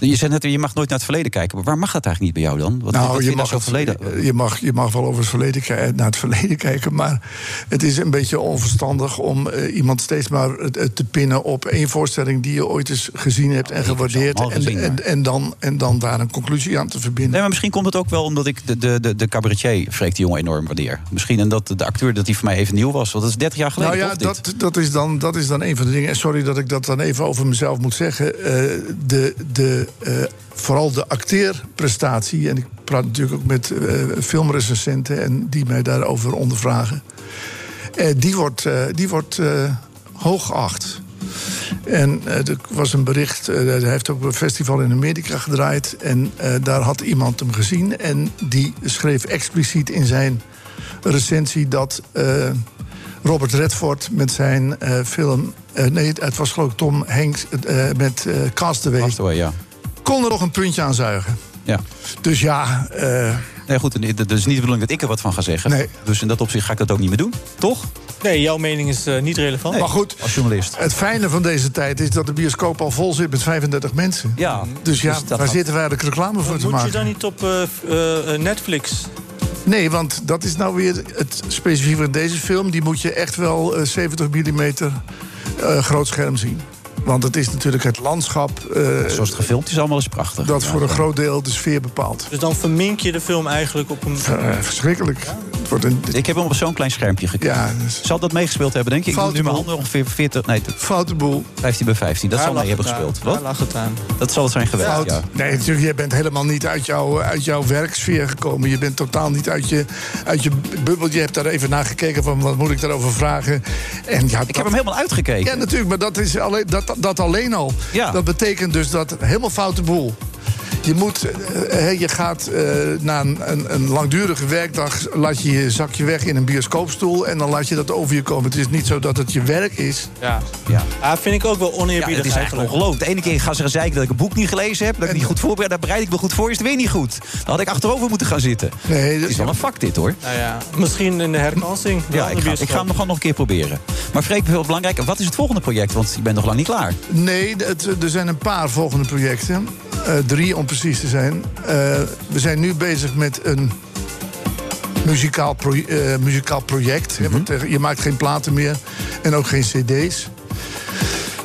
Speaker 7: Je zei net, je mag nooit naar het verleden kijken. Maar waar mag dat eigenlijk niet bij jou dan? Wat, wat vind nou zo
Speaker 14: Nou, het
Speaker 7: verleden?
Speaker 14: Je mag, je mag wel over het verleden kijken, naar het verleden kijken. Maar het is een beetje onverstandig om eh, iemand steeds maar eh, te pinnen op één voorstelling die je ooit eens gezien hebt en gewaardeerd. En,
Speaker 7: allemaal gezien,
Speaker 14: en, en, dan, en dan daar een conclusie aan te verbinden.
Speaker 7: Nee, maar misschien komt het ook wel omdat ik de, de, de, de cabaretier Freek de Jonge enorm waardeer. Misschien en dat de acteur dat die voor mij even nieuw was. Want dat is 30 jaar geleden.
Speaker 14: Nou ja,
Speaker 7: toch, dit?
Speaker 14: dat, dat, is dan, dat is dan een van de dingen. En sorry dat ik dat dan even over mezelf moet zeggen. Eh, de, de, eh, vooral de acteerprestatie. En ik praat natuurlijk ook met eh, filmrecensenten en die mij daarover ondervragen. Eh, die wordt, eh, die wordt eh, hoog geacht. En eh, er was een bericht, eh, hij heeft ook op een festival in Amerika gedraaid. En eh, daar had iemand hem gezien. En die schreef expliciet in zijn recensie dat eh, Robert Redford met zijn eh, film. eh, nee, het was geloof ik Tom Hanks eh, met eh, Castaway.
Speaker 7: Castaway, ja.
Speaker 14: Kon er nog een puntje aan zuigen.
Speaker 7: ja.
Speaker 14: Dus ja.
Speaker 7: Nee, goed, en dit- dat is niet de bedoeling dat ik er wat van ga zeggen. Dus in dat opzicht ga ik dat ook niet meer doen, toch?
Speaker 8: Nee, jouw mening is eh, niet relevant.
Speaker 14: maar goed,
Speaker 7: als journalist.
Speaker 14: Het fijne van deze tijd is dat de bioscoop al vol zit met 35 mensen.
Speaker 7: Ja,
Speaker 14: dus ja,
Speaker 8: dus dat
Speaker 14: waar
Speaker 8: had-
Speaker 14: zitten wij eigenlijk reclame voor te
Speaker 8: Moet je
Speaker 14: maken?
Speaker 8: dan niet op eh, f- eh, eh, Netflix?
Speaker 14: Nee, want dat is nou weer het specifieke van deze film. Die moet je echt wel eh, 70 mm groot scherm eh, zien. Want het is natuurlijk het landschap. eh,
Speaker 7: Zoals het gefilmd is, allemaal is prachtig.
Speaker 14: dat
Speaker 7: Ja,
Speaker 14: voor een
Speaker 7: ja.
Speaker 14: groot deel de sfeer bepaalt.
Speaker 8: Dus dan vermink je de film eigenlijk op een...
Speaker 14: Eh, verschrikkelijk. Het wordt een...
Speaker 7: Ik heb hem op zo'n klein schermpje gekeken. Zal dat meegespeeld hebben, denk je? Ik moet nu mijn handen ongeveer 40... Nee,
Speaker 14: Foute boel.
Speaker 7: 15 bij 15. Dat
Speaker 14: Daar
Speaker 7: zal mee
Speaker 14: lag
Speaker 7: hebben
Speaker 14: het aan.
Speaker 7: gespeeld.
Speaker 14: Daar
Speaker 7: Wat?
Speaker 8: lag het aan.
Speaker 7: Dat zal het zijn geweest,
Speaker 14: Fout.
Speaker 7: ja.
Speaker 14: Nee, natuurlijk, jij bent helemaal niet uit jouw, uit jouw werksfeer gekomen. Je bent totaal niet uit je, uit je bubbel. Je hebt daar even naar gekeken van wat moet ik daarover vragen. En ja,
Speaker 7: Ik heb hem helemaal uitgekeken.
Speaker 14: Ja, natuurlijk, maar dat, is alleen, dat, dat alleen al.
Speaker 7: Ja.
Speaker 14: Dat betekent dus dat helemaal foute boel. Je, moet, eh, eh, je gaat eh, na een, een, een langdurige werkdag... laat je je zakje weg in een bioscoopstoel... en dan laat je dat over je komen. Het is niet zo dat het je werk is.
Speaker 8: Ja.
Speaker 7: ja.
Speaker 8: Ah, vind ik ook wel oneerbiedig
Speaker 7: Ja, het is eigenlijk ongelooflijk. De ene keer gaan ze gaan zeiken dat ik een boek niet gelezen heb... dat ik niet goed voorbereid, daar bereid ik me goed voor, is het weer niet goed. Dan had ik achterover moeten gaan zitten.
Speaker 14: Nee,
Speaker 7: het is wel een vak dit, hoor.
Speaker 8: Nou ja, misschien in de herkansing.
Speaker 7: Ja, ik ga, ik
Speaker 8: bioscoop.
Speaker 7: ga hem gewoon nog een keer proberen. Maar Freek, veel belangrijker, wat is het volgende project? Want je bent nog lang niet klaar.
Speaker 14: Nee, het- er zijn een paar volgende projecten. Eh, drie om precies te zijn. Eh, we zijn nu bezig met een muzikaal, pro- eh, muzikaal project. hè, want, eh, je maakt geen platen meer en ook geen cd's.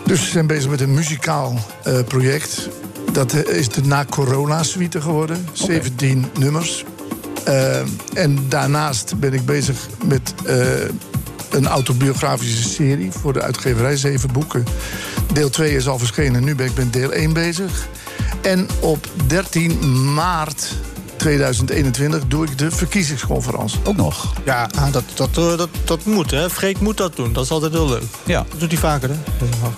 Speaker 14: Dus we zijn bezig met een muzikaal eh, project. Dat eh, is de Na Corona suite geworden. 17 nummers. Eh, en daarnaast ben ik bezig met eh, een autobiografische serie voor de uitgeverij, zeven boeken. Deel 2 is al verschenen, nu ben ik met deel 1 bezig. En op 13 maart 2021 doe ik de verkiezingsconferentie.
Speaker 7: Ook nog?
Speaker 8: Ja, ah, dat, dat, eh, dat, dat moet, hè. Freek moet dat doen. Dat is altijd heel leuk.
Speaker 7: Ja.
Speaker 8: Dat doet hij vaker, hè.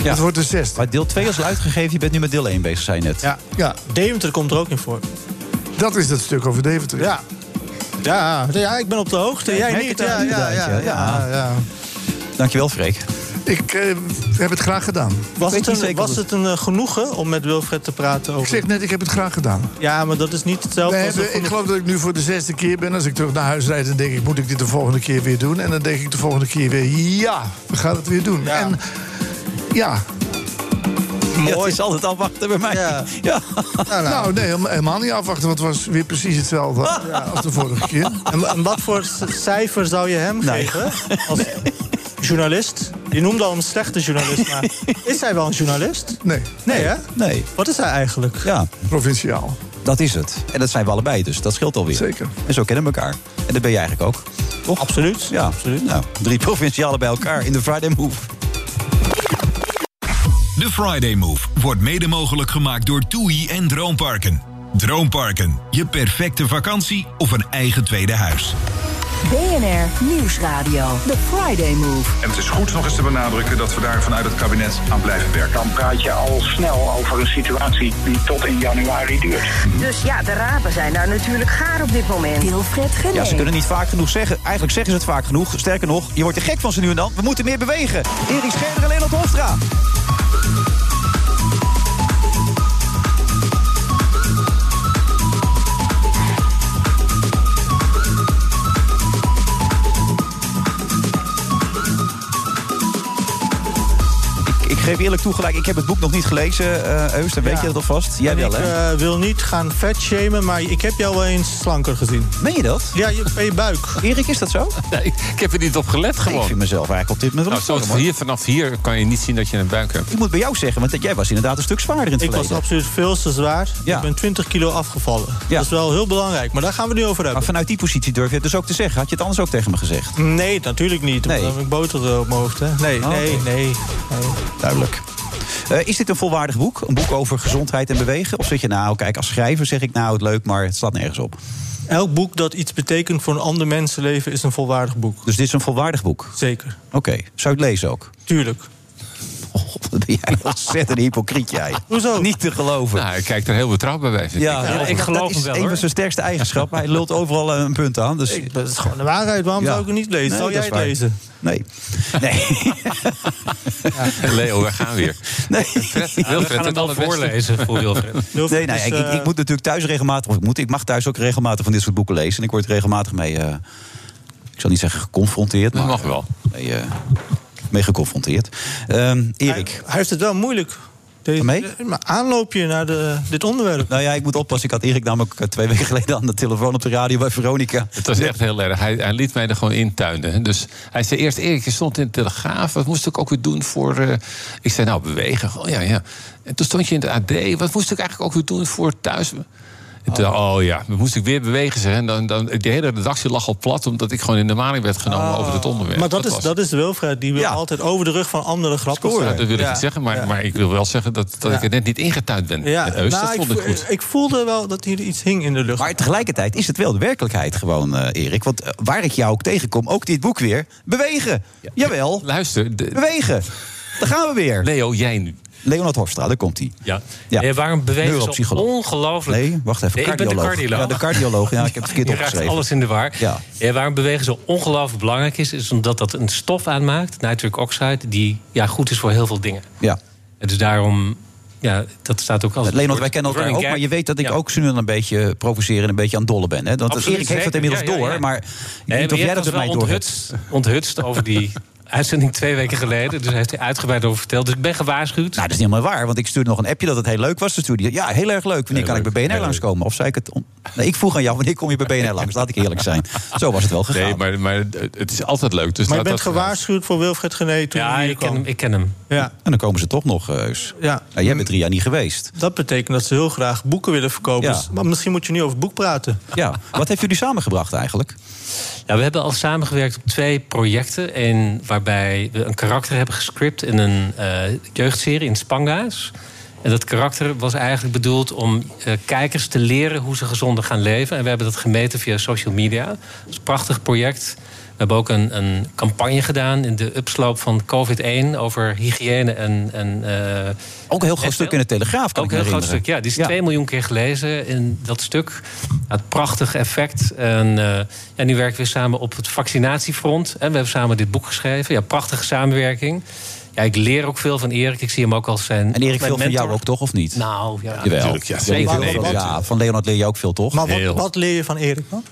Speaker 7: Ja. Het
Speaker 14: wordt de zesde.
Speaker 7: Maar deel 2 is al uitgegeven, je bent nu met deel 1 bezig, zei je net.
Speaker 8: Ja. ja, Deventer komt er ook in voor.
Speaker 14: Dat is dat stuk over Deventer.
Speaker 8: Ja. Ja, ja ik ben op de hoogte.
Speaker 14: Ja, ik
Speaker 8: Jij
Speaker 14: merk
Speaker 8: niet.
Speaker 14: het
Speaker 8: Ja,
Speaker 14: aan
Speaker 8: ja, ja,
Speaker 14: inderdaad, ja.
Speaker 8: ja, ja.
Speaker 7: Dankjewel, Freek.
Speaker 14: Ik eh, heb het graag gedaan.
Speaker 8: Was
Speaker 14: Ik weet
Speaker 8: het,
Speaker 14: niet
Speaker 8: een,
Speaker 14: zeker
Speaker 8: was
Speaker 14: of-
Speaker 8: het een eh, genoegen om met Wilfred te praten over...
Speaker 14: Ik zeg net, ik heb het graag gedaan.
Speaker 8: Ja, maar dat is niet hetzelfde
Speaker 14: We
Speaker 8: als...
Speaker 14: hebben- ik geloof dat ik nu voor de zesde keer ben. Als ik terug naar huis rijd, dan denk ik, moet ik dit de volgende keer weer doen? En dan denk ik de volgende keer weer, ja, we gaan het weer doen. En ja,
Speaker 7: Mooi. het is altijd afwachten bij mij. Ja.
Speaker 14: Nou, nee, helemaal- helemaal niet afwachten, want het was weer precies hetzelfde
Speaker 7: Ah.
Speaker 14: als de vorige keer.
Speaker 8: En, en wat voor c- cijfer zou je hem geven? Als journalist? Je noemde al een slechte journalist, maar is hij wel een journalist?
Speaker 14: Nee.
Speaker 8: Nee, hè?
Speaker 7: Nee.
Speaker 8: Wat is hij eigenlijk?
Speaker 7: Ja.
Speaker 14: Provinciaal.
Speaker 7: Dat is het. En dat zijn we allebei, dus dat scheelt alweer.
Speaker 14: Zeker.
Speaker 7: En zo kennen we elkaar. En dat ben je eigenlijk ook. Toch?
Speaker 8: Absoluut.
Speaker 7: Ja. Nou, drie provincialen bij elkaar in de Friday Move.
Speaker 2: De Friday Move wordt mede mogelijk gemaakt door TUI en Droomparken. Droomparken, je perfecte vakantie of een eigen tweede huis.
Speaker 13: BNR Nieuwsradio. The Friday Move.
Speaker 4: En het is goed nog eens te benadrukken dat we daar vanuit het kabinet aan blijven werken. Dan praat je al snel over een situatie die tot in januari duurt.
Speaker 13: Dus ja, de rapen zijn daar natuurlijk gaar op dit moment. Wilfred Genee.
Speaker 7: Ja, ze kunnen niet vaak genoeg zeggen. Eigenlijk zeggen ze het vaak genoeg. Sterker nog, je wordt er gek van ze nu en dan. We moeten meer bewegen. Erik Scherder en Leonard Hofstra. Ik- Ik geef eerlijk toe gelijk, ik heb het boek nog niet gelezen, eh Eus. Dan weet
Speaker 8: Ja.
Speaker 7: je dat alvast. Jij
Speaker 8: En
Speaker 7: wel,
Speaker 8: ik
Speaker 7: hè?
Speaker 8: eh, wil niet gaan vetshamen, maar ik heb jou wel eens slanker gezien.
Speaker 7: Meen je dat?
Speaker 8: Ja, je, bij je buik.
Speaker 7: Erik, is dat zo?
Speaker 15: Nee, ik, ik heb er niet op gelet gewoon.
Speaker 7: Ik vind mezelf eigenlijk op dit moment
Speaker 15: nou,
Speaker 7: wel
Speaker 15: zoals
Speaker 7: sterk,
Speaker 15: hier, Vanaf hier kan je niet zien dat je een buik hebt.
Speaker 7: Ik moet bij jou zeggen, want jij was inderdaad een stuk zwaarder in het
Speaker 8: Ik was
Speaker 7: verleden.
Speaker 8: absoluut veel te zwaar.
Speaker 7: Ja.
Speaker 8: Ik ben 20 kilo afgevallen. Dat is wel heel belangrijk, maar daar gaan we nu over
Speaker 7: Maar
Speaker 8: hebben.
Speaker 7: vanuit die positie durf je het dus ook te zeggen. Had je het anders ook tegen me gezegd?
Speaker 8: Nee, natuurlijk niet. want Dan heb ik boter eh, op mijn hoofd. Hè. Nee,
Speaker 7: Oh,
Speaker 8: nee,
Speaker 7: oké.
Speaker 8: nee, nee.
Speaker 7: Duidelijk. Eh, is dit een volwaardig boek? Een boek over gezondheid en bewegen? Of zit je nou, kijk, als schrijver zeg ik nou het leuk, maar het slaat nergens op.
Speaker 8: Elk boek dat iets betekent voor een ander mensenleven is een volwaardig boek.
Speaker 7: Dus dit is een volwaardig boek?
Speaker 8: Zeker.
Speaker 7: Oké, zou je het lezen ook?
Speaker 8: Tuurlijk.
Speaker 7: God, wat ben jij ontzettend hypocriet jij.
Speaker 8: Hoezo?
Speaker 7: Niet te geloven.
Speaker 15: Nou, ik kijk er heel betrouwbaar bij. vind
Speaker 7: Ja,
Speaker 15: ik.
Speaker 7: dat- dat is een van zijn sterkste eigenschappen. Hij lult overal eh, een punt aan. Dus...
Speaker 8: Dat is gewoon de waarheid. Waarom
Speaker 7: Ja.
Speaker 8: zou ik het niet lezen?
Speaker 7: Nee,
Speaker 8: zou
Speaker 7: dat
Speaker 8: jij het
Speaker 7: is waar.
Speaker 8: lezen?
Speaker 7: Nee. Nee.
Speaker 15: Leo, we gaan weer.
Speaker 7: Nee.
Speaker 15: Wilfred,
Speaker 16: we gaan
Speaker 15: het
Speaker 16: hem wel
Speaker 15: allerbeste.
Speaker 16: voorlezen voor Wilfred.
Speaker 7: Nee, nee,
Speaker 16: is,
Speaker 7: ik,
Speaker 8: dus,
Speaker 7: ik,
Speaker 16: eh,
Speaker 7: ik moet natuurlijk thuis regelmatig, of ik, moet, ik mag thuis ook regelmatig van dit soort boeken lezen. En ik word regelmatig mee, eh, ik zal niet zeggen geconfronteerd, maar.
Speaker 15: mag wel.
Speaker 7: Mee, eh, mee geconfronteerd. Ehm, Erik.
Speaker 8: Hij heeft het wel moeilijk. Waarmee? Aanloop je naar de, dit onderwerp?
Speaker 7: Nou ja, ik moet oppassen. Ik had Erik namelijk eh, twee weken geleden aan de telefoon op de radio bij Veronica.
Speaker 15: Het was echt heel erg. Hij, hij liet mij er gewoon intuinen. hè. Dus hij zei eerst, Erik, je stond in de Telegraaf. Wat moest ik ook weer doen voor... eh, Ik zei, nou, bewegen. Oh ja, ja. En toen stond je in het AD. Wat moest ik eigenlijk ook weer doen voor thuis... En toen, oh ja, dan moest ik weer bewegen. Zeg. En dan, dan, de hele redactie lag al plat... omdat ik gewoon in de maling werd genomen
Speaker 7: Oh.
Speaker 15: over het onderwerp.
Speaker 8: Maar dat is,
Speaker 15: was-
Speaker 8: dat is de Wilfred die wil altijd over de rug van anderen grappen
Speaker 15: Ja,
Speaker 8: gooien.
Speaker 15: dat wil ik
Speaker 8: Ja.
Speaker 15: niet zeggen, maar, maar ik wil wel zeggen dat, dat ik er net niet ingetuind ben.
Speaker 8: Ja,
Speaker 15: met Eus,
Speaker 8: nou,
Speaker 15: dat vond ik,
Speaker 8: ik, vo-
Speaker 15: goed.
Speaker 8: ik voelde wel dat hier iets hing in de lucht.
Speaker 7: Maar tegelijkertijd is het wel de werkelijkheid gewoon, eh, Erik. Want eh, waar ik jou ook tegenkom, ook dit boek weer. Bewegen. Jawel.
Speaker 16: Eh,
Speaker 15: Luister.
Speaker 7: Bewegen. Daar gaan we weer.
Speaker 15: Leo, jij nu.
Speaker 7: Leonard Hofstra, daar komt hij.
Speaker 16: Ja. Eh, waarom bewegen ze
Speaker 7: Neuropsycholoog.
Speaker 16: ongelooflijk...
Speaker 7: Nee, wacht even.
Speaker 16: Nee, ik ben de
Speaker 7: cardioloog.
Speaker 16: cardioloog.
Speaker 7: Ja, de cardioloog. Ja, ik heb het verkeerd
Speaker 16: Je
Speaker 7: opgeschreven.
Speaker 16: raakt alles in de war.
Speaker 7: Ja.
Speaker 16: Eh, waarom bewegen zo ongelooflijk belangrijk is... is omdat dat een stof aanmaakt, nitric oxide... die ja, goed is voor heel veel dingen.
Speaker 7: Ja.
Speaker 16: En dus daarom... Ja, dat staat ook als...
Speaker 7: Leonard, wij kennen elkaar
Speaker 16: running
Speaker 7: ook, maar
Speaker 16: gag.
Speaker 7: je weet dat ik ook Sunil een beetje provoceren en een beetje aan het dollen ben. Hè? Want
Speaker 16: Absoluut,
Speaker 7: Erik heeft dat
Speaker 16: zeker.
Speaker 7: inmiddels
Speaker 16: Ja, ja,
Speaker 7: door,
Speaker 16: ja.
Speaker 7: maar ik weet niet of
Speaker 16: maar
Speaker 7: jij
Speaker 16: Jert
Speaker 7: dat met
Speaker 16: was
Speaker 7: mij
Speaker 16: wel
Speaker 7: door hebt.
Speaker 16: onthutst, onthutst over die uitzending twee weken geleden. Dus hij heeft er uitgebreid over verteld. Dus ik ben gewaarschuwd.
Speaker 7: Nou, dat is niet helemaal waar, want ik stuurde nog een appje dat het heel leuk was. Toen stuurde hij, ja, heel erg leuk. Wanneer kan ik bij BNR langskomen? Of zei ik het... on- Nee, ik vroeg aan jou, wanneer kom je bij BNR langs? Laat ik eerlijk zijn. Zo was het wel gegaan.
Speaker 15: Nee, maar, maar het is altijd leuk. Dus
Speaker 7: Maar
Speaker 8: Maar je
Speaker 15: laat
Speaker 8: bent
Speaker 15: dat-
Speaker 8: gewaarschuwd voor Wilfred Gené toen hij hier
Speaker 16: ik ken
Speaker 8: kwam.
Speaker 16: hem. Ik ken hem.
Speaker 8: Ja.
Speaker 7: En dan komen ze toch nog, eh, Heus.
Speaker 8: Ja.
Speaker 7: Nou, jij bent drie jaar niet geweest.
Speaker 8: Dat betekent dat ze heel graag boeken willen verkopen.
Speaker 7: Ja.
Speaker 8: Dus- maar misschien moet je nu over het boek praten.
Speaker 7: Ja. Wat heeft jullie samengebracht eigenlijk?
Speaker 16: Ja, Nou, we hebben al samengewerkt op twee projecten. Eén waarbij we een karakter hebben gescript in een eh, jeugdserie in Spanga's. En dat karakter was eigenlijk bedoeld om eh, kijkers te leren hoe ze gezonder gaan leven. En we hebben dat gemeten via social media. Dat is een prachtig project. We hebben ook een, een campagne gedaan in de upsloop van COVID-1 over hygiëne en. en
Speaker 7: ook een heel groot stuk in de Telegraaf. Kan
Speaker 16: ook
Speaker 7: ik
Speaker 16: een
Speaker 7: me
Speaker 16: heel groot
Speaker 7: herinneren.
Speaker 16: stuk, ja. Die is 2 miljoen keer gelezen in dat stuk. Ja, het prachtige effect. En eh, ja, nu werken we samen op het vaccinatiefront. En we hebben samen dit boek geschreven. Ja, prachtige samenwerking. Ja, ik leer ook veel van Erik. Ik zie hem ook als zijn.
Speaker 7: En Erik,
Speaker 16: mijn
Speaker 7: veel van
Speaker 16: mentor.
Speaker 7: jou ook toch, of niet?
Speaker 16: Nou, ja.
Speaker 7: Jawel.
Speaker 16: Natuurlijk, ja.
Speaker 7: Zeker.
Speaker 16: Zeker.
Speaker 7: Ja,
Speaker 16: Nee,
Speaker 7: ja, van Leonard leer je ook veel, toch?
Speaker 8: Maar wat, wat leer je van Erik dan?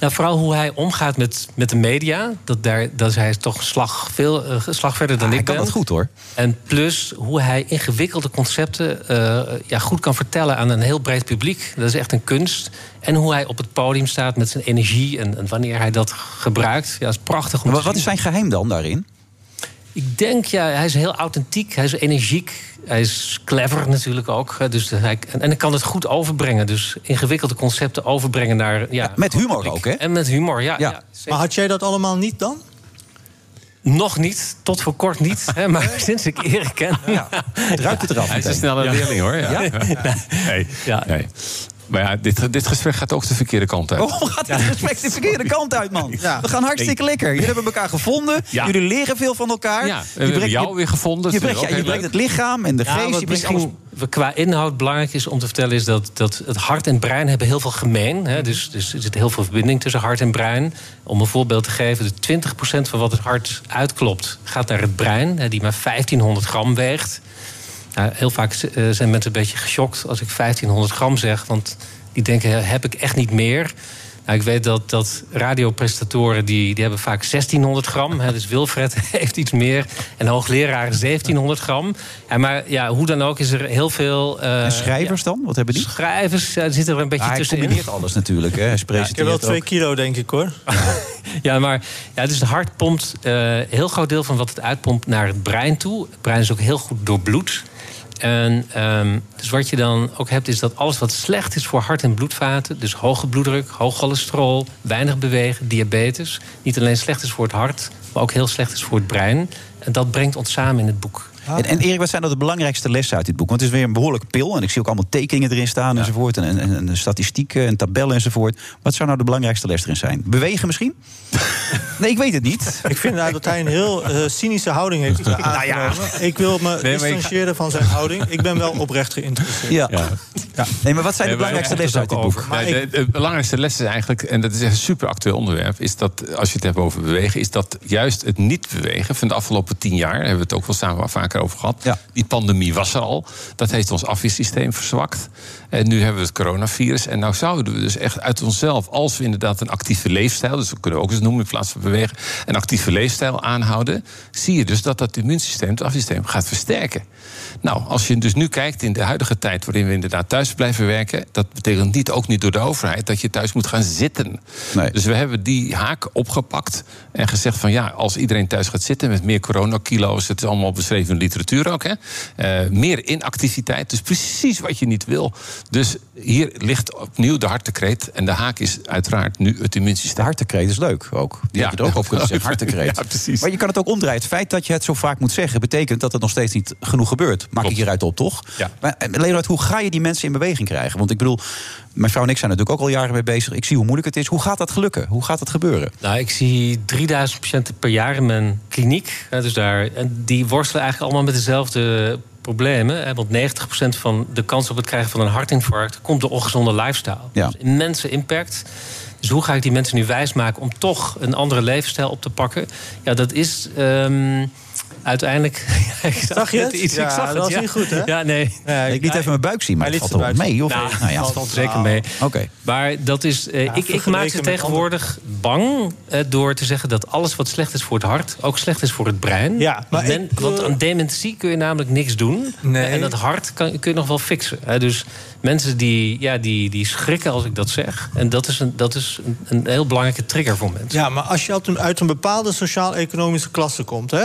Speaker 16: Nou, vooral hoe hij omgaat met, met de media. Dat daar, dat is hij toch een slag, veel, eh, een slag verder dan ik
Speaker 7: Ah, hij kan
Speaker 16: ben.
Speaker 7: dat goed, hoor.
Speaker 16: En plus hoe hij ingewikkelde concepten eh, ja, goed kan vertellen aan een heel breed publiek. Dat is echt een kunst. En hoe hij op het podium staat met zijn energie en, en wanneer hij dat gebruikt. Ja, dat is prachtig om
Speaker 7: Maar
Speaker 16: te
Speaker 7: wat
Speaker 16: zien.
Speaker 7: is zijn geheim dan daarin?
Speaker 16: Ik denk, ja, hij is heel authentiek, hij is energiek, hij is clever natuurlijk ook. hè, Dus hij, en, en hij kan het goed overbrengen. Dus ingewikkelde concepten overbrengen naar... Ja,
Speaker 7: met humor
Speaker 16: ook, hè? En met humor, ja. ja.
Speaker 8: Maar had jij dat allemaal niet dan?
Speaker 16: Nog niet, tot voor kort niet. hè, maar sinds ik Erik ken... Ja,
Speaker 7: ruikt het eraf
Speaker 15: Hij is een snelle leerling, hoor. Ja. Nee. Nee. Maar ja, dit, dit gesprek gaat ook de verkeerde kant uit.
Speaker 7: Waarom gaat dit gesprek Oh, de verkeerde kant uit, man? We gaan hartstikke
Speaker 15: Nee.
Speaker 7: lekker. Jullie hebben elkaar gevonden.
Speaker 15: Ja.
Speaker 7: Jullie leren veel van elkaar.
Speaker 16: Ja, en we
Speaker 7: Je
Speaker 16: hebben
Speaker 7: brengt-
Speaker 16: jou
Speaker 7: je-
Speaker 16: weer gevonden.
Speaker 7: Je
Speaker 16: Dat is
Speaker 7: brengt,
Speaker 16: ook
Speaker 7: ja, je
Speaker 16: heel
Speaker 7: brengt
Speaker 16: leuk.
Speaker 7: het lichaam en de
Speaker 16: Ja,
Speaker 7: geest.
Speaker 16: wat
Speaker 7: je brengt
Speaker 16: misschien
Speaker 7: alles...
Speaker 16: we- qua inhoud belangrijk is om te vertellen... is dat, dat het hart en brein hebben heel veel gemeen. Hè? Dus, dus er zit heel veel verbinding tussen hart en brein. Om een voorbeeld te geven, de 20% van wat het hart uitklopt... gaat naar het brein, hè, die maar 1500 gram weegt. Nou, heel vaak eh, zijn mensen een beetje geschokt als ik 1500 gram zeg... want die denken, "Hè, heb ik echt niet meer... Nou, ik weet dat, dat radiopresentatoren die, die hebben vaak 1600 gram. Hè, dus Wilfred heeft iets meer. En hoogleraren 1700 gram. En maar ja, hoe dan ook is er heel veel... eh,
Speaker 7: En schrijvers dan? Wat hebben die?
Speaker 16: Schrijvers ja, zitten er een beetje
Speaker 7: Ah, hij
Speaker 16: tussenin.
Speaker 7: combineert alles natuurlijk. Hè. Hij presenteert
Speaker 8: Ik heb wel
Speaker 7: ook.
Speaker 8: twee kilo, denk ik hoor.
Speaker 16: Ja, maar ja, dus het hart pompt eh, een heel groot deel van wat het uitpompt naar het brein toe. Het brein is ook heel goed door bloed. En, ehm, dus wat je dan ook hebt, is dat alles wat slecht is voor hart- en bloedvaten, dus hoge bloeddruk, hoog cholesterol, weinig bewegen, diabetes, niet alleen slecht is voor het hart, maar ook heel slecht is voor het brein. En dat brengt ons samen in het boek.
Speaker 7: En, en Erik, wat zijn nou de belangrijkste lessen uit dit boek? Want het is weer een behoorlijke pil. En ik zie ook allemaal tekeningen erin staan enzovoort. En, en, en, en statistieken en tabellen enzovoort. Wat zou nou de belangrijkste les erin zijn? Bewegen misschien? nee, ik weet het niet. Nou
Speaker 8: Ik vind nou dat hij een heel eh, cynische houding heeft eh, aangenomen. Ik wil me
Speaker 7: maar ik-
Speaker 8: distancieren van zijn houding. Ik ben wel oprecht geïnteresseerd.
Speaker 7: Ja. Nee, maar wat zijn de belangrijkste lessen uit dit boek?
Speaker 15: Maar de, de belangrijkste les is eigenlijk, en dat is echt een super actueel onderwerp, is dat als je het hebt over bewegen, is dat juist het niet bewegen van de afgelopen tien jaar, daar hebben we het ook wel samen wel vaker over gehad. Die pandemie was er al. Dat heeft ons afweersysteem verzwakt. En nu hebben we het coronavirus. En nou zouden we dus echt uit onszelf, als we inderdaad een actieve leefstijl, dus dat kunnen we ook eens noemen in plaats van bewegen, een actieve leefstijl aanhouden, zie je dus dat dat immuunsysteem, het afweersysteem, gaat versterken. Nou, als je dus nu kijkt in de huidige tijd waarin we inderdaad thuis blijven werken, dat betekent niet ook niet door de overheid dat je thuis moet gaan zitten. Dus we hebben die haak opgepakt en gezegd van ja, als iedereen thuis gaat zitten met meer coronakilo's, het is allemaal beschreven in de literatuur ook, hè, eh, meer inactiviteit, dus precies wat je niet wil. Dus hier ligt opnieuw de hartekreet en de haak is uiteraard nu het immuunsysteem. De
Speaker 7: hartekreet is leuk ook. Die heb je er ook op kunnen zeggen, hartekreet.
Speaker 15: Ja, precies.
Speaker 7: Maar je kan het ook omdraaien. Het feit dat je het zo vaak moet zeggen... betekent dat het nog steeds niet genoeg gebeurt. Maak ik hieruit op, toch?
Speaker 15: Ja.
Speaker 7: Maar eh, Leonard, hoe ga je die mensen in beweging krijgen? Want ik bedoel, mijn vrouw en ik zijn natuurlijk ook al jaren mee bezig. Ik zie hoe moeilijk het is. Hoe gaat dat gelukken? Hoe gaat dat gebeuren?
Speaker 16: Nou, ik zie 3000 patiënten per jaar in mijn kliniek. Hè, dus daar, en die worstelen eigenlijk allemaal met dezelfde problemen. Hè, want 90% van de kans op het krijgen van een hartinfarct komt door ongezonde lifestyle.
Speaker 7: Ja.
Speaker 16: Dus immense impact. Dus hoe ga ik die mensen nu wijsmaken om toch een andere leefstijl op te pakken? Ja, dat is ehm, uiteindelijk. ik
Speaker 8: Zag je
Speaker 16: net
Speaker 8: het? Ja, dat was
Speaker 16: ja.
Speaker 8: niet goed, hè?
Speaker 16: Ja, nee.
Speaker 7: ik liet even mijn buik zien, maar
Speaker 16: Eh, Hij
Speaker 7: het
Speaker 16: liet
Speaker 7: valt er wel
Speaker 16: zijn buik
Speaker 7: mee,
Speaker 16: zien.
Speaker 7: of-
Speaker 16: Nou,
Speaker 7: nou ja.
Speaker 16: het valt zeker mee.
Speaker 7: Oké.
Speaker 16: Maar dat is.
Speaker 8: Nou,
Speaker 16: eh,
Speaker 7: Ja,
Speaker 16: ik, ik maak ze
Speaker 7: vergeleken met
Speaker 16: tegenwoordig bang eh, door te zeggen dat alles wat slecht is voor het hart ook slecht is voor het brein.
Speaker 8: Ja, maar
Speaker 16: Men-
Speaker 8: ik, eh,
Speaker 16: want aan dementie kun je namelijk niks doen.
Speaker 8: Nee.
Speaker 16: En dat hart kan, kun je nog wel fixen. hè. Dus mensen die, ja, die, die schrikken als ik dat zeg. En dat is een, dat is een, een heel belangrijke trigger voor mensen.
Speaker 8: Ja, maar als je uit een, uit een bepaalde sociaal-economische klasse komt, hè,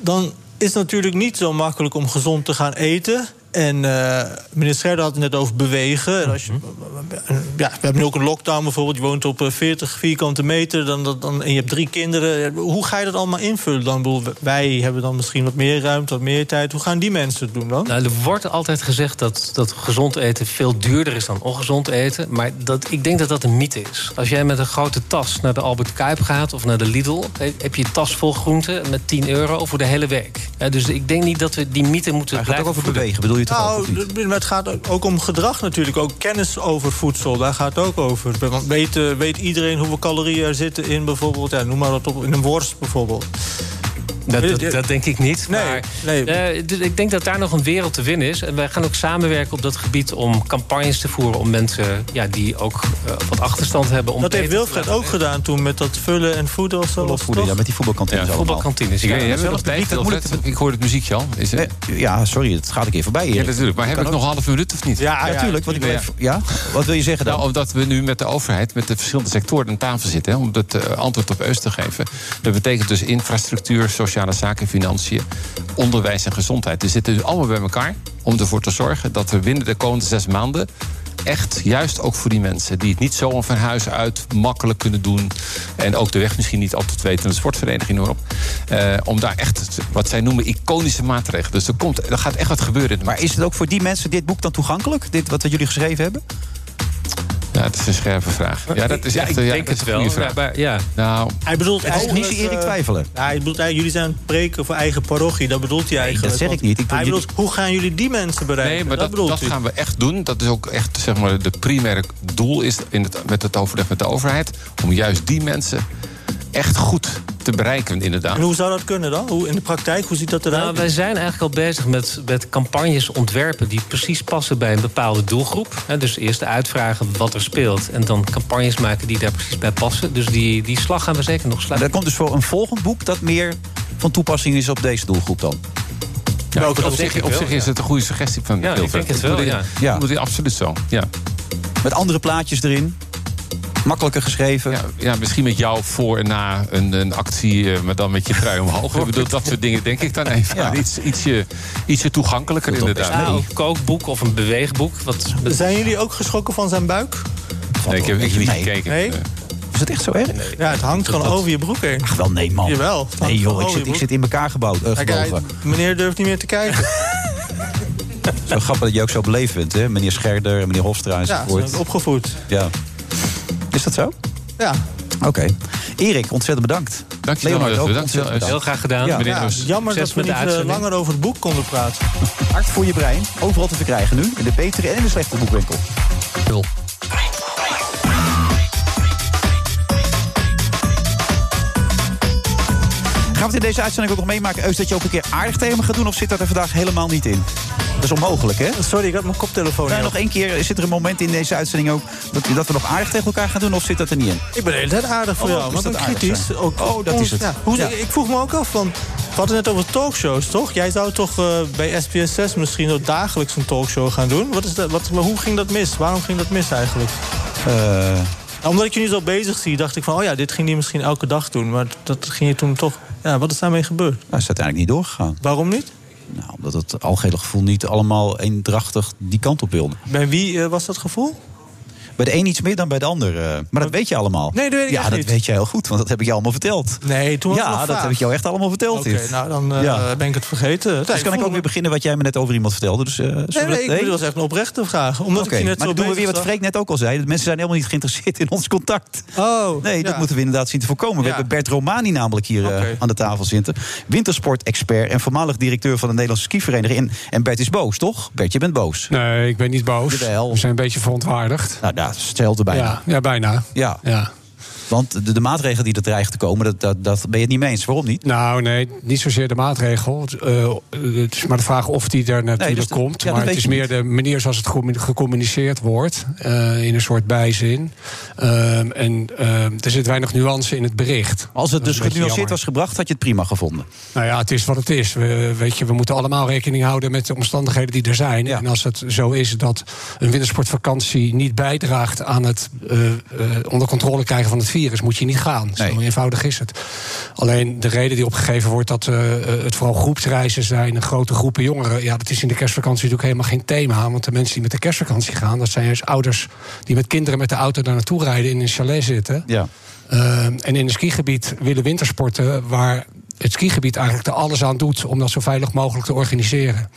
Speaker 8: dan is het natuurlijk niet zo makkelijk om gezond te gaan eten. En eh meneer Scherder had het net over bewegen. En als je,
Speaker 7: Mhm.
Speaker 8: ja, we hebben nu ook een lockdown bijvoorbeeld. Je woont op eh, 40 vierkante meter dan, dan, dan- en je hebt drie kinderen. Hoe ga je dat allemaal invullen dan? Ik bedoel, Wij hebben dan misschien wat meer ruimte, wat meer tijd. Hoe gaan die mensen het doen dan?
Speaker 16: Nou, er wordt altijd gezegd dat, dat gezond eten veel duurder is dan ongezond eten. Maar dat, ik denk dat dat een mythe is. Als jij met een grote tas naar de Albert Kuip gaat of naar de Lidl... he- heb je een tas vol groenten met 10 euro voor de hele week. Hè, dus ik denk niet dat we die mythe moeten blijven voeden.
Speaker 8: nou, d- maar het gaat ook om gedrag natuurlijk. Ook kennis over voedsel, daar gaat het ook over. Want weet, eh, weet iedereen hoeveel calorieën er zitten in bijvoorbeeld... Ja, noem maar wat op, in een worst bijvoorbeeld.
Speaker 16: Dat, dat, dat denk ik niet. maar
Speaker 8: nee.
Speaker 16: eh, dus ik denk dat daar nog een wereld te winnen is. En wij gaan ook samenwerken op dat gebied om campagnes te voeren... om mensen ja, die ook eh, wat achterstand hebben... Om
Speaker 8: dat heeft
Speaker 16: beter te
Speaker 8: Wilfred
Speaker 16: laten
Speaker 8: ook gedaan toen met dat vullen en voeden of zo. was het toch?
Speaker 7: die voetbalkantines
Speaker 8: allemaal.
Speaker 16: voetbalkantines.
Speaker 15: Ik,
Speaker 16: Ja,
Speaker 15: weet niet, hebben we
Speaker 16: zelf
Speaker 15: nog tijd,
Speaker 16: publiek dat
Speaker 15: Wilfred? ik hoor het muziekje al. Is het...
Speaker 7: Eh, Ja, sorry, het gaat een keer voorbij.
Speaker 15: Ja,
Speaker 7: Erik.
Speaker 15: natuurlijk. Maar
Speaker 7: Dat
Speaker 15: heb
Speaker 7: kan
Speaker 15: ik nog een
Speaker 7: ook.
Speaker 15: half minuut of niet?
Speaker 7: Ja, ja, tuurlijk, want ik wil even- ja? Wat wil je zeggen dan?
Speaker 15: Nou, omdat we nu met de overheid, met de verschillende sectoren aan tafel zitten... hè, om dat eh, antwoord op Eus te geven. Dat betekent dus infrastructuur, sociale zaken, financiën... onderwijs en gezondheid. Die zitten dus allemaal bij elkaar om ervoor te zorgen... dat we binnen de komende zes maanden... Echt, juist ook voor die mensen die het niet zomaar van huis uit makkelijk kunnen doen. En ook de weg misschien niet altijd weten, de sportvereniging hoor op. eh, om daar echt wat zij noemen iconische maatregelen. Dus er, komt, er gaat echt wat gebeuren.
Speaker 7: Maar is het ook voor die mensen dit boek dan toegankelijk? Dit wat jullie geschreven hebben?
Speaker 15: Ja, dat Nou, is een scherpe vraag. Ja, dat is
Speaker 16: Ja,
Speaker 15: echt
Speaker 16: ik
Speaker 15: een- ja,
Speaker 16: denk
Speaker 15: dat is
Speaker 16: het
Speaker 15: een
Speaker 16: wel.
Speaker 15: goede vraag.
Speaker 16: Ja, maar- ja.
Speaker 15: Nou,
Speaker 8: Hij bedoelt
Speaker 15: Het is
Speaker 8: eigenlijk,
Speaker 15: niet zo Erik
Speaker 8: eh,
Speaker 15: Twijfelen.
Speaker 8: ja, hij bedoelt, eigenlijk, jullie zijn aan het preken voor eigen parochie. Dat bedoelt hij eigenlijk.
Speaker 15: dat zeg
Speaker 8: Want
Speaker 15: ik niet. Ik bedoel,
Speaker 8: hij bedoelt, hoe gaan jullie die mensen bereiken?
Speaker 15: Nee, maar dat, dat,
Speaker 8: bedoelt hij.
Speaker 15: gaan we echt doen. Dat is ook echt, zeg maar, de primaire doel is in het, met het overleg met de overheid. Om juist die mensen echt goed te bereiken, inderdaad.
Speaker 8: En hoe zou dat kunnen dan? Hoe, in de praktijk, hoe ziet dat eruit?
Speaker 16: Nou, wij zijn eigenlijk al bezig met, met campagnes ontwerpen die precies passen bij een bepaalde doelgroep. Hè, dus eerst uitvragen wat er speelt en dan campagnes maken die daar precies bij passen. Dus die, die slag gaan we zeker nog
Speaker 7: Maar
Speaker 16: sluiten.
Speaker 7: dat komt dus voor een volgend boek dat meer van toepassing is op deze doelgroep dan.
Speaker 15: Ja,
Speaker 7: Welke
Speaker 15: op
Speaker 7: nou, dat denk
Speaker 15: zich,
Speaker 7: ik
Speaker 15: op
Speaker 7: wel,
Speaker 15: zich
Speaker 7: ja.
Speaker 15: is het een goede suggestie van
Speaker 7: Ja, ik
Speaker 15: Wilfred.
Speaker 7: denk het wel,
Speaker 15: moet
Speaker 7: ja.
Speaker 15: in-
Speaker 7: Ja.
Speaker 15: moet in- absoluut zo, ja.
Speaker 7: Met andere plaatjes erin. Makkelijker geschreven.
Speaker 15: Ja, ja, misschien met jou voor en na een, een actie, eh, maar dan met je trui omhoog. Ik bedoel, dat soort dingen denk ik dan even. aan. Iets, ietsje, ietsje toegankelijker, inderdaad.
Speaker 16: Ja, of een kookboek of een beweegboek. Wat,
Speaker 8: Zijn jullie ook geschrokken van zijn buik?
Speaker 15: Nee, ik heb ik heb niet
Speaker 8: Nee.
Speaker 15: gekeken.
Speaker 8: Nee?
Speaker 7: Is het echt zo erg?
Speaker 8: Ja, het hangt gewoon over je broek heen.
Speaker 7: Ach, wel nee, man.
Speaker 8: Jawel. het
Speaker 7: Nee,
Speaker 8: hangt
Speaker 7: joh,
Speaker 8: gewoon
Speaker 7: ik
Speaker 8: over je
Speaker 7: zit, ik
Speaker 8: broek.
Speaker 7: zit in elkaar gebouwd, eh,
Speaker 8: Kijk, hij-
Speaker 7: gebogen.
Speaker 8: meneer durft niet meer te kijken.
Speaker 7: Zo grappig dat je ook zo beleefd bent, hè? Meneer Scherder, meneer Hofstra
Speaker 8: ja, ze
Speaker 7: enzovoort.
Speaker 8: zijn opgevoed.
Speaker 7: Ja. Is dat zo?
Speaker 8: Ja.
Speaker 7: Oké. Erik, ontzettend bedankt.
Speaker 15: Dankjewel,
Speaker 7: Leonard,
Speaker 15: Rutger.
Speaker 7: ook
Speaker 15: Dankjewel,
Speaker 7: ontzettend
Speaker 15: Heel graag gedaan, meneer Nus.
Speaker 8: Jammer
Speaker 15: Succes
Speaker 8: dat we
Speaker 15: met de
Speaker 8: niet eh,
Speaker 15: uitzending.
Speaker 8: langer over het boek konden praten.
Speaker 7: Hart voor je brein, overal te verkrijgen nu. In de betere en in de slechte boekwinkel.
Speaker 15: Nul.
Speaker 7: Gaan we het in deze uitzending ook nog meemaken, Eus, dat je ook een keer aardig tegen me gaat doen? Of zit dat er vandaag helemaal niet in? Dat is onmogelijk, hè?
Speaker 8: Sorry, ik had mijn koptelefoon
Speaker 7: Nou, nog één keer, zit er een moment in deze uitzending ook dat, dat we nog aardig tegen elkaar gaan doen? Of zit dat er niet in?
Speaker 8: Ik ben de hele tijd aardig voor
Speaker 7: Oh,
Speaker 8: jou,
Speaker 7: is
Speaker 8: maar
Speaker 7: dat
Speaker 8: dan
Speaker 7: aardig
Speaker 8: kritisch.
Speaker 7: zijn?
Speaker 8: Ook,
Speaker 7: Oh, dat
Speaker 8: ons-
Speaker 7: is het.
Speaker 8: ja, hoe,
Speaker 7: Ja.
Speaker 8: Ik vroeg me ook af, want we hadden het net over talkshows, toch? Jij zou toch eh, bij SBS6 misschien ook dagelijks een talkshow gaan doen? Wat is dat, wat, maar hoe ging dat mis? Waarom ging dat mis eigenlijk?
Speaker 7: Eh.
Speaker 8: Nou, omdat ik je nu zo bezig zie, dacht ik van... oh ja, dit ging hij misschien elke dag doen. Maar dat ging je toen toch... Ja, wat is daarmee gebeurd?
Speaker 7: Nou, is het uiteindelijk niet doorgegaan.
Speaker 8: Waarom niet?
Speaker 7: Nou, omdat het algehele gevoel niet allemaal eendrachtig die kant op wilde.
Speaker 8: Bij wie eh, was dat gevoel?
Speaker 7: Bij de een iets meer dan bij de ander. eh, Maar dat weet je allemaal.
Speaker 8: Nee, dat weet ik
Speaker 7: Ja,
Speaker 8: echt
Speaker 7: dat
Speaker 8: niet.
Speaker 7: weet je heel goed, want dat heb ik je allemaal verteld.
Speaker 8: Nee, toen was
Speaker 7: Ja,
Speaker 8: het nog
Speaker 7: dat
Speaker 8: vaag.
Speaker 7: heb ik jou echt allemaal verteld,
Speaker 8: Oké,
Speaker 7: Yves.
Speaker 8: nou, dan eh,
Speaker 7: Ja.
Speaker 8: ben ik het vergeten. Nee,
Speaker 7: Dus kan ik ook weer beginnen wat jij me net over iemand vertelde. Dus, eh, zullen we
Speaker 8: Nee,
Speaker 7: dat-
Speaker 8: nee, ik bedoel, dat is echt een oprechte vraag. Omdat
Speaker 7: Oké,
Speaker 8: ik je net
Speaker 7: maar
Speaker 8: zo
Speaker 7: dan doen we
Speaker 8: bezig
Speaker 7: weer wat
Speaker 8: zag.
Speaker 7: Freek net ook al zei. dat Mensen zijn helemaal niet geïnteresseerd in ons contact.
Speaker 8: Oh,
Speaker 7: nee, dat
Speaker 8: ja.
Speaker 7: moeten we inderdaad zien te voorkomen.
Speaker 8: Ja.
Speaker 7: We hebben Bert Romani namelijk hier eh, aan de tafel zitten. Wintersport-expert en voormalig directeur van de Nederlandse skivereniging. En, en Bert is boos, toch? Bert, je bent boos.
Speaker 17: Nee, ik ben niet boos.
Speaker 7: Jawel.
Speaker 17: We zijn een beetje verontwaardigd.
Speaker 7: Nou, dat stelde bijna.
Speaker 17: Ja, ja bijna.
Speaker 7: Ja.
Speaker 17: ja.
Speaker 7: Want de, de maatregelen die er dreigen te komen, dat, dat, dat ben je het niet mee eens. Waarom niet?
Speaker 17: Nou, nee, niet zozeer de maatregel. Het, eh, het is maar de vraag of die er natuurlijk
Speaker 7: dus dat-
Speaker 17: komt.
Speaker 7: ja, dat
Speaker 17: maar het
Speaker 7: weet
Speaker 17: is
Speaker 7: je
Speaker 17: meer de manier zoals het gecommu- gecommuniceerd wordt. eh, in een soort bijzin. Ehm, en ehm, er zit weinig nuance in het bericht. Dat
Speaker 7: Als het
Speaker 17: is
Speaker 7: dus
Speaker 17: een beetje jammer.
Speaker 7: genuanceerd was gebracht, had je het prima gevonden.
Speaker 17: Nou ja, het is wat het is. We, weet je, we moeten allemaal rekening houden met de omstandigheden die er zijn. En als het zo is dat een wintersportvakantie niet bijdraagt aan het eh, eh, onder controle krijgen van het virus, moet je niet gaan. Zo eenvoudig is het. Alleen de reden die opgegeven wordt dat eh, eh, het vooral groepsreizen zijn en grote groepen jongeren. Ja, dat is in de kerstvakantie natuurlijk helemaal geen thema. Want de mensen die met de kerstvakantie gaan, dat zijn juist ouders die met kinderen met de auto daar naartoe rijden in een chalet zitten.
Speaker 7: Ja.
Speaker 17: Ehm, en in een skigebied willen wintersporten waar het skigebied eigenlijk er alles aan doet om dat zo veilig mogelijk te organiseren.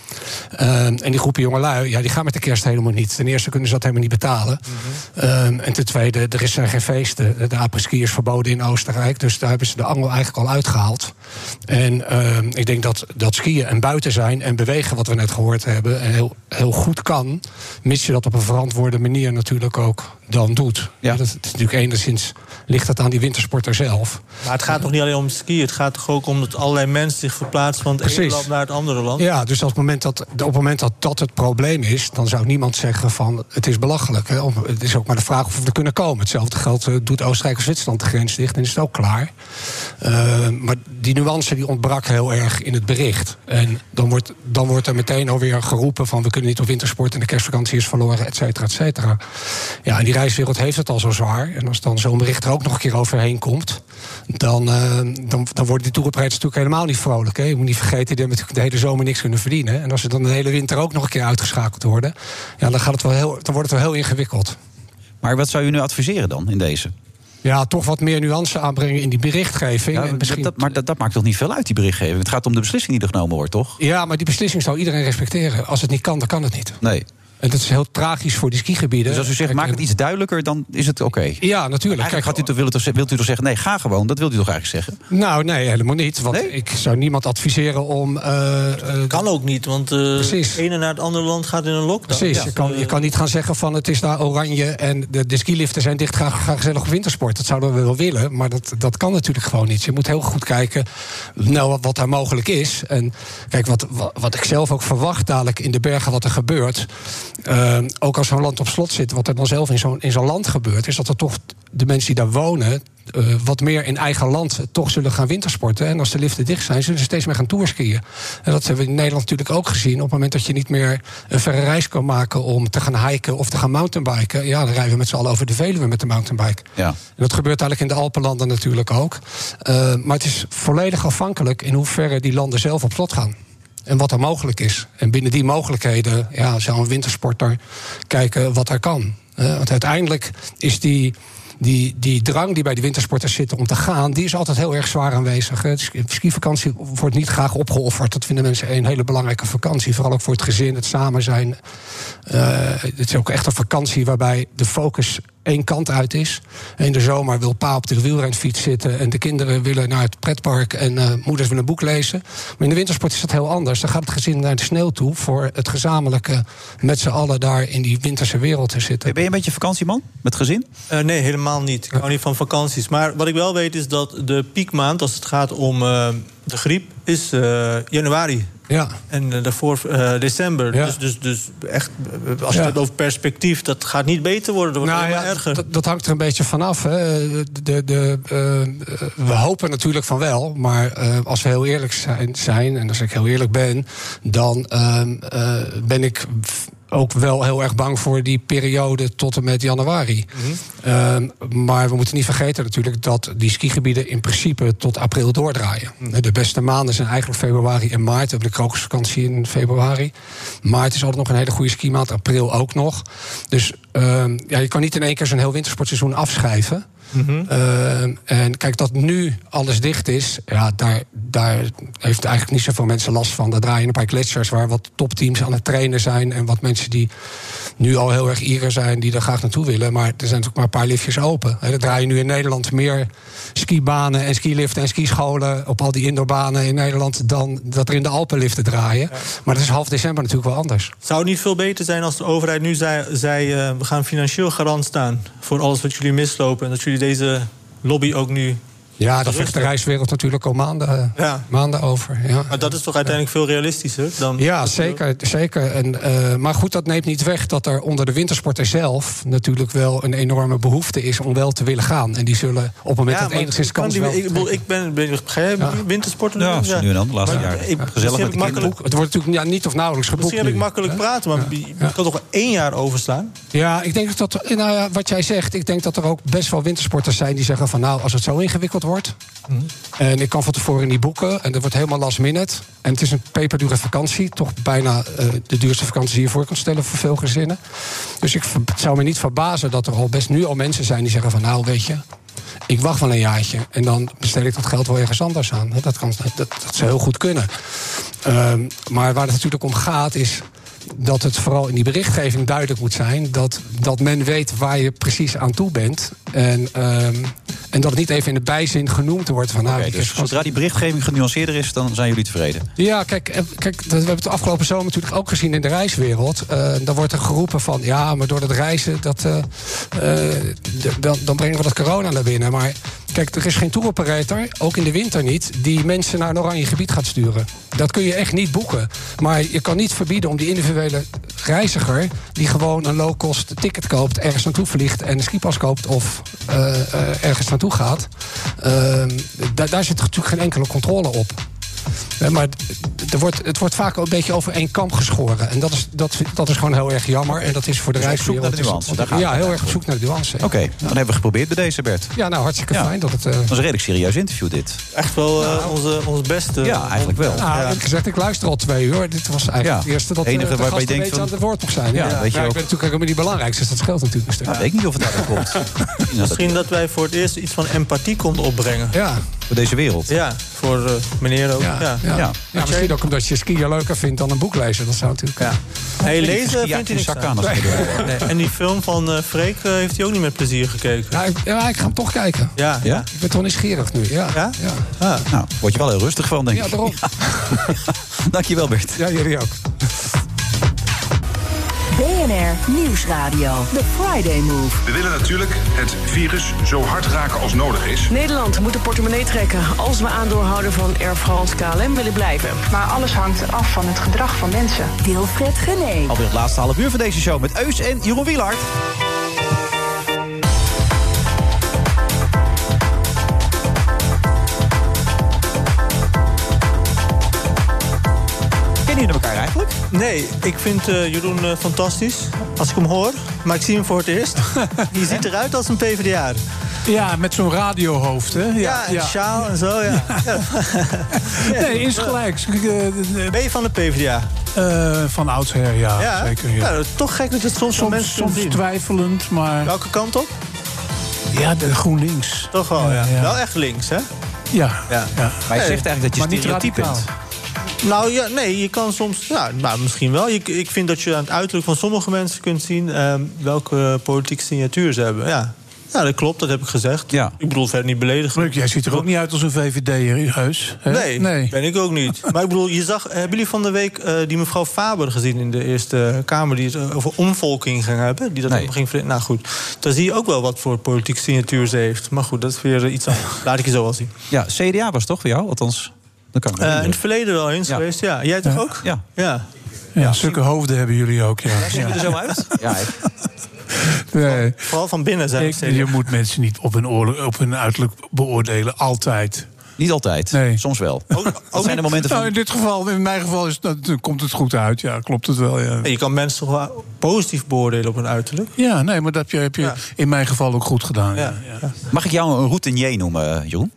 Speaker 17: Ehm, en die groepen jongelui, ja, die gaan met de kerst helemaal niet. Ten eerste kunnen ze dat helemaal niet betalen. Ehm, en ten tweede, er is- zijn geen feesten. De apres-ski is verboden in Oostenrijk. Dus daar hebben ze de angel eigenlijk al uitgehaald. En ehm, ik denk dat, dat skiën en buiten zijn en bewegen, wat we net gehoord hebben, heel, heel goed kan. Mits je dat op een verantwoorde manier natuurlijk ook dan doet. Ja. Dat, het is natuurlijk enigszins ligt dat aan die wintersporter zelf.
Speaker 8: Maar het gaat toch niet alleen om ski. Het gaat toch ook om dat allerlei mensen zich verplaatsen van het ene
Speaker 17: Precies.
Speaker 8: land naar het andere land.
Speaker 17: Ja, dus op het moment dat, op het moment dat dat het probleem is, dan zou niemand zeggen van het is belachelijk. Hè? Om- Het is ook maar de vraag of we er kunnen komen. Hetzelfde geldt, eh, doet Oostenrijk of Zwitserland de grens dicht en is het ook klaar. Eh, maar die nuance die ontbrak heel erg in het bericht. En dan wordt, dan wordt er meteen alweer geroepen van we kunnen niet op wintersport en de kerstvakantie is verloren, et cetera, et cetera. Ja, en die reiswereld heeft het al zo zwaar. En als dan zo'n bericht er ook nog een keer overheen komt, dan, eh, dan, dan worden die toeroprijders natuurlijk helemaal niet vrolijk. Hè? Je moet niet vergeten, die hebben natuurlijk de hele zomer niks kunnen verdienen. En als ze dan de hele winter ook nog een keer uitgeschakeld worden, ja, dan, gaat het wel heel, dan wordt het wel heel ingewikkeld.
Speaker 7: Maar wat zou je nu adviseren dan in deze?
Speaker 17: Ja, toch wat meer nuance aanbrengen in die berichtgeving.
Speaker 7: Ja,
Speaker 17: en misschien...
Speaker 7: dat, dat- maar dat, dat maakt toch niet veel uit, die berichtgeving? Het gaat om de beslissing die er genomen wordt, toch?
Speaker 17: Ja, maar die beslissing zou iedereen respecteren. Als het niet kan, dan kan het niet.
Speaker 7: Nee.
Speaker 17: En dat is heel tragisch voor die skigebieden.
Speaker 7: Dus als u zegt, maak het iets duidelijker, dan is het oké.
Speaker 17: eh, Ja, natuurlijk.
Speaker 7: Eigenlijk had u toch, wilt, u toch, ze- wilt u toch zeggen, nee, ga gewoon. Dat wilt u toch eigenlijk zeggen?
Speaker 17: Nou, nee, helemaal niet. Want ik zou niemand adviseren om. eh,
Speaker 8: kan ook niet, want eh het ene naar het andere land gaat in een lockdown.
Speaker 17: Precies,
Speaker 8: Ja.
Speaker 17: je, kan, je kan niet gaan zeggen van het is daar oranje en de, de skiliften zijn dicht, ga, ga gezellig op wintersport. Dat zouden we wel willen, maar dat, dat kan natuurlijk gewoon niet. Je moet heel goed kijken nou, wat, wat daar mogelijk is. En kijk, wat, wat, wat ik zelf ook verwacht dadelijk in de bergen wat er gebeurt, eh, ook als zo'n land op slot zit, wat er dan zelf in zo'n in zo'n land gebeurt, is dat er toch de mensen die daar wonen eh, wat meer in eigen land toch zullen gaan wintersporten. En als de liften dicht zijn, zullen ze steeds meer gaan toerskiën. En dat hebben we in Nederland natuurlijk ook gezien. Op het moment dat je niet meer een verre reis kan maken om te gaan hiken of te gaan mountainbiken. Ja, dan rijden we met z'n allen over de Veluwe met de mountainbike.
Speaker 7: Ja.
Speaker 17: En dat gebeurt eigenlijk in de Alpenlanden natuurlijk ook. Eh, maar het is volledig afhankelijk in hoeverre die landen zelf op slot gaan. En wat er mogelijk is. En binnen die mogelijkheden ja, zou een wintersporter kijken wat er kan. Eh, want uiteindelijk is die, die, die drang die bij de wintersporters zit om te gaan... die is altijd heel erg zwaar aanwezig. hè. Dus Skivakantie wordt niet graag opgeofferd. Dat vinden mensen een hele belangrijke vakantie. Vooral ook voor het gezin, het samen zijn. Eh, het is ook echt een vakantie waarbij de focus één kant uit is. En in de zomer wil pa op de wielrenfiets zitten... en de kinderen willen naar het pretpark en eh, moeders willen een boek lezen. Maar in de wintersport is dat heel anders. Dan gaat het gezin naar de sneeuw toe... voor het gezamenlijke met z'n allen daar in die winterse wereld te zitten.
Speaker 7: Ben je een beetje vakantieman? Met gezin?
Speaker 8: Eh, nee, helemaal niet. Ik hou niet van vakanties. Maar wat ik wel weet is dat de piekmaand, als het gaat om eh, de griep, is eh, januari.
Speaker 17: Ja.
Speaker 8: En eh, daarvoor eh, december. Dus, dus, dus echt, eh, als je
Speaker 17: Ja.
Speaker 8: het hebt over perspectief, dat gaat niet beter worden. Dat wordt
Speaker 17: Nou
Speaker 8: alleen
Speaker 17: ja,
Speaker 8: maar erger.
Speaker 17: Dat, dat hangt er een beetje vanaf. hè. De, de, eh, we hopen natuurlijk van wel. Maar eh, als we heel eerlijk zijn, zijn en als ik heel eerlijk ben, dan ehm, eh, ben ik f- ook wel heel erg bang voor die periode tot en met januari. Ehm, maar we moeten niet vergeten natuurlijk dat die skigebieden in principe tot april doordraaien. De beste maanden zijn eigenlijk februari en maart. We hebben de krokusvakantie in februari. Maart is altijd nog een hele goede skimaand, april ook nog. Dus ehm, ja, je kan niet in één keer zo'n heel wintersportseizoen afschrijven. Ehm, en kijk, dat nu alles dicht is, ja, daar, daar heeft eigenlijk niet zoveel mensen last van. Daar draaien een paar gletsjers waar wat topteams aan het trainen zijn. En wat mensen die nu al heel erg Ieren zijn, die daar graag naartoe willen. Maar er zijn natuurlijk maar een paar liftjes open. Hè, Er draaien nu in Nederland meer skibanen en skiliften en skischolen op al die indoorbanen in Nederland dan dat er in de Alpenliften draaien. Maar dat is half december natuurlijk wel anders.
Speaker 8: Zou het niet veel beter zijn als de overheid nu zei... zei eh, we gaan financieel garant staan voor alles wat jullie mislopen... en dat jullie deze lobby ook nu...
Speaker 17: Ja, daar vecht de reiswereld natuurlijk al maanden, eh, maanden over. Ja.
Speaker 8: Maar dat is toch uiteindelijk veel realistischer dan...
Speaker 17: Ja, zeker. zeker. En, eh, maar goed, dat neemt niet weg dat er onder de wintersporter zelf natuurlijk wel een enorme behoefte is om wel te willen gaan. En die zullen op het moment
Speaker 8: Ja,
Speaker 17: dat
Speaker 8: maar
Speaker 17: enigszins
Speaker 8: kan
Speaker 17: kans
Speaker 8: die-
Speaker 17: wel
Speaker 8: ik, bedoel, ik ben, ben ga jij wintersporten
Speaker 7: Ja, zo nu en dan, de laatste
Speaker 8: Maar ik-
Speaker 7: jaren. Gezellig
Speaker 8: misschien
Speaker 7: met
Speaker 8: heb
Speaker 7: de
Speaker 8: ik makkelijk,
Speaker 17: Het wordt natuurlijk ja, niet of nauwelijks geboekt
Speaker 8: misschien heb ik
Speaker 17: nu.
Speaker 8: makkelijk praten, maar je je kan toch wel één jaar overslaan?
Speaker 17: Ja, ik denk dat, dat- nou ja, wat jij zegt, ik denk dat er ook best wel wintersporters zijn die zeggen van nou, als het zo ingewikkeld wordt. En ik kan van tevoren niet boeken en dat wordt helemaal last minute. En het is een peperdure vakantie, toch bijna eh, de duurste vakantie die je voor kunt stellen voor veel gezinnen. Dus ik ver- het zou me niet verbazen dat er al best nu al mensen zijn die zeggen van nou, weet je, ik wacht wel een jaartje en dan bestel ik dat geld wel ergens anders aan. Hè, Dat, kan, dat, dat zou heel goed kunnen. Ehm, maar waar het natuurlijk om gaat is dat het vooral in die berichtgeving duidelijk moet zijn... dat, dat men weet waar je precies aan toe bent. En, ehm, en dat het niet even in de bijzin genoemd wordt van... nou,
Speaker 7: Oké,
Speaker 17: weet je,
Speaker 7: dus zodra die berichtgeving genuanceerder is, dan zijn jullie tevreden.
Speaker 17: ja, kijk, eh, kijk dat, we hebben het de afgelopen zomer natuurlijk ook gezien in de reiswereld. Eh dan wordt er geroepen van, ja, maar door dat reizen, dat, eh, eh, d- dan, dan brengen we dat corona naar binnen. Maar kijk, er is geen touroperator, ook in de winter niet, die mensen naar een oranje gebied gaat sturen. Dat kun je echt niet boeken. Maar je kan niet verbieden om die individuele reiziger, die gewoon een low-cost ticket koopt, ergens naartoe vliegt en een skipas koopt of eh, eh, ergens naartoe gaat. Ehm, da- daar zit natuurlijk geen enkele controle op. Hè, Eh, maar d- er wordt, het wordt vaak een beetje over één kamp geschoren. En dat is, dat, dat is gewoon heel erg jammer. En dat is voor de
Speaker 7: Dus op zoek
Speaker 17: reiswereld...
Speaker 7: naar de
Speaker 17: is dat-
Speaker 7: nuance, daar gaat
Speaker 17: ja,
Speaker 7: het
Speaker 17: heel erg op zoek naar de nuance.
Speaker 7: Oké, nou, dan hebben we geprobeerd bij deze, Bert.
Speaker 17: Ja, nou, hartstikke fijn dat het... eh,
Speaker 7: Dat was een redelijk serieus interview, dit.
Speaker 8: Echt wel eh, onze, ons beste.
Speaker 7: Ja, eigenlijk wel.
Speaker 17: nou,
Speaker 7: Ja.
Speaker 17: eerlijk gezegd, ik luister al twee uur. Dit was eigenlijk
Speaker 7: Ja.
Speaker 17: het eerste dat eh,
Speaker 7: Enige
Speaker 17: de
Speaker 7: waarbij
Speaker 17: gasten
Speaker 7: je
Speaker 17: een
Speaker 7: denkt
Speaker 17: beetje
Speaker 7: van-
Speaker 17: aan het woord mocht zijn.
Speaker 7: Ja,
Speaker 17: Ja,
Speaker 7: weet je
Speaker 17: maar ik
Speaker 7: ook.
Speaker 17: ben natuurlijk helemaal niet belangrijk, dus dat scheelt natuurlijk een stuk.
Speaker 7: Nou, ik weet niet of het daarop komt. Misschien dat het
Speaker 8: Misschien dat wij voor het eerst iets van empathie konden opbrengen.
Speaker 17: Ja,
Speaker 7: voor deze wereld.
Speaker 8: Ja, voor eh, meneer ook. Ja, ja.
Speaker 17: ja. ja. misschien ook omdat je skiën leuker vindt dan een boek lezen. Dat zou natuurlijk... Ja.
Speaker 8: Hey, lezen eh, vindt hij niks aan.
Speaker 17: Nee.
Speaker 8: Nee. Nee. En die film van eh Freek eh, heeft hij ook niet met plezier gekeken.
Speaker 17: Ja, ik, ja, ik ga hem toch kijken.
Speaker 8: Ja.
Speaker 7: Ja?
Speaker 17: Ik ben toch nieuwsgierig nu. Ja? Ja? Ja,
Speaker 7: Nou, word je wel heel rustig van, denk ik.
Speaker 17: ja daarom.
Speaker 7: Dankjewel, Bert.
Speaker 17: Ja, jullie ook.
Speaker 13: BNR Nieuwsradio. The Friday Move.
Speaker 4: We willen natuurlijk het virus zo hard raken als nodig is.
Speaker 5: Nederland moet de portemonnee trekken als we aandeelhouder van Air France KLM willen blijven.
Speaker 6: Maar alles hangt af van het gedrag van mensen.
Speaker 13: Wilfred Genee.
Speaker 7: Alweer het laatste half uur van deze show met Eus en Jeroen Wielaert. Kennen jullie elkaar eigenlijk?
Speaker 8: Nee, ik vind eh, Jeroen eh, fantastisch als ik hem hoor. Maar ik zie hem voor het eerst. Die ziet eruit als een PvdA.
Speaker 18: Ja, met zo'n radiohoofd, hè? Ja,
Speaker 8: Ja, en sjaal en zo, ja.
Speaker 18: Nee, is gelijk.
Speaker 8: Ben je van de PvdA?
Speaker 18: Eh, van oudsher, ja,
Speaker 8: Ja,
Speaker 18: zeker. Ja.
Speaker 8: Nou, toch gek dat je het soms, van
Speaker 18: soms,
Speaker 8: mensen kunt
Speaker 18: soms
Speaker 8: zien.
Speaker 18: twijfelend, maar...
Speaker 8: Welke kant op?
Speaker 18: Ja, de GroenLinks.
Speaker 8: Toch wel, Oh, ja.
Speaker 18: Ja, ja.
Speaker 8: Wel echt links, hè?
Speaker 18: Ja.
Speaker 8: Ja.
Speaker 18: ja.
Speaker 7: Maar je zegt eigenlijk dat je
Speaker 18: Maar niet
Speaker 7: stereotyp
Speaker 18: radicaal.
Speaker 7: bent.
Speaker 8: Nou ja, nee, je kan soms. Ja, nou, misschien wel. Ik, ik vind dat je aan het uiterlijk van sommige mensen kunt zien ehm, welke politieke signatuur ze hebben. Ja. ja, dat klopt, dat heb ik gezegd. Ik bedoel, verder niet beledigend.
Speaker 18: jij ziet er ook niet uit als een VVD'er, heus. hè?
Speaker 8: Nee, ben ik ook niet. Maar ik bedoel, je zag, hebben jullie van de week eh, die mevrouw Faber gezien in de Eerste Kamer... die het eh, over omvolking ging hebben? Die dat helemaal ging ver- Nou goed, daar zie je ook wel wat voor politiek signatuur ze heeft. Maar goed, dat is weer eh, iets anders. Laat ik je zo wel zien.
Speaker 7: Ja, CDA was toch voor jou? Althans, dat kan ik me
Speaker 8: Eh, in
Speaker 7: herinneren.
Speaker 8: het verleden wel eens geweest, ja. Jij toch
Speaker 18: Ja.
Speaker 8: ook? Ja. ja.
Speaker 18: Ja, zulke hoofden hebben jullie ook, ja.
Speaker 8: zien we er zo uit? Ja,
Speaker 18: Nee.
Speaker 8: Vooral van binnen zijn
Speaker 18: Ik- Je moet mensen niet op hun, oorlog, op hun uiterlijk beoordelen, altijd.
Speaker 7: Niet altijd, soms wel.
Speaker 18: Ook
Speaker 7: zijn de momenten van-
Speaker 18: Nou, in dit geval, in mijn geval, is, dat, dan komt het goed uit. Ja, klopt het wel. Ja,
Speaker 8: En je kan mensen toch wel positief beoordelen op hun uiterlijk?
Speaker 18: ja nee, maar dat heb je, heb je in mijn geval ook goed gedaan. Ja, ja.
Speaker 7: Mag ik jou een routinier noemen, Jeroen?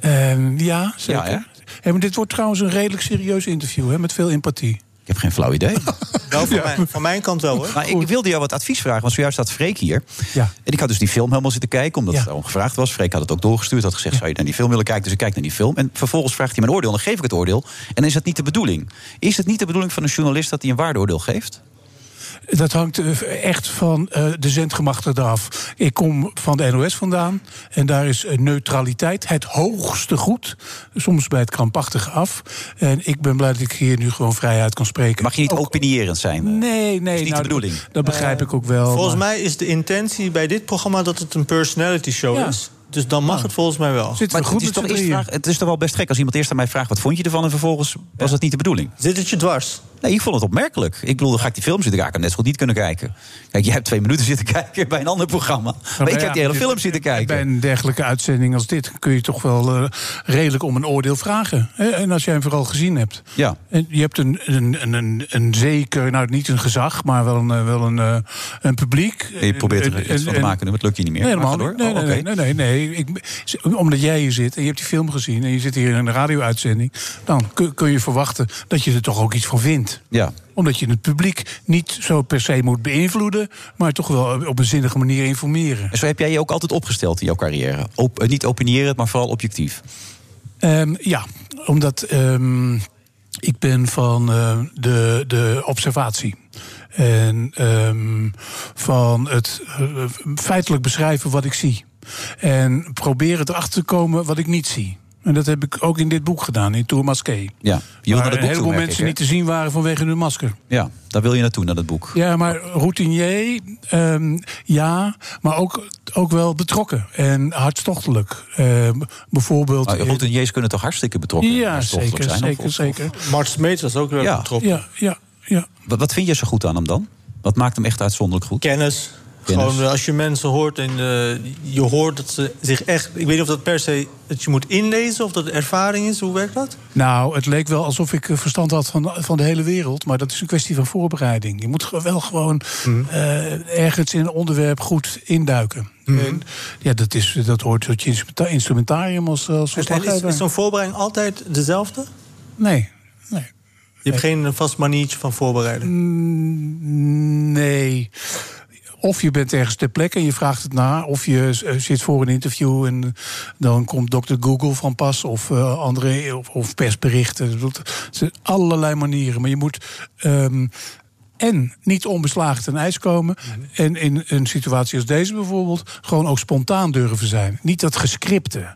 Speaker 18: Ehm, ja zeker.
Speaker 7: Ja, hè?
Speaker 18: Hé, maar dit wordt trouwens een redelijk serieus interview, hè, met veel empathie.
Speaker 7: Ik heb geen flauw idee.
Speaker 8: Wel van, mijn, van mijn kant wel, hoor.
Speaker 7: Maar ik wilde jou wat advies vragen, want zojuist staat Freek hier. En ik had dus die film helemaal zitten kijken, omdat het daarom gevraagd was. Freek had het ook doorgestuurd, had gezegd, zou je naar die film willen kijken? Dus ik kijk naar die film en vervolgens vraagt hij mijn oordeel. Dan geef ik het oordeel en dan is dat niet de bedoeling. Is het niet de bedoeling van een journalist dat hij een waardeoordeel geeft?
Speaker 18: Dat hangt eh, echt van eh, de zendgemachtigde af. Ik kom van de NOS vandaan en daar is eh, neutraliteit het hoogste goed. Soms bij het krampachtige af. En ik ben blij dat ik hier nu gewoon vrijheid kan spreken.
Speaker 7: Mag je niet opinierend zijn?
Speaker 18: Nee, nee.
Speaker 7: niet
Speaker 18: nou,
Speaker 7: de bedoeling.
Speaker 18: Dat, dat begrijp ik ook wel.
Speaker 8: Eh, Volgens
Speaker 18: maar-
Speaker 8: mij is de intentie bij dit programma dat het een personality show
Speaker 18: Ja.
Speaker 8: is. Dus dan mag het volgens mij wel.
Speaker 7: Maar het, is toch eerst vraag, het is toch wel best gek als iemand eerst aan mij vraagt... wat vond je ervan en vervolgens was dat niet de bedoeling.
Speaker 8: Zit het je dwars?
Speaker 7: Nee, ik vond het opmerkelijk. Ik bedoel, dan ga ik die film zitten kijken. Ik had net zo goed niet kunnen kijken. Kijk, jij hebt twee minuten zitten kijken bij een ander programma. Maar ik
Speaker 18: Nou
Speaker 7: heb
Speaker 18: ja,
Speaker 7: die hele
Speaker 18: dit-
Speaker 7: film zitten kijken.
Speaker 18: Bij een dergelijke uitzending als dit kun je toch wel eh, redelijk om een oordeel vragen. Hè? En als jij hem vooral gezien hebt.
Speaker 7: Ja.
Speaker 18: En je hebt een, een, een, een, een zeker, nou niet een gezag, maar wel een, eh, wel een, eh, een publiek.
Speaker 7: Je probeert
Speaker 18: En-
Speaker 7: er
Speaker 18: en-
Speaker 7: iets van te
Speaker 18: en-
Speaker 7: maken, maar het lukt je niet meer.
Speaker 18: Nee,
Speaker 7: Maar
Speaker 18: helemaal
Speaker 7: ga
Speaker 18: niet.
Speaker 7: door.
Speaker 18: Nee,
Speaker 7: Oh,
Speaker 18: nee,
Speaker 7: oké.
Speaker 18: nee, nee, nee. Ik, omdat jij hier zit en je hebt die film gezien... en je zit hier in een radio-uitzending... dan kun, kun je verwachten dat je er toch ook iets van vindt.
Speaker 7: Ja.
Speaker 18: Omdat je het publiek niet zo per se moet beïnvloeden... maar toch wel op een zinnige manier informeren.
Speaker 7: En zo heb jij je ook altijd opgesteld in jouw carrière. Op, eh, niet opinierend, maar vooral objectief.
Speaker 18: Ehm, ja, omdat ehm, ik ben van eh, de, de observatie. En ehm, van het eh, feitelijk beschrijven wat ik zie. En proberen erachter te komen wat ik niet zie. En dat heb ik ook in dit boek gedaan, in Tour Masqué.
Speaker 7: Ja, je wil
Speaker 18: Waar
Speaker 7: naar dat
Speaker 18: een
Speaker 7: boek toe,
Speaker 18: heleboel
Speaker 7: merk
Speaker 18: mensen
Speaker 7: ik,
Speaker 18: niet te zien waren vanwege hun masker.
Speaker 7: hè? Ja, daar wil je naartoe, naar dat boek.
Speaker 18: Ja, maar routinier, ehm, ja, maar ook, ook wel betrokken en hartstochtelijk. Ehm, bijvoorbeeld...
Speaker 7: Nou, routiniers kunnen toch hartstikke betrokken
Speaker 18: ja,
Speaker 7: hartstochtelijk
Speaker 18: zeker,
Speaker 7: zijn? Of-
Speaker 18: zeker, zeker.
Speaker 8: Mart Smeet was ook wel
Speaker 7: Ja.
Speaker 8: betrokken.
Speaker 18: Ja, ja, ja.
Speaker 7: Wat, wat vind je zo goed aan hem dan? Wat maakt hem echt uitzonderlijk goed?
Speaker 8: Kennis.
Speaker 7: Kennis.
Speaker 8: Gewoon eh, als je mensen hoort en eh, je hoort dat ze zich echt... Ik weet niet of dat per se dat je moet inlezen of dat ervaring is. Hoe werkt dat?
Speaker 18: Nou, het leek wel alsof ik eh, verstand had van, van de hele wereld. Maar dat is een kwestie van voorbereiding. Je moet ge- wel gewoon
Speaker 7: Hmm.
Speaker 18: eh, ergens in een onderwerp goed induiken.
Speaker 7: Hmm.
Speaker 18: En, ja, dat, is, dat hoort tot je instrumenta- instrumentarium als, eh, als
Speaker 8: En is,
Speaker 18: verslaggever.
Speaker 8: is zo'n voorbereiding altijd dezelfde?
Speaker 18: Nee.
Speaker 8: Je hebt geen vast maniertje van voorbereiden?
Speaker 18: Mm, Nee. Of je bent ergens ter plekke en je vraagt het na. Of je eh, zit voor een interview en eh, dan komt dokter Google van pas. Of eh, andere of, of persberichten. Dat- Er zijn allerlei manieren. Maar je moet ehm, en niet onbeslagen ten ijs komen. En in een situatie als deze bijvoorbeeld gewoon ook spontaan durven zijn. Niet dat gescripte,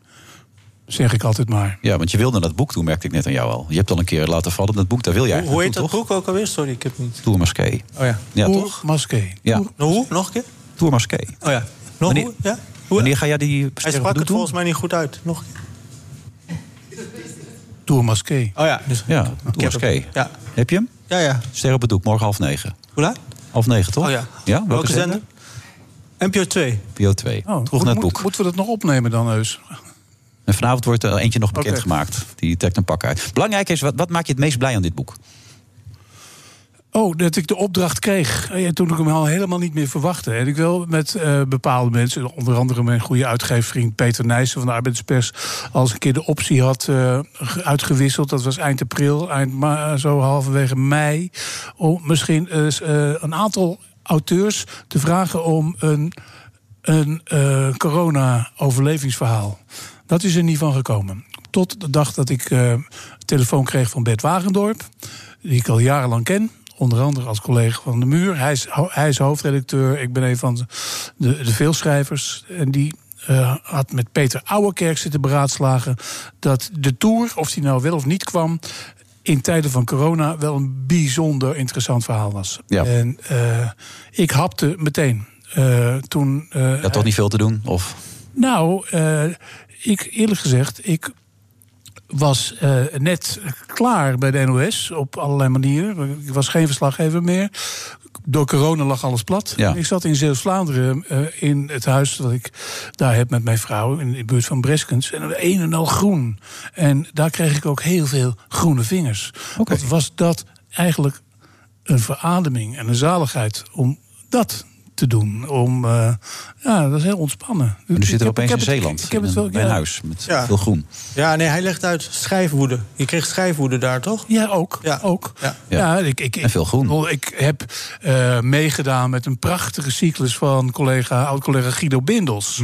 Speaker 18: zeg ik altijd maar.
Speaker 7: Ja, want je wilde naar dat boek toe, merkte ik net aan jou al. Je hebt al een keer laten vallen dat boek, daar wil jij
Speaker 8: Hoe, hoe
Speaker 7: eigenlijk
Speaker 8: heet dat boek ook alweer? Sorry, ik heb het niet.
Speaker 7: naartoe, Tour Masqué.
Speaker 8: Oh ja.
Speaker 7: Ja,
Speaker 8: Hoe-
Speaker 7: toch?
Speaker 18: Masqué.
Speaker 7: Ja.
Speaker 8: Nou, hoe? Nog een keer?
Speaker 7: Tour Masqué.
Speaker 8: Oh ja. Nog
Speaker 7: Wanneer-
Speaker 8: hoe? Ja?
Speaker 7: Wanneer ga jij die
Speaker 8: Hij
Speaker 7: sterrenbedoel
Speaker 8: sprak het
Speaker 7: doen?
Speaker 8: volgens mij niet goed uit. Nog een keer.
Speaker 18: Tour Masqué.
Speaker 8: Oh ja. Dus
Speaker 7: Ja, Tour Masqué.
Speaker 8: Ja.
Speaker 7: Heb je hem?
Speaker 8: Ja, ja.
Speaker 7: Sterrenbedoel, morgen half negen.
Speaker 8: Hoe laat?
Speaker 7: Half negen, toch?
Speaker 8: Oh ja.
Speaker 7: welke,
Speaker 8: Welke zender?
Speaker 7: zender?
Speaker 8: NPO 2.
Speaker 7: PO 2.
Speaker 18: Oh,
Speaker 7: Terug naar het boek.
Speaker 18: Moeten we dat nog opnemen dan, Heus?
Speaker 7: En vanavond wordt er eentje nog
Speaker 18: Oké.
Speaker 7: bekendgemaakt. Die trekt een pak uit. Belangrijk is, wat, wat maakt je het meest blij aan dit boek?
Speaker 18: Oh, dat ik de opdracht kreeg. Eh, toen ik hem al helemaal niet meer verwachtte. En ik wil met eh, bepaalde mensen, onder andere mijn goede uitgevervriend Peter Nijssen van de Arbeidspers, als een keer de optie had eh, ge- uitgewisseld. Dat was eind april, eind ma- zo halverwege mei. Om misschien eens, eh, een aantal auteurs te vragen om een, een eh, corona-overlevingsverhaal. Dat is er niet van gekomen. Tot de dag dat ik eh, een telefoon kreeg van Bert Wagendorp. Die ik al jarenlang ken. Onder andere als collega van de Muur. Hij is, ho- hij is hoofdredacteur. Ik ben een van de, de veelschrijvers. En die eh, had met Peter Ouwerkerk zitten beraadslagen. Dat de tour, of die nou wel of niet kwam. In tijden van corona wel een bijzonder interessant verhaal was.
Speaker 19: Ja.
Speaker 18: En eh, ik hapte meteen. Eh, toen, eh,
Speaker 19: Je had toch niet veel te doen? Of?
Speaker 18: nou, eh, ik, eerlijk gezegd, ik was eh, net klaar bij de NOS op allerlei manieren. Ik was geen verslaggever meer. Door corona lag alles plat.
Speaker 19: Ja.
Speaker 18: Ik zat in Zeeuws-Vlaanderen eh, in het huis dat ik daar heb met mijn vrouw... in de buurt van Breskens. En een en al groen. En daar kreeg ik ook heel veel groene vingers. Wat was dat eigenlijk een verademing en een zaligheid om dat te doen. Om, eh, ja, dat is heel ontspannen.
Speaker 19: En nu zit er
Speaker 18: Ik heb- ik
Speaker 19: opeens in
Speaker 18: heb het-
Speaker 19: Zeeland.
Speaker 18: Ik heb het
Speaker 19: in
Speaker 18: wel,
Speaker 19: een- bij een
Speaker 18: ja.
Speaker 19: huis met
Speaker 8: Ja.
Speaker 19: veel groen.
Speaker 8: Ja, nee, hij legt uit schrijfwoede. Je kreeg schrijfwoede daar, toch?
Speaker 18: Ja, ook. Ja. ook.
Speaker 8: Ja.
Speaker 18: Ja, ik, ik, en veel groen. Ik heb eh, meegedaan met een prachtige cyclus van collega, oud-collega Guido Bindels.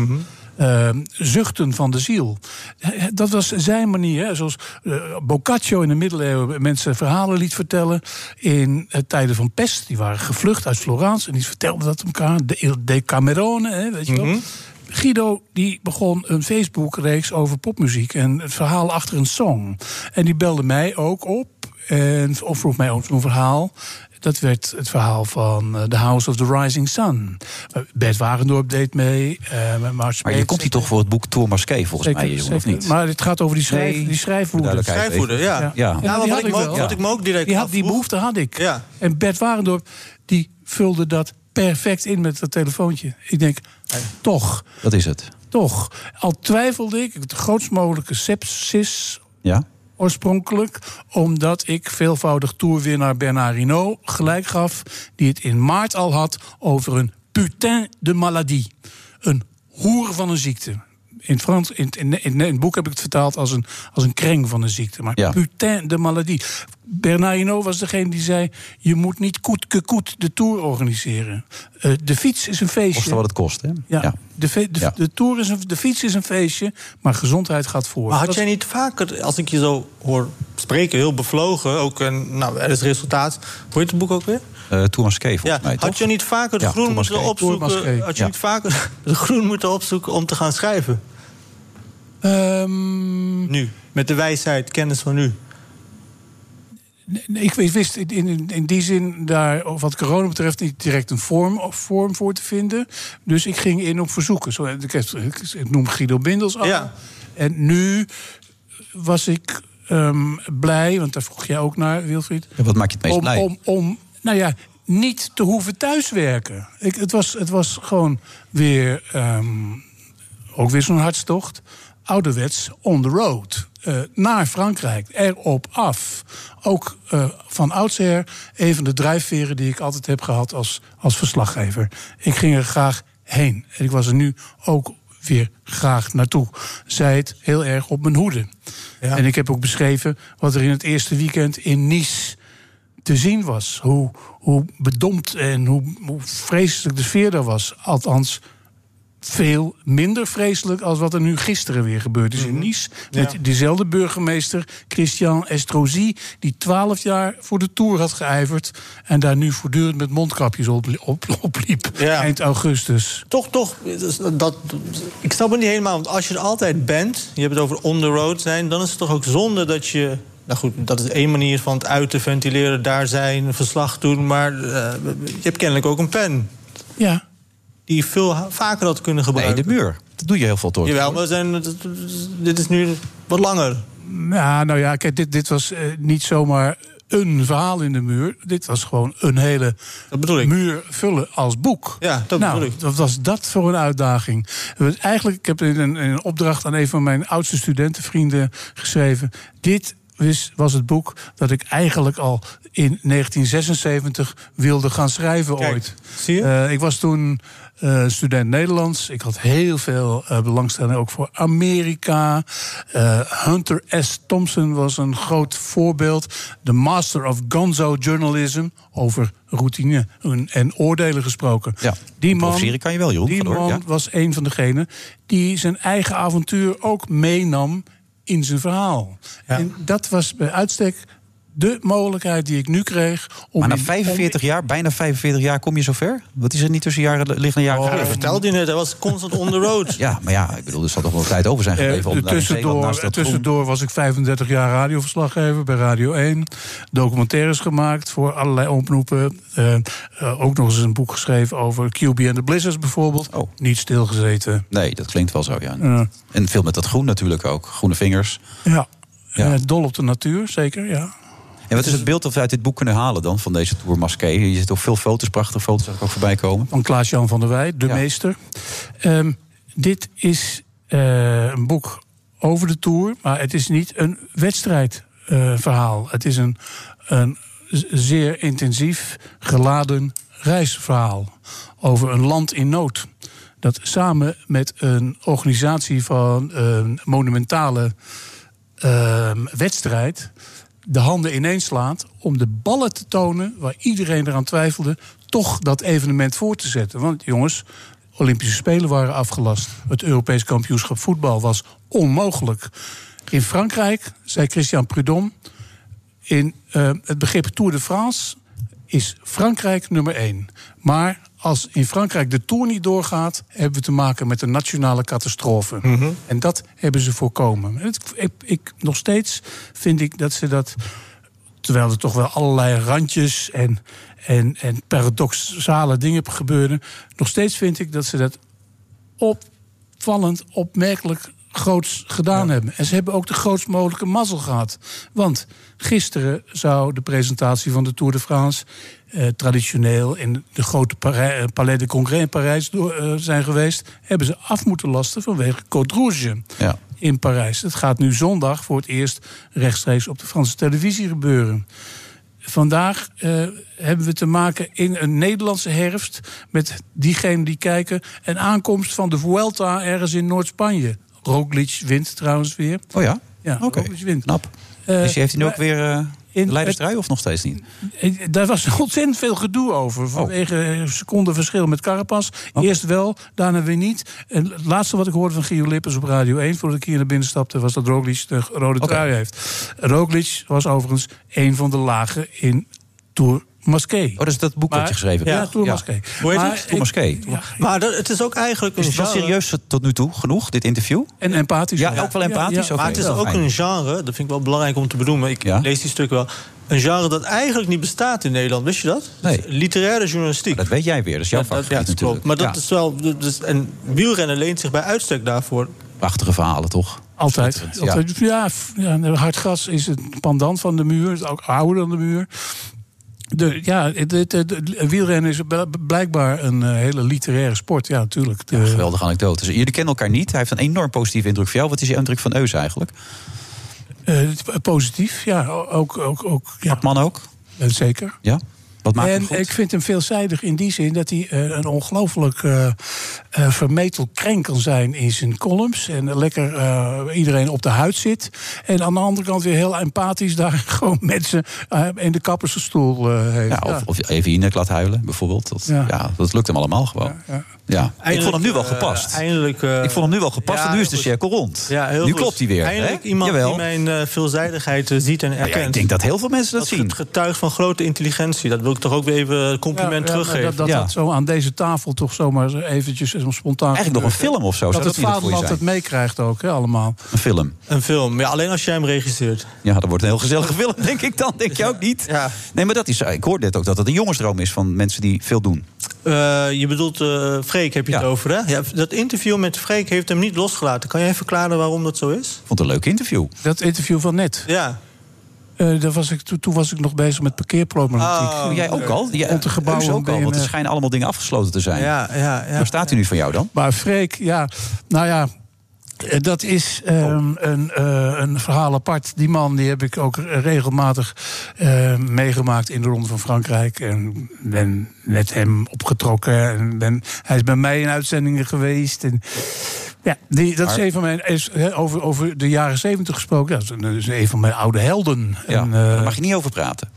Speaker 18: Eh, zuchten van de ziel. Eh, Dat was zijn manier. Hè? Zoals eh, Boccaccio in de middeleeuwen mensen verhalen liet vertellen. In eh, tijden van pest. Die waren gevlucht uit Florence. En die vertelden dat elkaar. De Il Decamerone, hè, weet je wel. Guido die begon een Facebook-reeks over popmuziek en het verhaal achter een song. En die belde mij ook op en of vroeg mij ook zo'n verhaal. Dat werd het verhaal van eh, The House of the Rising Sun. Eh, Bert Wagendorp deed mee. eh, met Mart
Speaker 19: Maar je
Speaker 18: Smeets.
Speaker 19: komt hier toch voor het boek Thomas Kay, volgens
Speaker 18: Zeker,
Speaker 19: mij, jongen, of
Speaker 18: zeker.
Speaker 19: niet?
Speaker 18: Maar dit gaat over die, schrijf,
Speaker 19: Nee,
Speaker 18: die schrijfwoede.
Speaker 19: duidelijkheid even. ja.
Speaker 8: Ja,
Speaker 18: die
Speaker 8: wat
Speaker 18: had
Speaker 8: ik me ook-
Speaker 18: wel.
Speaker 8: wat ik me ook direct
Speaker 18: die, had, die behoefte had ik. En Bert Warendorp die vulde dat perfect in met dat telefoontje. Ik denk, toch,
Speaker 19: Dat is het.
Speaker 18: toch. Al twijfelde ik, het grootst mogelijke sepsis
Speaker 19: Ja.
Speaker 18: oorspronkelijk, omdat ik veelvoudig toerwinnaar Bernard Hinault gelijk gaf, die het in maart al had over een putain de maladie. Een hoer van een ziekte. In het, Frans, in, het- in, in, in het boek heb ik het vertaald als een, als een kreng van een ziekte. Maar
Speaker 19: Ja.
Speaker 18: putain de maladie. Bernard Hinault was degene die zei... je moet niet koet ke koet de Tour organiseren. Eh, de fiets is een feestje.
Speaker 19: Kosten wat het kost, hè?
Speaker 18: Ja, De, fe- de, de, tour is een, de fiets is een feestje, maar gezondheid gaat voor.
Speaker 8: Maar had
Speaker 18: Dat
Speaker 8: jij
Speaker 18: is-
Speaker 8: niet vaker, als ik je zo hoor spreken, heel bevlogen, ook en, nou, er is resultaat. Hoe heet het boek ook weer?
Speaker 19: Eh, Thomas Kay, volgens
Speaker 8: Ja,
Speaker 19: mij,
Speaker 8: had
Speaker 19: toch?
Speaker 8: je niet vaker de
Speaker 19: Ja,
Speaker 8: groen
Speaker 19: Thomas
Speaker 8: moeten
Speaker 19: Kay. Thomas Kay.
Speaker 8: opzoeken? Had je
Speaker 19: Ja.
Speaker 8: niet vaker de groen moeten opzoeken om te gaan schrijven?
Speaker 19: Ehm,
Speaker 8: nu, met de wijsheid, kennis van nu.
Speaker 18: Nee, ik wist- wist in, in, in die zin daar, wat corona betreft, niet direct een vorm, vorm voor te vinden. Dus ik ging in op verzoeken. Zo, ik, heb- ik, ik noem Guido Bindels af. En nu was ik ehm, blij, want daar vroeg jij ook naar, Wilfried.
Speaker 19: Ja, wat maak je het meest
Speaker 18: om,
Speaker 19: blij?
Speaker 18: Om, om, nou ja, niet te hoeven thuiswerken. Ik, het, was, het was gewoon weer, ehm, ook weer zo'n hartstocht. Ouderwets on the road. eh, naar Frankrijk, erop af. Ook eh, van oudsher een van de drijfveren die ik altijd heb gehad als, als verslaggever. Ik ging er graag heen. En ik was er nu ook weer graag naartoe. Zij het heel erg op mijn hoede. En ik heb ook beschreven wat er in het eerste weekend in Nice te zien was. Hoe, hoe bedompt en hoe, hoe vreselijk de sfeer daar was. Althans, veel minder vreselijk als wat er nu gisteren weer gebeurd is in Nice. Met
Speaker 8: Mhm. Ja.
Speaker 18: diezelfde burgemeester, Christian Estrosi... die twaalf jaar voor de Tour had geijverd... en daar nu voortdurend met mondkapjes op, op, opliep eind augustus.
Speaker 8: Toch, toch, dus dat, ik snap het niet helemaal. Want als je er altijd bent, je hebt het over on the road zijn... dan is het toch ook zonde dat je... Nou goed, dat is één manier van het uit te ventileren, daar zijn, een verslag doen. Maar eh, je hebt kennelijk ook een pen.
Speaker 18: Ja.
Speaker 8: Die je veel ha- vaker had kunnen
Speaker 19: Nee,
Speaker 8: gebruiken.
Speaker 19: de muur. Dat doe je heel veel, toch?
Speaker 8: Jawel, maar we zijn, dat- dat- dit is nu wat langer.
Speaker 18: Nou, nou ja, kijk, dit, dit was eh, niet zomaar een verhaal in de muur. Dit was gewoon een hele muur vullen als boek. Ja,
Speaker 8: dat
Speaker 18: nou,
Speaker 8: bedoel ik.
Speaker 18: Wat was dat voor een uitdaging? Want Eigenlijk, ik heb in een, in een opdracht aan een van mijn oudste studentenvrienden geschreven. Dit is, was het boek dat ik eigenlijk al in 1976 wilde gaan schrijven ooit.
Speaker 8: Zie je?
Speaker 18: ik was toen eh, student Nederlands. Ik had heel veel eh, belangstelling ook voor Amerika. Eh, Hunter S. Thompson was een groot voorbeeld. De master of gonzo journalism. Over routine en- en oordelen gesproken.
Speaker 19: Ja,
Speaker 18: die man,
Speaker 19: improviseren kan je wel, Jeroen.
Speaker 18: Die
Speaker 19: Ga door,
Speaker 18: man
Speaker 19: ja.
Speaker 18: was een van degenen die zijn eigen avontuur ook meenam in zijn verhaal. En dat was bij uitstek de mogelijkheid die ik nu kreeg. Om
Speaker 7: Maar na
Speaker 18: in- om-
Speaker 7: 45 jaar, bijna 45 jaar, kom je zover? Wat is er niet tussen jaren, liggen jaren?
Speaker 18: dat vertelde
Speaker 7: Oh, je net, hij was constant on the road. ja, maar ja, ik bedoel, er zal toch wel tijd over zijn
Speaker 18: Eh,
Speaker 7: gebleven. om daar in Zeeland
Speaker 18: tussendoor, eh,
Speaker 7: naast dat groen-
Speaker 18: tussendoor was ik 35 jaar radioverslaggever bij Radio 1. Documentaires gemaakt voor allerlei omroepen. Eh, eh, ook nog eens een boek geschreven over QB en de Blizzards bijvoorbeeld.
Speaker 7: Oh.
Speaker 18: Niet stilgezeten. Eh,
Speaker 7: Nee, dat klinkt wel zo, ja.
Speaker 18: Ja.
Speaker 7: En veel met dat groen natuurlijk ook, groene vingers.
Speaker 18: Ja,
Speaker 7: Ja.
Speaker 18: Eh, dol op de natuur, zeker, ja.
Speaker 7: En wat is het beeld dat we uit dit boek kunnen halen dan, van deze Tour Masqué? Je ziet ook veel foto's, prachtige foto's, zag ik ook voorbij komen.
Speaker 18: Van Klaas-Jan van der Wij, de meester. Ehm, dit is eh, een boek over de Tour, maar het is niet een wedstrijdverhaal. het is een, een z- zeer intensief geladen reisverhaal over een land in nood. Dat samen met een organisatie van een monumentale ehm, wedstrijd de handen ineens slaat om de ballen te tonen waar iedereen eraan twijfelde, toch dat evenement voor te zetten. Want jongens, Olympische Spelen waren afgelast. Het Europees kampioenschap voetbal was onmogelijk. In Frankrijk, zei Christian Prudhomme, in eh, het begrip Tour de France is Frankrijk nummer één. Maar als in Frankrijk de Tour niet doorgaat, hebben we te maken met een nationale catastrofe. En dat hebben ze voorkomen. En het- ik, ik, nog steeds vind ik dat ze dat. Terwijl er toch wel allerlei randjes en, en, en paradoxale dingen gebeuren. Nog steeds vind ik dat ze dat opvallend, opmerkelijk groots gedaan hebben. En ze hebben ook de grootst mogelijke mazzel gehad. Want gisteren zou de presentatie van de Tour de France... eh, traditioneel in de grote Parij- eh, Palais de Congrès in Parijs door, eh, zijn geweest... hebben ze af moeten lasten vanwege Côte Rouge
Speaker 7: Ja.
Speaker 18: in Parijs. Het gaat nu zondag voor het eerst rechtstreeks op de Franse televisie gebeuren. Vandaag eh, hebben we te maken in een Nederlandse herfst met diegenen die kijken. Een aankomst van de Vuelta ergens in Noord-Spanje. Roglic wint trouwens weer.
Speaker 7: Oh ja?
Speaker 18: Ja, Roglic wint.
Speaker 7: Knap. dus je heeft hij nu ook weer eh de leiderstrui of nog steeds niet?
Speaker 18: Eh, Daar was ontzettend veel gedoe
Speaker 8: Oh.
Speaker 18: over. Vanwege eh, secondenverschil met Carapas. Eerst wel, daarna weer niet. En het laatste wat ik hoorde van Gio Lippens op Radio 1... voordat ik hier naar binnen stapte, was dat Roglic de rode trui heeft. Roglic was overigens een van de lagen in Tour Masqué. Oh,
Speaker 7: dus dat boek
Speaker 8: wat je geschreven
Speaker 18: Ja,
Speaker 8: hebt.
Speaker 18: Tour
Speaker 8: Ja.
Speaker 18: Masqué.
Speaker 8: Hoe heet
Speaker 18: Maar
Speaker 8: het?
Speaker 18: ik-
Speaker 7: Tour Masqué.
Speaker 18: Ja.
Speaker 8: Maar dat, het is ook eigenlijk een
Speaker 7: Is het wel
Speaker 8: genre.
Speaker 7: serieus tot nu toe genoeg, dit interview?
Speaker 18: En empathisch.
Speaker 7: Ja, ook wel empathisch. oké.
Speaker 8: Maar het is
Speaker 7: Wel
Speaker 8: ook
Speaker 7: fijn.
Speaker 8: een genre, dat vind ik wel belangrijk om te benoemen. Ik lees die stuk wel. Een genre dat eigenlijk niet bestaat in Nederland, wist je dat? Nee. Literaire journalistiek.
Speaker 7: Dat weet jij weer, dat is jouw
Speaker 8: dat, ja,
Speaker 7: vakgebied
Speaker 8: dat klopt.
Speaker 7: natuurlijk.
Speaker 8: Maar dat
Speaker 7: Ja.
Speaker 8: is wel. dat is- en wielrennen leent zich bij uitstek daarvoor.
Speaker 7: Prachtige verhalen, toch?
Speaker 18: Altijd.
Speaker 7: Ja.
Speaker 18: Altijd. Ja. f- Ja, hard gras is het pandant van de muur. Het is ook ouder dan de muur. De, ja, het, het- het- het wielrennen is bl- blijkbaar een eh, hele literaire sport. Ja, natuurlijk. De-
Speaker 7: Ja, geweldige anekdotes. Jullie kennen elkaar niet. Hij heeft een enorm positieve indruk voor jou. Wat is je indruk van Eus eigenlijk?
Speaker 18: eh, positief, ja. o- Ook, ook, ook, ja. Eh,
Speaker 7: Man ook?
Speaker 18: Zeker.
Speaker 7: Ja? Wat maakt hem
Speaker 18: En
Speaker 7: goed?
Speaker 18: ik vind hem veelzijdig in die zin dat hij eh, een ongelooflijk eh eh, vermetel kreng kan zijn in zijn columns. En lekker eh, iedereen op de huid zit. En aan de andere kant weer heel empathisch daar gewoon mensen eh, in de kappersstoel eh heeft.
Speaker 7: Ja, of, of even Jinek laat huilen, bijvoorbeeld. Dat, ja.
Speaker 18: Ja.
Speaker 7: dat lukt hem allemaal gewoon. Ja, ik vond hem nu wel
Speaker 8: eh,
Speaker 7: gepast.
Speaker 8: eindelijk, eh,
Speaker 7: ik vond hem nu wel gepast
Speaker 8: ja,
Speaker 7: en nu is de
Speaker 8: heel goed.
Speaker 7: cirkel rond.
Speaker 8: Ja, heel
Speaker 7: nu
Speaker 8: goed.
Speaker 7: klopt hij weer.
Speaker 8: Eindelijk
Speaker 7: hè?
Speaker 8: iemand
Speaker 7: Jawel.
Speaker 8: die mijn eh, veelzijdigheid eh, ziet en erkent.
Speaker 7: ik denk dat heel veel mensen dat zien.
Speaker 8: Het getuigt van grote intelligentie. Dat wil ik toch ook weer even een compliment
Speaker 18: Ja, ja, maar
Speaker 8: teruggeven.
Speaker 18: Dat, dat, dat zo aan deze tafel toch zomaar eventjes eh, spontaan.
Speaker 8: Eigenlijk nog een
Speaker 18: gebeurt, hè?
Speaker 8: film of zo,
Speaker 18: Dat het
Speaker 8: zou dat niet het voor je
Speaker 18: vaderland het
Speaker 8: zijn?
Speaker 18: meekrijgt ook, hè, allemaal.
Speaker 7: Een film.
Speaker 8: Een film. Ja, alleen als jij hem registreert.
Speaker 7: Ja, dat wordt een heel gezellige film, denk ik dan. Denk je ook niet? Nee, maar dat is, ik hoorde net ook dat het een jongensdroom is van mensen die veel doen.
Speaker 8: Eh, je bedoelt, eh Freek heb je het over, hè? Ja, dat interview met Freek heeft hem niet losgelaten. Kan jij verklaren waarom dat zo is?
Speaker 7: Ik vond het een leuk interview.
Speaker 18: Dat interview van net.
Speaker 8: Ja.
Speaker 18: Eh, daar was ik, toen, toen was ik nog bezig met parkeerproblematiek.
Speaker 7: Oh, jij ook al? Ja,
Speaker 18: Rond de gebouwen
Speaker 7: Eus ook al,
Speaker 18: BNR.
Speaker 7: want er schijnen allemaal dingen afgesloten te zijn.
Speaker 18: Ja, ja, ja.
Speaker 7: Waar staat hij nu van jou dan?
Speaker 18: Maar Freek, ja, nou ja. eh, Dat is ehm,
Speaker 7: Oh.
Speaker 18: een, eh, een verhaal apart. Die man die heb ik ook regelmatig eh, meegemaakt in de Ronde van Frankrijk. En ben met hem opgetrokken. En ben, hij is bij mij in uitzendingen geweest. En, ja, die, dat
Speaker 7: Maar-
Speaker 18: is een van mijn. Is, hè, over, over de jaren zeventig gesproken. Dat is een- dat is een van mijn oude helden.
Speaker 7: Ja,
Speaker 18: En, eh,
Speaker 7: daar mag je niet over praten.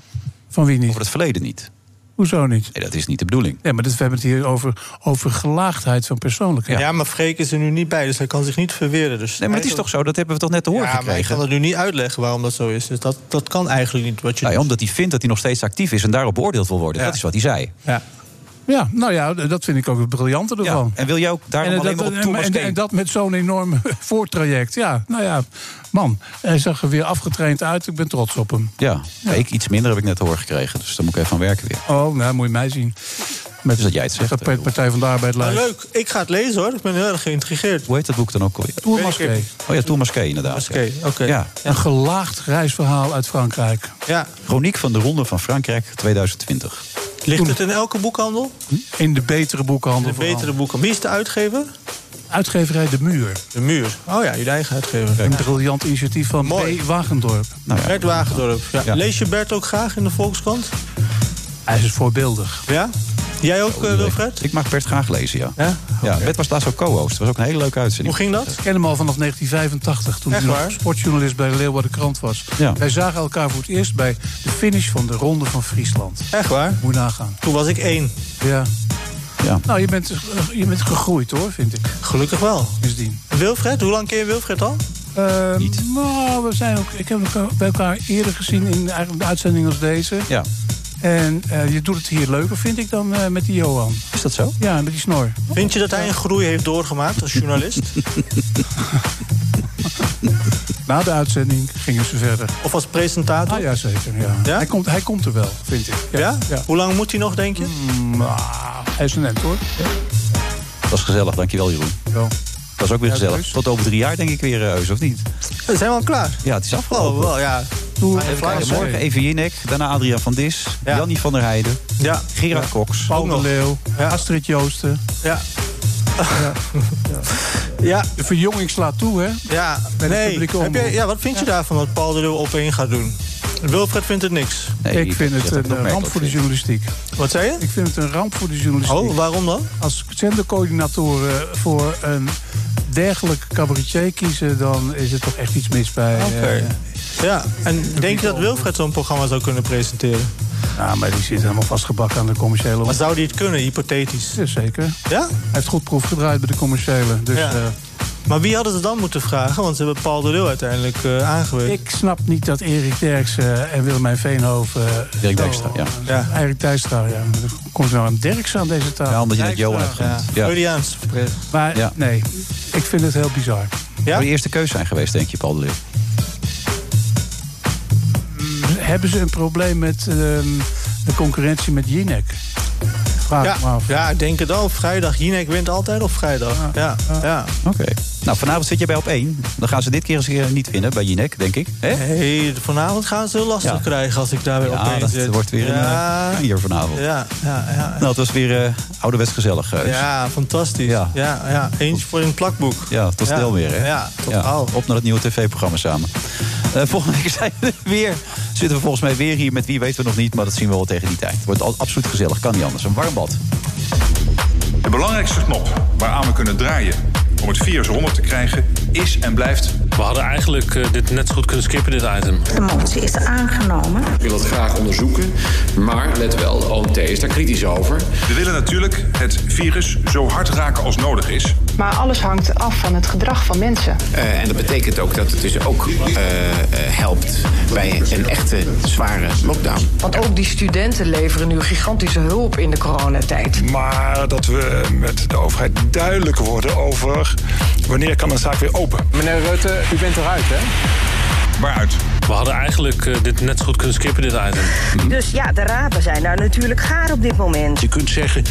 Speaker 18: Van wie niet? Over
Speaker 7: het verleden niet.
Speaker 18: Hoezo niet?
Speaker 7: Nee, dat is niet de bedoeling.
Speaker 18: Nee, maar dit, we hebben het hier over, over gelaagdheid van persoonlijkheid.
Speaker 8: Ja. maar Freek is er nu niet bij, dus hij kan zich niet
Speaker 18: Nee,
Speaker 8: verweren. Dus
Speaker 18: maar het is
Speaker 8: eigenlijk-
Speaker 18: toch zo?
Speaker 7: Dat hebben we toch net te horen
Speaker 8: Ja, maar ik
Speaker 7: gekregen?
Speaker 8: kan het nu niet uitleggen waarom dat zo is. Dus dat, dat kan eigenlijk niet. Wat je
Speaker 7: Nou ja, omdat hij vindt dat hij nog steeds actief is en daarop beoordeeld wil worden. Dat is wat hij zei.
Speaker 18: Ja. Ja, nou ja, d- dat vind ik ook het briljante ervan.
Speaker 7: en wil jij ook daarom
Speaker 18: eh,
Speaker 7: alleen
Speaker 18: dat-
Speaker 7: maar op
Speaker 18: en-
Speaker 7: Thomas
Speaker 18: en,
Speaker 7: Deen?
Speaker 18: en dat met zo'n enorm voortraject. Ja, nou ja, man, hij zag er weer afgetraind uit. Ik ben trots op hem.
Speaker 7: Ja, ik iets minder heb ik net te horen gekregen. Dus daar moet ik even aan werken weer.
Speaker 18: Oh, nou, moet je mij zien. Met
Speaker 7: Dus dat jij het zegt.
Speaker 18: de Partij van de Arbeid
Speaker 8: Nou,
Speaker 18: lijst.
Speaker 8: leuk, ik ga het lezen hoor. Ik ben heel erg geïntrigeerd.
Speaker 7: Hoe heet dat boek dan ook alweer?
Speaker 18: Tourmasqué.
Speaker 7: Oh ja, Tourmasqué inderdaad.
Speaker 8: Oké, oké.
Speaker 7: Ja.
Speaker 18: Een gelaagd reisverhaal uit Frankrijk.
Speaker 8: Ja.
Speaker 7: Chroniek van de Ronde van Frankrijk 2020.
Speaker 8: Ligt het in elke boekhandel?
Speaker 18: In de betere boekhandel.
Speaker 8: De betere boeken. Wie is de uitgever?
Speaker 18: Uitgeverij De Muur.
Speaker 8: De Muur. Oh ja, jullie eigen uitgever.
Speaker 18: Een briljant initiatief van B. Wagendorp.
Speaker 8: Bert Wagendorp. Ja. Lees je Bert ook graag in de Volkskrant?
Speaker 18: Hij is voorbeeldig.
Speaker 8: Ja? Jij ook, eh, Wilfred?
Speaker 7: Ik mag Bert graag lezen, ja.
Speaker 8: Ja?
Speaker 7: Ja, Bert was laatst ook co-host. Dat was ook een hele leuke uitzending.
Speaker 8: ging dat?
Speaker 18: Ik ken hem al vanaf 1985, toen
Speaker 7: Echt
Speaker 18: hij nog
Speaker 7: waar?
Speaker 18: sportjournalist bij de Leeuwarden Krant was.
Speaker 7: Ja.
Speaker 18: Wij zagen elkaar voor het eerst bij de finish van de Ronde van Friesland.
Speaker 8: Echt waar?
Speaker 18: Moet je nagaan.
Speaker 8: Toen was ik één.
Speaker 18: Ja.
Speaker 7: ja.
Speaker 18: Nou, je bent, je bent gegroeid hoor, vind ik.
Speaker 8: Gelukkig wel.
Speaker 18: Misdien.
Speaker 8: Wilfred, hoe lang ken je Wilfred al?
Speaker 18: Niet. Nou, we zijn ook, ik heb elkaar, bij elkaar eerder gezien in eigenlijk een uitzending als deze.
Speaker 7: Ja.
Speaker 18: En eh, je doet het hier leuker, vind ik, dan eh, met die Johan.
Speaker 7: Is dat zo?
Speaker 18: Ja, met die snor.
Speaker 8: Vind je dat hij een groei heeft doorgemaakt als journalist?
Speaker 18: Na de uitzending gingen ze verder.
Speaker 8: Of als presentator?
Speaker 18: Ah, ja, zeker. Ja. Hij, komt, hij komt er wel, vind ik. Mm,
Speaker 8: Ja? Hoe lang moet hij nog, denk je?
Speaker 18: hij is een end, hoor.
Speaker 7: Dat was gezellig, dankjewel Jeroen.
Speaker 18: Ja.
Speaker 7: Dat is ook weer
Speaker 18: Ja,
Speaker 7: gezellig.
Speaker 18: Eus.
Speaker 7: Tot over drie jaar denk ik weer, eh, Eus, of niet?
Speaker 8: We zijn wel klaar.
Speaker 7: Ja, het is afgelopen.
Speaker 8: Oh, wel, ja.
Speaker 18: Tour
Speaker 8: Even
Speaker 7: Even kijken,
Speaker 8: kijken,
Speaker 7: morgen even Jinek, daarna Adriaan van Dis, Jannie van der Heijden,
Speaker 8: ja.
Speaker 7: Gerard
Speaker 18: Ja.
Speaker 7: Cox.
Speaker 18: Paul de Leeuw, Astrid Joosten.
Speaker 8: Ja.
Speaker 18: Ja.
Speaker 8: Ja.
Speaker 18: De verjonging slaat toe, hè?
Speaker 8: Ja,
Speaker 18: Bij de
Speaker 8: nee.
Speaker 18: publieke
Speaker 8: Heb jij,
Speaker 18: omroep.
Speaker 8: ja, wat vind je daarvan dat Paul de Leeuw op één gaat doen? Wilfred vindt het niks.
Speaker 18: ik vind het een eh, ramp voor de journalistiek.
Speaker 8: Wat zei je?
Speaker 18: Ik vind het een ramp voor de journalistiek.
Speaker 8: Oh, waarom dan?
Speaker 18: Als zendercoördinatoren voor een dergelijk cabaretier kiezen... dan is er toch echt iets mis bij... eh,
Speaker 8: Ja, en denk je dat Wilfred zo'n programma zou kunnen presenteren?
Speaker 18: Ja, maar die zit helemaal vastgebakken aan de commerciële...
Speaker 8: Maar zou die het kunnen, hypothetisch?
Speaker 18: Ja, zeker.
Speaker 8: Ja?
Speaker 18: Hij heeft goed proef gedraaid bij de commerciële. Dus
Speaker 8: Ja.
Speaker 18: eh,
Speaker 8: Maar wie hadden ze dan moeten vragen? Want ze hebben Paul de Leeuw uiteindelijk eh aangewezen.
Speaker 18: ik snap niet dat Erik Derksen en Willemijn Veenhoven... eh,
Speaker 7: Dirk Dijkstra, ja.
Speaker 18: Ja. Erik Dijkstra, ja. Komt er nou een Derks aan deze tafel?
Speaker 7: Ja, omdat je net Johan hebt
Speaker 18: Dijkstra.
Speaker 7: genoemd. Ja.
Speaker 8: Freudiaans.
Speaker 18: Maar
Speaker 7: Ja.
Speaker 18: nee, ik vind het heel bizar.
Speaker 7: Zou de eerste keus zijn geweest, denk je, Paul de Leeuw?
Speaker 18: Hebben ze een probleem met ehm, de concurrentie met Jinek? Vraag
Speaker 8: Ja,
Speaker 18: ik me af.
Speaker 8: ja, ik denk het al. Op vrijdag. Jinek wint altijd op vrijdag. Ja, ja.
Speaker 7: Oké. Nou, vanavond zit je bij op één. Dan gaan ze dit keer eens een keer niet winnen bij Jinek, denk ik. Hè?
Speaker 8: Hey, vanavond gaan ze heel lastig
Speaker 7: Ja.
Speaker 8: krijgen als ik daar weer op
Speaker 7: Ja,
Speaker 8: één
Speaker 7: Ah, dat
Speaker 8: zit.
Speaker 7: wordt weer een
Speaker 8: ja.
Speaker 7: eh, hier vanavond.
Speaker 8: ja, ja, ja.
Speaker 7: Nou, het was weer eh ouderwets gezellig, eh, Eus.
Speaker 8: Ja, fantastisch. Ja. Ja, Eentje voor een plakboek.
Speaker 7: Ja, tot snel weer, hè?
Speaker 8: Ja, tot
Speaker 7: Ja,
Speaker 8: gauw.
Speaker 7: Op naar het nieuwe tv-programma samen. Eh, volgende week zijn we er weer. Zitten we volgens mij weer hier met wie weten we nog niet... maar dat zien we wel tegen die tijd. Wordt al, absoluut gezellig, kan niet anders. Een warm bad.
Speaker 4: De belangrijkste knop waaraan we kunnen draaien om het virus eronder te krijgen is en blijft.
Speaker 16: We hadden eigenlijk eh, dit net zo goed kunnen skippen, dit item.
Speaker 13: De motie is aangenomen.
Speaker 20: Ik wil dat graag onderzoeken, maar let wel, de OMT is daar kritisch over.
Speaker 4: We willen natuurlijk het virus zo hard raken als nodig is.
Speaker 21: Maar alles hangt af van het gedrag van mensen.
Speaker 10: Eh, en dat betekent ook dat het dus ook eh, eh, helpt bij een echte zware lockdown.
Speaker 5: Want ook die studenten leveren nu gigantische hulp in de coronatijd.
Speaker 22: Maar dat we met de overheid duidelijk worden over wanneer kan een zaak weer open.
Speaker 20: Meneer Rutte, u bent eruit, hè?
Speaker 4: Waaruit?
Speaker 16: We hadden eigenlijk eh, dit net zo goed kunnen skippen, dit item.
Speaker 13: Dus ja, de rapen zijn daar natuurlijk gaar op dit moment.
Speaker 10: Je kunt zeggen,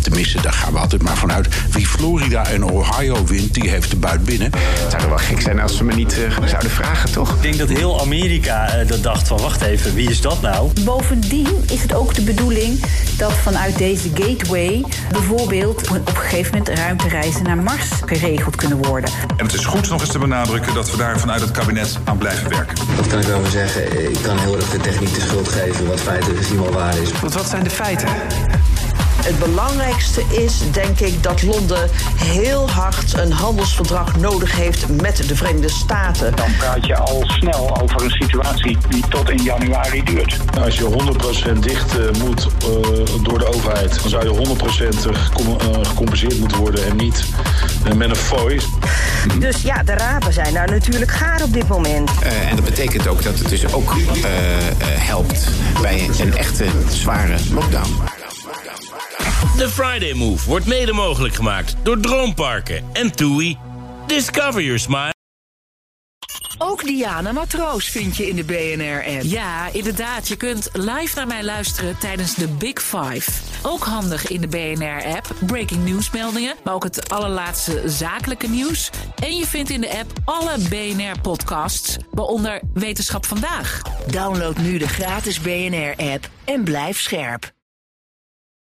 Speaker 10: tenminste daar gaan we altijd maar vanuit... wie Florida en Ohio wint, die heeft de buit binnen. Het zou wel gek zijn als ze me niet eh, zouden vragen, toch?
Speaker 23: Ik denk dat heel Amerika eh, dat dacht van wacht even, wie is dat nou?
Speaker 24: Bovendien is het ook de bedoeling dat vanuit deze gateway bijvoorbeeld op een gegeven moment ruimtereizen naar Mars geregeld kunnen worden.
Speaker 4: En het is goed nog eens te benadrukken dat we daar vanuit het kabinet aan blijven werken.
Speaker 25: Wat kan ik daarover zeggen? Ik kan heel erg de techniek de schuld geven wat feitelijk gezien wel waar is.
Speaker 4: Want wat zijn de feiten?
Speaker 5: Het belangrijkste is, denk ik, dat Londen heel hard een handelsverdrag nodig heeft met de Verenigde Staten.
Speaker 26: Dan praat je al snel over een situatie die tot in januari duurt.
Speaker 4: Nou, Als je 100% dicht eh, moet eh, door de overheid, dan zou je 100% gecom- eh, gecompenseerd moeten worden en niet eh, met een fooi.
Speaker 13: Dus ja, de rapen zijn daar natuurlijk gaar op dit moment.
Speaker 27: Eh, en dat betekent ook dat het dus ook eh, eh, helpt bij een echte zware lockdown.
Speaker 28: De Friday Move wordt mede mogelijk gemaakt door Droomparken en TUI. Discover your smile.
Speaker 29: Ook Diana Matroos vind je in de BNR-app.
Speaker 30: Ja, inderdaad. Je kunt live naar mij luisteren tijdens de Big Five. Ook handig in de BNR-app. Breaking nieuwsmeldingen, maar ook het allerlaatste zakelijke nieuws. En je vindt in de app alle BNR-podcasts, waaronder Wetenschap Vandaag.
Speaker 29: Download nu de gratis BNR-app en blijf scherp.